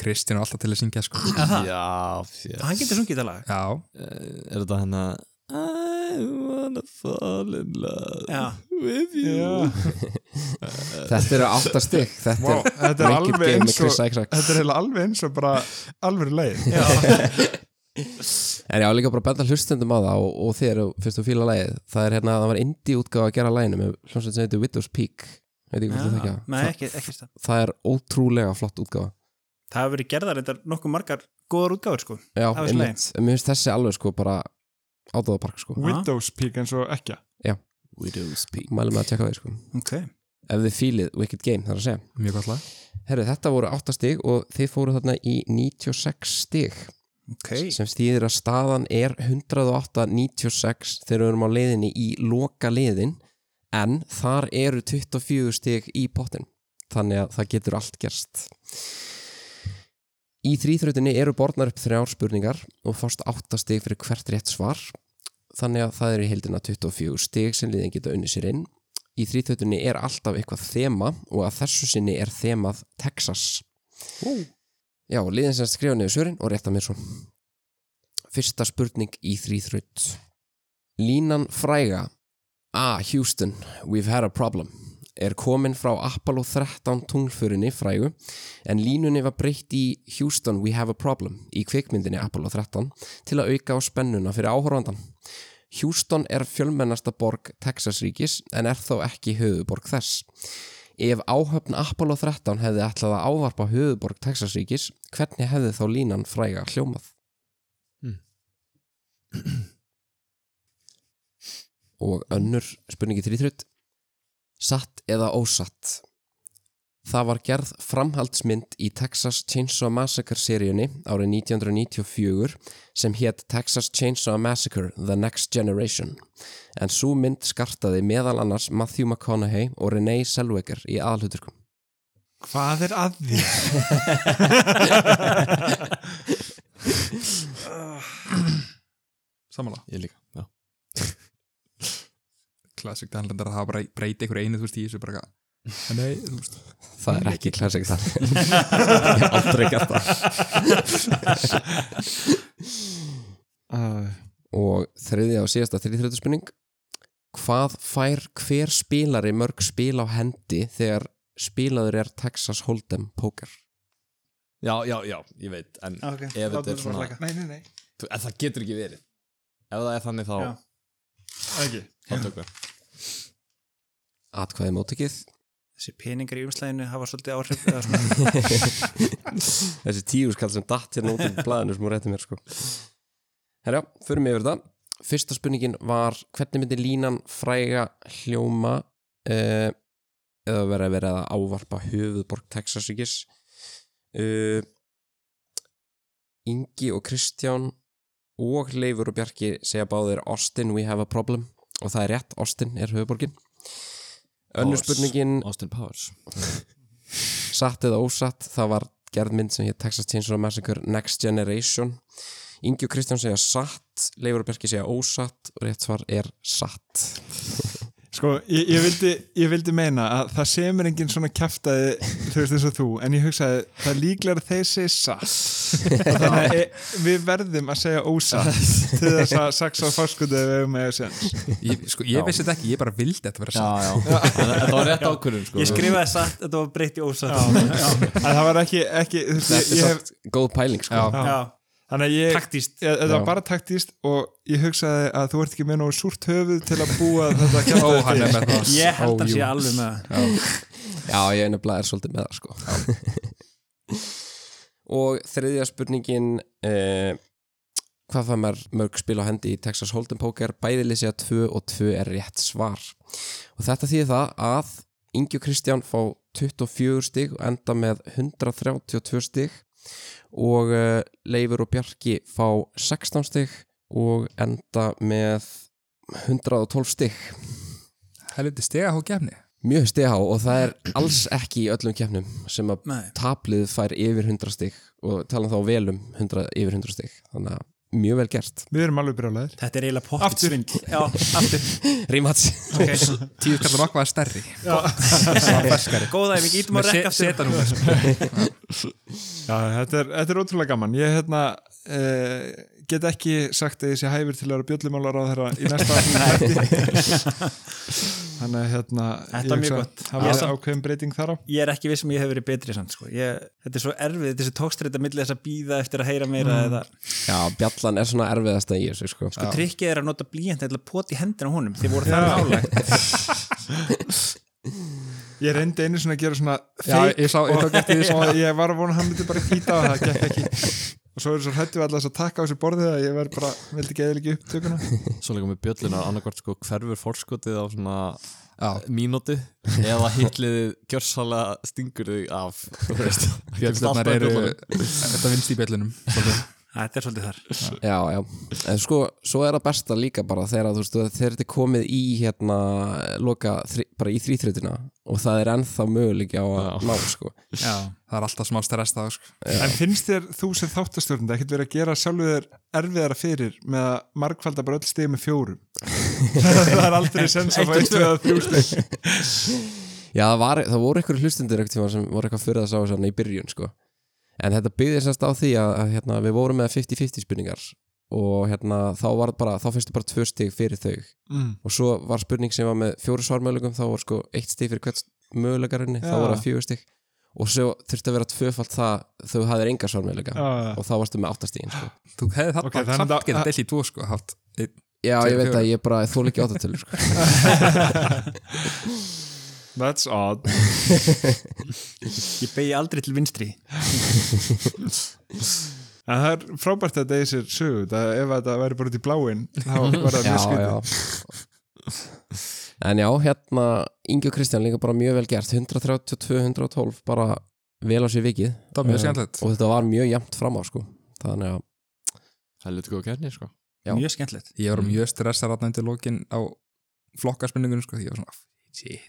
Speaker 2: Kristján er alltaf til að syngja sko
Speaker 5: Aha,
Speaker 4: Já, fjö
Speaker 5: hann getur sungið þetta lag
Speaker 2: Já,
Speaker 4: Er þetta hann að I wanna fall in love
Speaker 5: Já.
Speaker 4: with you
Speaker 3: Já.
Speaker 1: Þetta eru áttastig Þetta
Speaker 3: Vá,
Speaker 1: er
Speaker 3: Þetta er
Speaker 1: Wicked
Speaker 3: alveg
Speaker 1: Game með
Speaker 3: eins og
Speaker 1: Chris Isaac
Speaker 3: Þetta er heila alveg eins og bara alveg leið
Speaker 1: En já, líka bara að benda hlustendum á það og, og þér og fyrst og fíla lagið Það er hérna, það var indie útgáfa að gera laginu með hljómsveit sem heitir Widow's Peak Ég veit ekki hvort þú
Speaker 5: Já,
Speaker 1: þekkja
Speaker 5: Nei,
Speaker 1: það.
Speaker 5: ekki, ekki stað
Speaker 1: Það er ótrúlega flott útgáfa
Speaker 5: Það hefur verið gerðar þetta nokkuð margar góðar útgáður sko
Speaker 1: Já,
Speaker 5: Það var svo
Speaker 1: einmitt, En mér finnst þessi alveg sko bara átáðapark sko
Speaker 3: Widows Peak eins og ekki
Speaker 4: Widow's Peak
Speaker 1: Mælum með að tjekka það sko
Speaker 5: Ok
Speaker 1: Ef þið fílið Wicked Game, það er að segja
Speaker 2: mjög gott lag
Speaker 1: Herru, þetta voru 8 stig og þið fóru þarna í 96 stig
Speaker 5: Ok
Speaker 1: sem stýðir að staðan er 108-96 þegar við erum á leiðinni í loka leiðin en þar eru 24 stig í pottin þannig að það getur allt gerst Í þrýþrautinni eru borðnar upp þrjár spurningar og fást 8 stig fyrir hvert rétt svar þannig að það eru í heildina 24 stig sem liðin geta unni sér inn Í þrýþrautinni er alltaf eitthvað þema og að þessu sinni er þemað Texas Já, liðin sem skrifa niður svörin og rétta mér svo Fyrsta spurning í þrýþraut Línan fræga A. Houston, we've had a problem er komin frá Apollo 13 tunglförinni frægu en línunni var breytt í Houston, we have a problem í kvikmyndinni Apollo 13 til að auka á spennuna fyrir áhorfandan Houston er fjölmennasta borg Texas ríkis en er þó ekki höfuborg þess. Ef áhöfn Apollo 13 hefði ætlað að ávarpa höfuborg Texas ríkis, hvernig hefði þá línan fræga hljómað?
Speaker 4: Hmm.
Speaker 1: Og önnur spurningi þrýþrutt. Satt eða ósatt? Það var gerð framhaldsmynd í Texas Chainsaw Massacre seríunni árið 1994 sem hétt Texas Chainsaw Massacre The Next Generation en svo mynd skartaði meðal annars Matthew McConaughey og Renee Zellweger í aðalhuturkum.
Speaker 3: Hvað er að því?
Speaker 2: Samanlega
Speaker 4: Ég líka
Speaker 2: [LAUGHS]
Speaker 4: Já.
Speaker 2: Klassik danlendar að hafa bara breyti einhver einu þú veist í þessu bara eitthvað, Nei, þú veist
Speaker 1: Það er ekki klassik það. Ég hef aldrei gert það.
Speaker 3: Uh,
Speaker 1: Og þriðja og síðasta þriðþrötu spurning. Hvað fær hver spilari mörg spil á hendi þegar spilaður er Texas Hold'em Poker?
Speaker 4: já, já, já, ég veit En
Speaker 5: Ok
Speaker 4: ef þetta er svona
Speaker 3: nei, nei, nei
Speaker 4: Þú- En það getur ekki verið Ef það er þannig þá,
Speaker 5: Já.
Speaker 3: Ekki
Speaker 4: þá tökum við
Speaker 1: Atkvæði mótikið.
Speaker 5: Þessi peningar í umslæðinu hafa svolítið áhrif eða svona.
Speaker 1: Þessi tíuskall sem datt hérna út í blæðinu sem hún rétti mér sko Herjá, förum við yfir þetta Fyrsta spurningin var hvernig myndi línan fræga hljóma uh, eða vera að vera að ávarpa höfuðborg Texasíkis uh, Ingi og Kristján og Leifur og Bjarki segja báðir Austin, we have a problem og það er rétt, Austin er höfuðborgin Önnur
Speaker 4: Powers.
Speaker 1: spurningin
Speaker 4: Austin Powers
Speaker 1: satt eða ósatt, það var gerð mynd sem hér Texas Chainsaw Massacre Next Generation Ingi og Kristján segja satt, Leifur og Berki segja ósatt og rétt svar er satt
Speaker 3: Sko, ég, ég, vildi, ég vildi meina að það semur enginn svona kæftaði þú veist eins og þú, en ég hugsaði það er líklega að þeir segja satt
Speaker 1: [LAUGHS]
Speaker 3: og þannig að e, við verðum að segja ósatt til þess að sex á fórskutu við eigum með þess
Speaker 2: Ég, sko, ég
Speaker 1: Já.
Speaker 2: vissi þetta ekki, ég bara vildi þetta vera
Speaker 4: Já,
Speaker 2: satt
Speaker 4: já En það var rétt ákvörðum sko
Speaker 5: Ég skrifaði satt, þetta var breytt í ósatt
Speaker 3: en það var ekki, ekki þú veist, ég,
Speaker 1: Þetta er
Speaker 3: ég hef
Speaker 1: satt góð pæling sko
Speaker 2: Já.
Speaker 5: Já,
Speaker 3: þannig að ég,
Speaker 5: taktíst
Speaker 3: ég, þetta
Speaker 1: Já.
Speaker 3: var bara taktíst og ég hugsaði að þú ert ekki með nógu súrt höfuð til að búa þetta
Speaker 2: Ó,
Speaker 3: kæftaði
Speaker 2: hann er með það
Speaker 5: Ég held
Speaker 2: Ó,
Speaker 5: að sé
Speaker 2: jú.
Speaker 5: alveg með það
Speaker 1: Já, ég er nefnilega er svolítið með það sko Og þriðja spurningin eh, Hvað það maður mörg spil á hendi í Texas Hold'em Poker bæðilið segja 2 og 2 er rétt svar og þetta þýðir það að Ingi og Kristján fá 24 stig og enda með 132 stig og uh, Leifur og Bjarki fá 16 stig og enda með 112 stig
Speaker 2: Helviti stega hó gefni
Speaker 1: mjög stighá og það er alls ekki í öllum keppnum sem að
Speaker 5: Nei,
Speaker 1: taplið fær yfir 100 stig og tala þá vel um 100, yfir 100 stig þannig að mjög vel gert
Speaker 3: Við erum alveg brjálæðir
Speaker 5: þetta er eiginlega
Speaker 3: Aftur.
Speaker 5: pottsvind Já, aftur
Speaker 1: Rímats
Speaker 5: okay.
Speaker 2: Tíu kallar okkur að stærri
Speaker 5: Góða ef við gítum að rekka aftur
Speaker 2: Seta nú sko.
Speaker 3: Já, þetta er, þetta er ótrúlega gaman Ég hérna, eh, get ekki sagt að ég sé hæfur til að vera bjöllumálar á þeirra í
Speaker 2: [LAUGHS]
Speaker 3: næsta þætti. Þannig að hérna
Speaker 5: Þetta
Speaker 3: ég
Speaker 5: var mjög
Speaker 3: hugsa
Speaker 5: gott.
Speaker 3: Það
Speaker 5: Ég
Speaker 3: var
Speaker 5: samt-
Speaker 3: ákveðin breyting þar á
Speaker 5: Ég er ekki viss um ég hef verið betri samt sko. ég, Þetta er svo erfið, þetta er svo tókstreita milli þess að býða eftir að heyra meira eða,
Speaker 1: Já, [LAUGHS] bjallan er svona erfiðasta í þessu sko.
Speaker 5: sko, Trikkið er að nota blíjant eða poti hendina á honum Þið voru það nálægt
Speaker 3: Ég reyndi einu svona að gera svona
Speaker 2: Já,
Speaker 3: fake
Speaker 2: ég sá- ég tók eftir því,
Speaker 3: og, og ég var að vona að hann myndi bara kýta og það gekk ekki og svo er svo hrættu við alltaf að taka á þessu borðið að ég verð bara, vildi ekki eða ekki upptökuna
Speaker 4: Svo líka með bjölluna annarkvort sko hverfur fórskotið á svona
Speaker 2: Já.
Speaker 4: mínúti eða hitliðið gjörsalega stingur þig af þú [LAUGHS] veist, kemst alltaf
Speaker 2: Bjöllunar
Speaker 4: í
Speaker 2: eru
Speaker 4: bjöllunum.
Speaker 2: Þetta vinst í bjöllunum svolítið.
Speaker 5: Þetta er svolítið þar
Speaker 1: Já, já En sko, svo er það besta líka bara þegar þú veist, þegar þetta er komið í hérna, loka, þri, bara í þrýþrautina og það er ennþá möguleik á að ná sko.
Speaker 5: Já,
Speaker 2: Það er alltaf smá stress það sko.
Speaker 3: En finnst þér þú sem þáttastjórnandi ekkert verið að gera sjálfu þér erfiðara fyrir með að margfalda bara öll stegið með fjórum Það er aldrei sens að fá eitt eða þrjú steg
Speaker 1: Já, það, var, það voru einhverju hlustundir einhvern tíma sem voru eitthvað fyrir að sá þessu í byrjun sko. en þetta byggði semst á því að, að hérna, við vorum með 50-50 spurningar og hérna, þá, var bara, þá fyrstu bara tvö stig fyrir þau
Speaker 3: mm.
Speaker 1: og svo var spurning sem var með fjóru svarmöguleikum þá var sko eitt stig fyrir hvert möguleikarinni þá
Speaker 3: Já.
Speaker 1: voru það fjögur stig og svo þurfti að vera tvöfalt það þau hafðir enga svarmöguleika og þá varstu með áttastíðin sko.
Speaker 2: Þú hefði þarna
Speaker 3: Ok, þannig
Speaker 2: samt
Speaker 3: að-
Speaker 2: getað deilt í tvo sko, haft einn.
Speaker 1: Já,
Speaker 2: Tveir
Speaker 1: ég veit
Speaker 2: fjórir.
Speaker 1: að ég bara þól ekki áttatölu sko.
Speaker 3: That's odd
Speaker 5: ég begi aldrei til vinstri
Speaker 3: En það er frábært að þetta er sér sögu það, ef þetta væri bara út í bláin þá var það
Speaker 1: Já,
Speaker 3: mjög skrið
Speaker 1: já En já, hérna Ingi og Kristján líka bara mjög vel gert 132-112 bara vel á sér vikið
Speaker 2: Það var mjög
Speaker 1: Eh,
Speaker 2: skemmtilegt
Speaker 1: og þetta var mjög jæmt fram á sko þannig að
Speaker 4: Helviti góð kefni sko
Speaker 1: Já.
Speaker 5: Mjög skemmtilegt
Speaker 2: Ég var mjög stressað rætna undir lokin á flokkarspurningunum sko, því ég var svona Shit,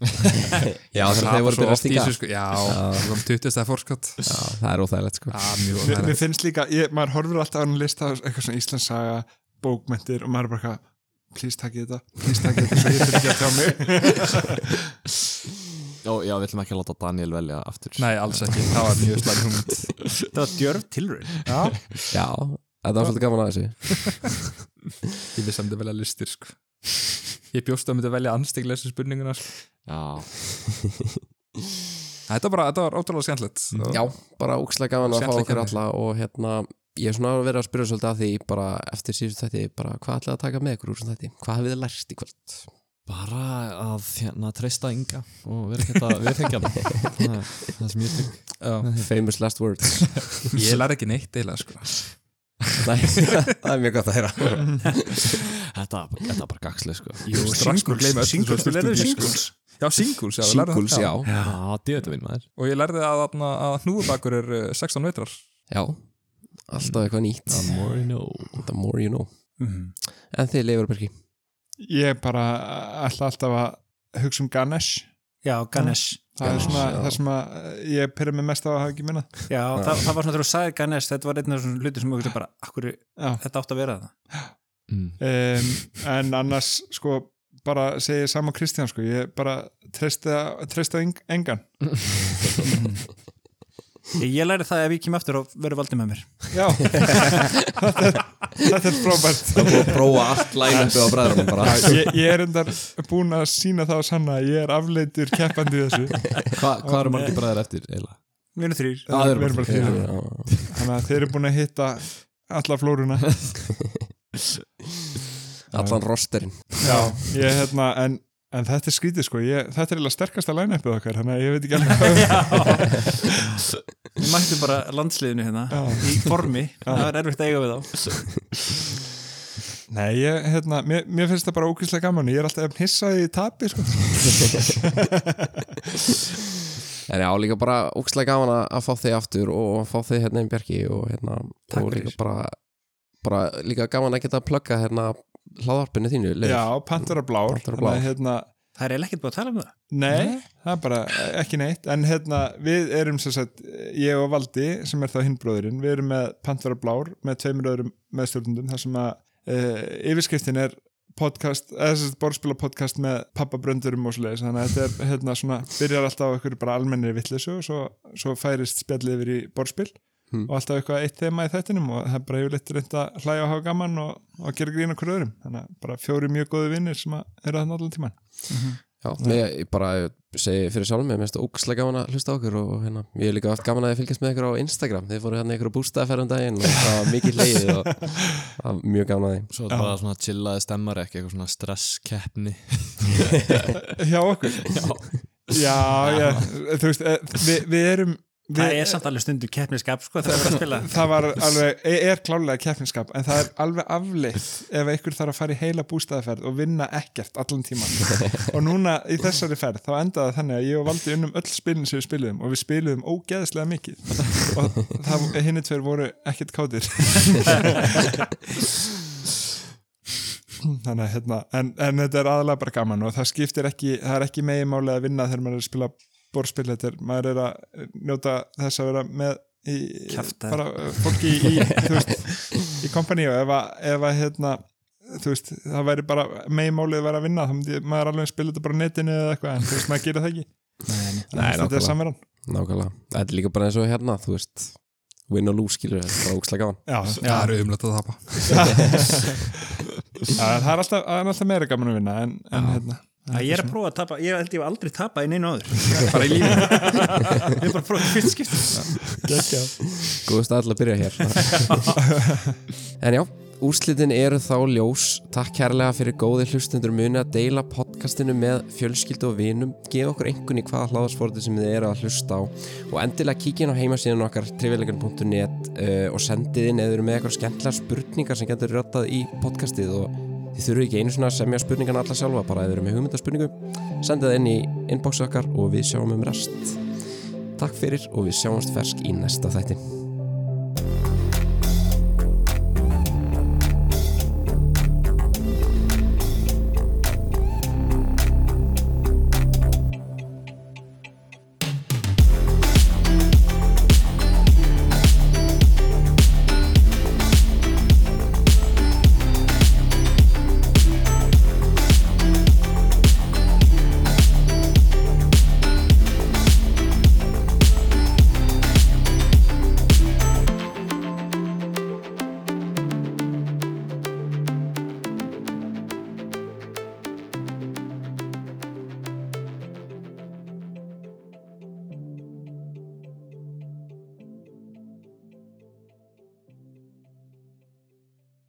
Speaker 1: Já, þegar
Speaker 2: það
Speaker 1: þeir voru
Speaker 2: svo
Speaker 1: byrjað að
Speaker 2: oft í
Speaker 1: stinga.
Speaker 2: þessu sko Já, við varum 20 stað fórskott
Speaker 1: já, það er óþægilegt sko
Speaker 2: Já, mjög
Speaker 3: Mér, mér
Speaker 2: óþægilegt.
Speaker 3: finnst líka, ég, maður horfir alltaf á hann lista á eitthvað svona Íslandssaga, bókmentir og maður er bara eitthvað, please takk ég þetta please takk ég þetta, svo ég þurfi ekki að tjá mig
Speaker 4: Ó, já, við ætlum ekki að láta Daniel velja aftur
Speaker 2: Nei, alls ekki, það var mjög slæm hugmynd
Speaker 5: Þetta var djörf tilraun
Speaker 1: Já, þetta var svolítið gaman að þessu
Speaker 2: Ég vissi að myndi velja listir sko. Ég bjóst að myndi velja anstíklesu spurninguna sko.
Speaker 4: Já,
Speaker 2: Þetta var bara, þetta var ótrúlega skemmtilegt Og-
Speaker 1: Já, bara úkslega gaman að fá
Speaker 2: Skemmtileg
Speaker 1: okkur
Speaker 2: keppni.
Speaker 1: alla og hérna, ég er svona að vera að spyrja svolítið að því bara eftir síðust þetta, bara hvað ætlaði að taka með ykkur úr svona þetta, hvað hafið þið lært í kvöld
Speaker 4: bara að hérna treysta ynga og vera ekki [LAUGHS] að viðfengja hann það er það sem ég [LAUGHS] tek
Speaker 2: Já.
Speaker 1: Famous last words
Speaker 2: Ég lær ekki neitt eiginlega sko.
Speaker 1: Nei, það er mjög gott að heyra
Speaker 4: þetta, þetta er bara gaxli sko
Speaker 2: Jú,
Speaker 5: singles, singles, við lærðum singles.
Speaker 2: sko. Já, singles, já, við lærðum
Speaker 1: Singles,
Speaker 2: það,
Speaker 1: já
Speaker 4: Já, djöðu minn maður
Speaker 2: Og ég lærði að, að, að hnúðubakur er eh, 16 vetrar
Speaker 1: Já, alltaf eitthvað nýtt
Speaker 4: The more you know
Speaker 1: The more you know En þið leifur bergi
Speaker 3: Ég er bara alltaf alltaf að hugsa um Ganesh
Speaker 5: Já, Ganesh
Speaker 3: það er
Speaker 1: Ganesh,
Speaker 3: svona
Speaker 1: já.
Speaker 3: það sem að eh, ég pyrra mig mest á að hafa ekki minna
Speaker 5: Já, það, það var svona þegar þú sagði Ganesh Þetta var einn af þessum hluti sem mjög bara akkur,
Speaker 3: Já.
Speaker 5: Þetta átt að vera það
Speaker 4: mm.
Speaker 3: um, en annars sko bara segi ég sama Kristján sko ég bara treysta, treysta eng- engan
Speaker 5: Ég, ég læri það ef ég kem aftur og verður valdið með mér
Speaker 3: já
Speaker 1: [LAUGHS]
Speaker 3: þetta, er- þetta er frábært
Speaker 1: Það er búið að prófa allt lægnaðu á bræðurum bara
Speaker 3: ég, ég er endar búin að sína það og sanna að ég er afleitur keppandi í þessu
Speaker 4: Hvað hva eru margir bræðir eftir eiginlega?
Speaker 5: Við erum þrýr
Speaker 4: Já, þeir eru
Speaker 3: Við erum
Speaker 4: bara
Speaker 3: bara þrír.
Speaker 1: Já.
Speaker 3: þannig að þeir eru búin að hitta alla flóruna
Speaker 1: Allan rosterinn
Speaker 3: já, ég hérna en, en þetta er skrítið sko, ég, þetta er eiginlega sterkasta line-upið okkar, þannig að ég veit ekki
Speaker 5: [LAUGHS]
Speaker 3: alveg hvað
Speaker 5: Við mættum bara landsliðinu hérna
Speaker 3: Já.
Speaker 5: Í formi, það var erfitt að eiga við þá
Speaker 3: Nei, ég, hérna, mér, mér finnst það bara ógæslega gaman ég er alltaf hissað í tapi sko.
Speaker 1: En já, líka bara ókslega gaman að- að fá þig aftur og fá þig hérna einn bjarki og hérna
Speaker 5: Takk
Speaker 1: og líka
Speaker 5: fyrir.
Speaker 1: bara, bara líka gaman að geta að plugga hérna hláðarpinu þínu Leifur.
Speaker 3: Já, Pantera Blár,
Speaker 1: Pantera
Speaker 3: Þannig að,
Speaker 1: Blár.
Speaker 3: hérna,
Speaker 5: Það er eiginlega ekkert búið að tala um það
Speaker 3: Nei, það er bara ekki neitt en hérna við erum sem sagt ég og Valdi sem er þá hinnbróðurinn við erum með Pantera Blár með tveimur öðrum meðstjórnundum þar sem að uh, yfirskriftin er podcast, eða sem sagt borðspila podcast með pappabröndurum og svoleiðis þannig að þetta er hérna svona, byrjar alltaf á einhverju bara almennir vittlesu og svo, svo færist spjallið yfir í borðspil
Speaker 1: Hmm.
Speaker 3: og alltaf eitthvað eitt þema í þettinum og það er bara yfirleitt reynd að hlæja og hafa gaman og, og gera grín okkur öðrum þannig að bara fjóri mjög góði vinnir sem að eru þannig allan tíman
Speaker 1: Já, nei, ég bara segi fyrir sjálfum mig, mér finnst ókslega gaman að hlusta á okkur og hérna, ég hef líka haft gaman að þið fylgjast með ykkur á Instagram, þið fóru hérna ykkur á bústaðferð um daginn og það var mikið leiðið og það var mjög gaman að því.
Speaker 4: Svo er bara svona chillaði stemmar ekki eitthvað svona stresskeppni
Speaker 3: hjá okkur já, já, þú veist eh, við, við erum
Speaker 5: Það
Speaker 3: við,
Speaker 5: er samt alveg stundu keppniskap sko, það er að spila
Speaker 3: það var alveg, e, er- er klálega keppniskap en það er alveg afleitt ef einhver þarf að fara í heila bústæðaferð og vinna ekkert allan tíman
Speaker 5: [LAUGHS]
Speaker 3: og núna í þessari ferð þá endaði það þannig að ég og Valdi unnum öll spilin sem við spiliðum og við spiliðum ógeðslega mikið og það, hinni tveir voru ekkert kátir þannig að hérna en, en þetta er aðalega bara gaman og það skiptir ekki, það er ekki meginmáli að vinna þegar maður er að spila borðspil, þetta er, maður er að njóta þess að vera með í,
Speaker 5: Kjaftaði.
Speaker 3: bara uh, fólki í, í, þú veist, í kompani og ef að, ef að hérna þú veist, það væri bara meginmálið að vera að vinna, þá myndi maður alveg að spila þetta bara á netinu eða eitthvað, en þú veist, maður gerir það ekki Þannig að þetta
Speaker 1: nákvæmlega.
Speaker 3: er samveran
Speaker 1: Nákvæmlega, þetta er líka bara eins og hérna, þú veist, win og lose skilur, þetta er bara ókslega gaman.
Speaker 3: Já,
Speaker 2: það eru umlögt að tapa
Speaker 3: Já, það er alltaf, það er alltaf meira gaman að vinna en, en hérna
Speaker 5: Að Ég er að prófa að tapa, ég held ég var aldrei tapa í neinu áður
Speaker 3: [LAUGHS]
Speaker 5: bara í lífi Ég er bara að prófa í fyrst skipt
Speaker 1: Góðu stað alltaf að byrja hér En já, úrslitin eru þá ljós Takk kærlega fyrir góði hlustundur muni að deila podcastinu með fjölskyldu og vinum gefa okkur einhvern í hvaða hláðarsforti sem þið eru að hlusta á og endilega kíkja inn á heimasíðan okkar trivialegan.net uh, og sendið inn eða eru með eitthvað skemmtilega spurningar sem getur röttað í podcastið og þið þurfum ekki einu svona að semja spurningarna alla sjálfa bara eða eru með hugmyndaspurningu sendið það inn í inboxið okkar og við sjáum um rest Takk fyrir og við sjáumst fersk í næsta þætti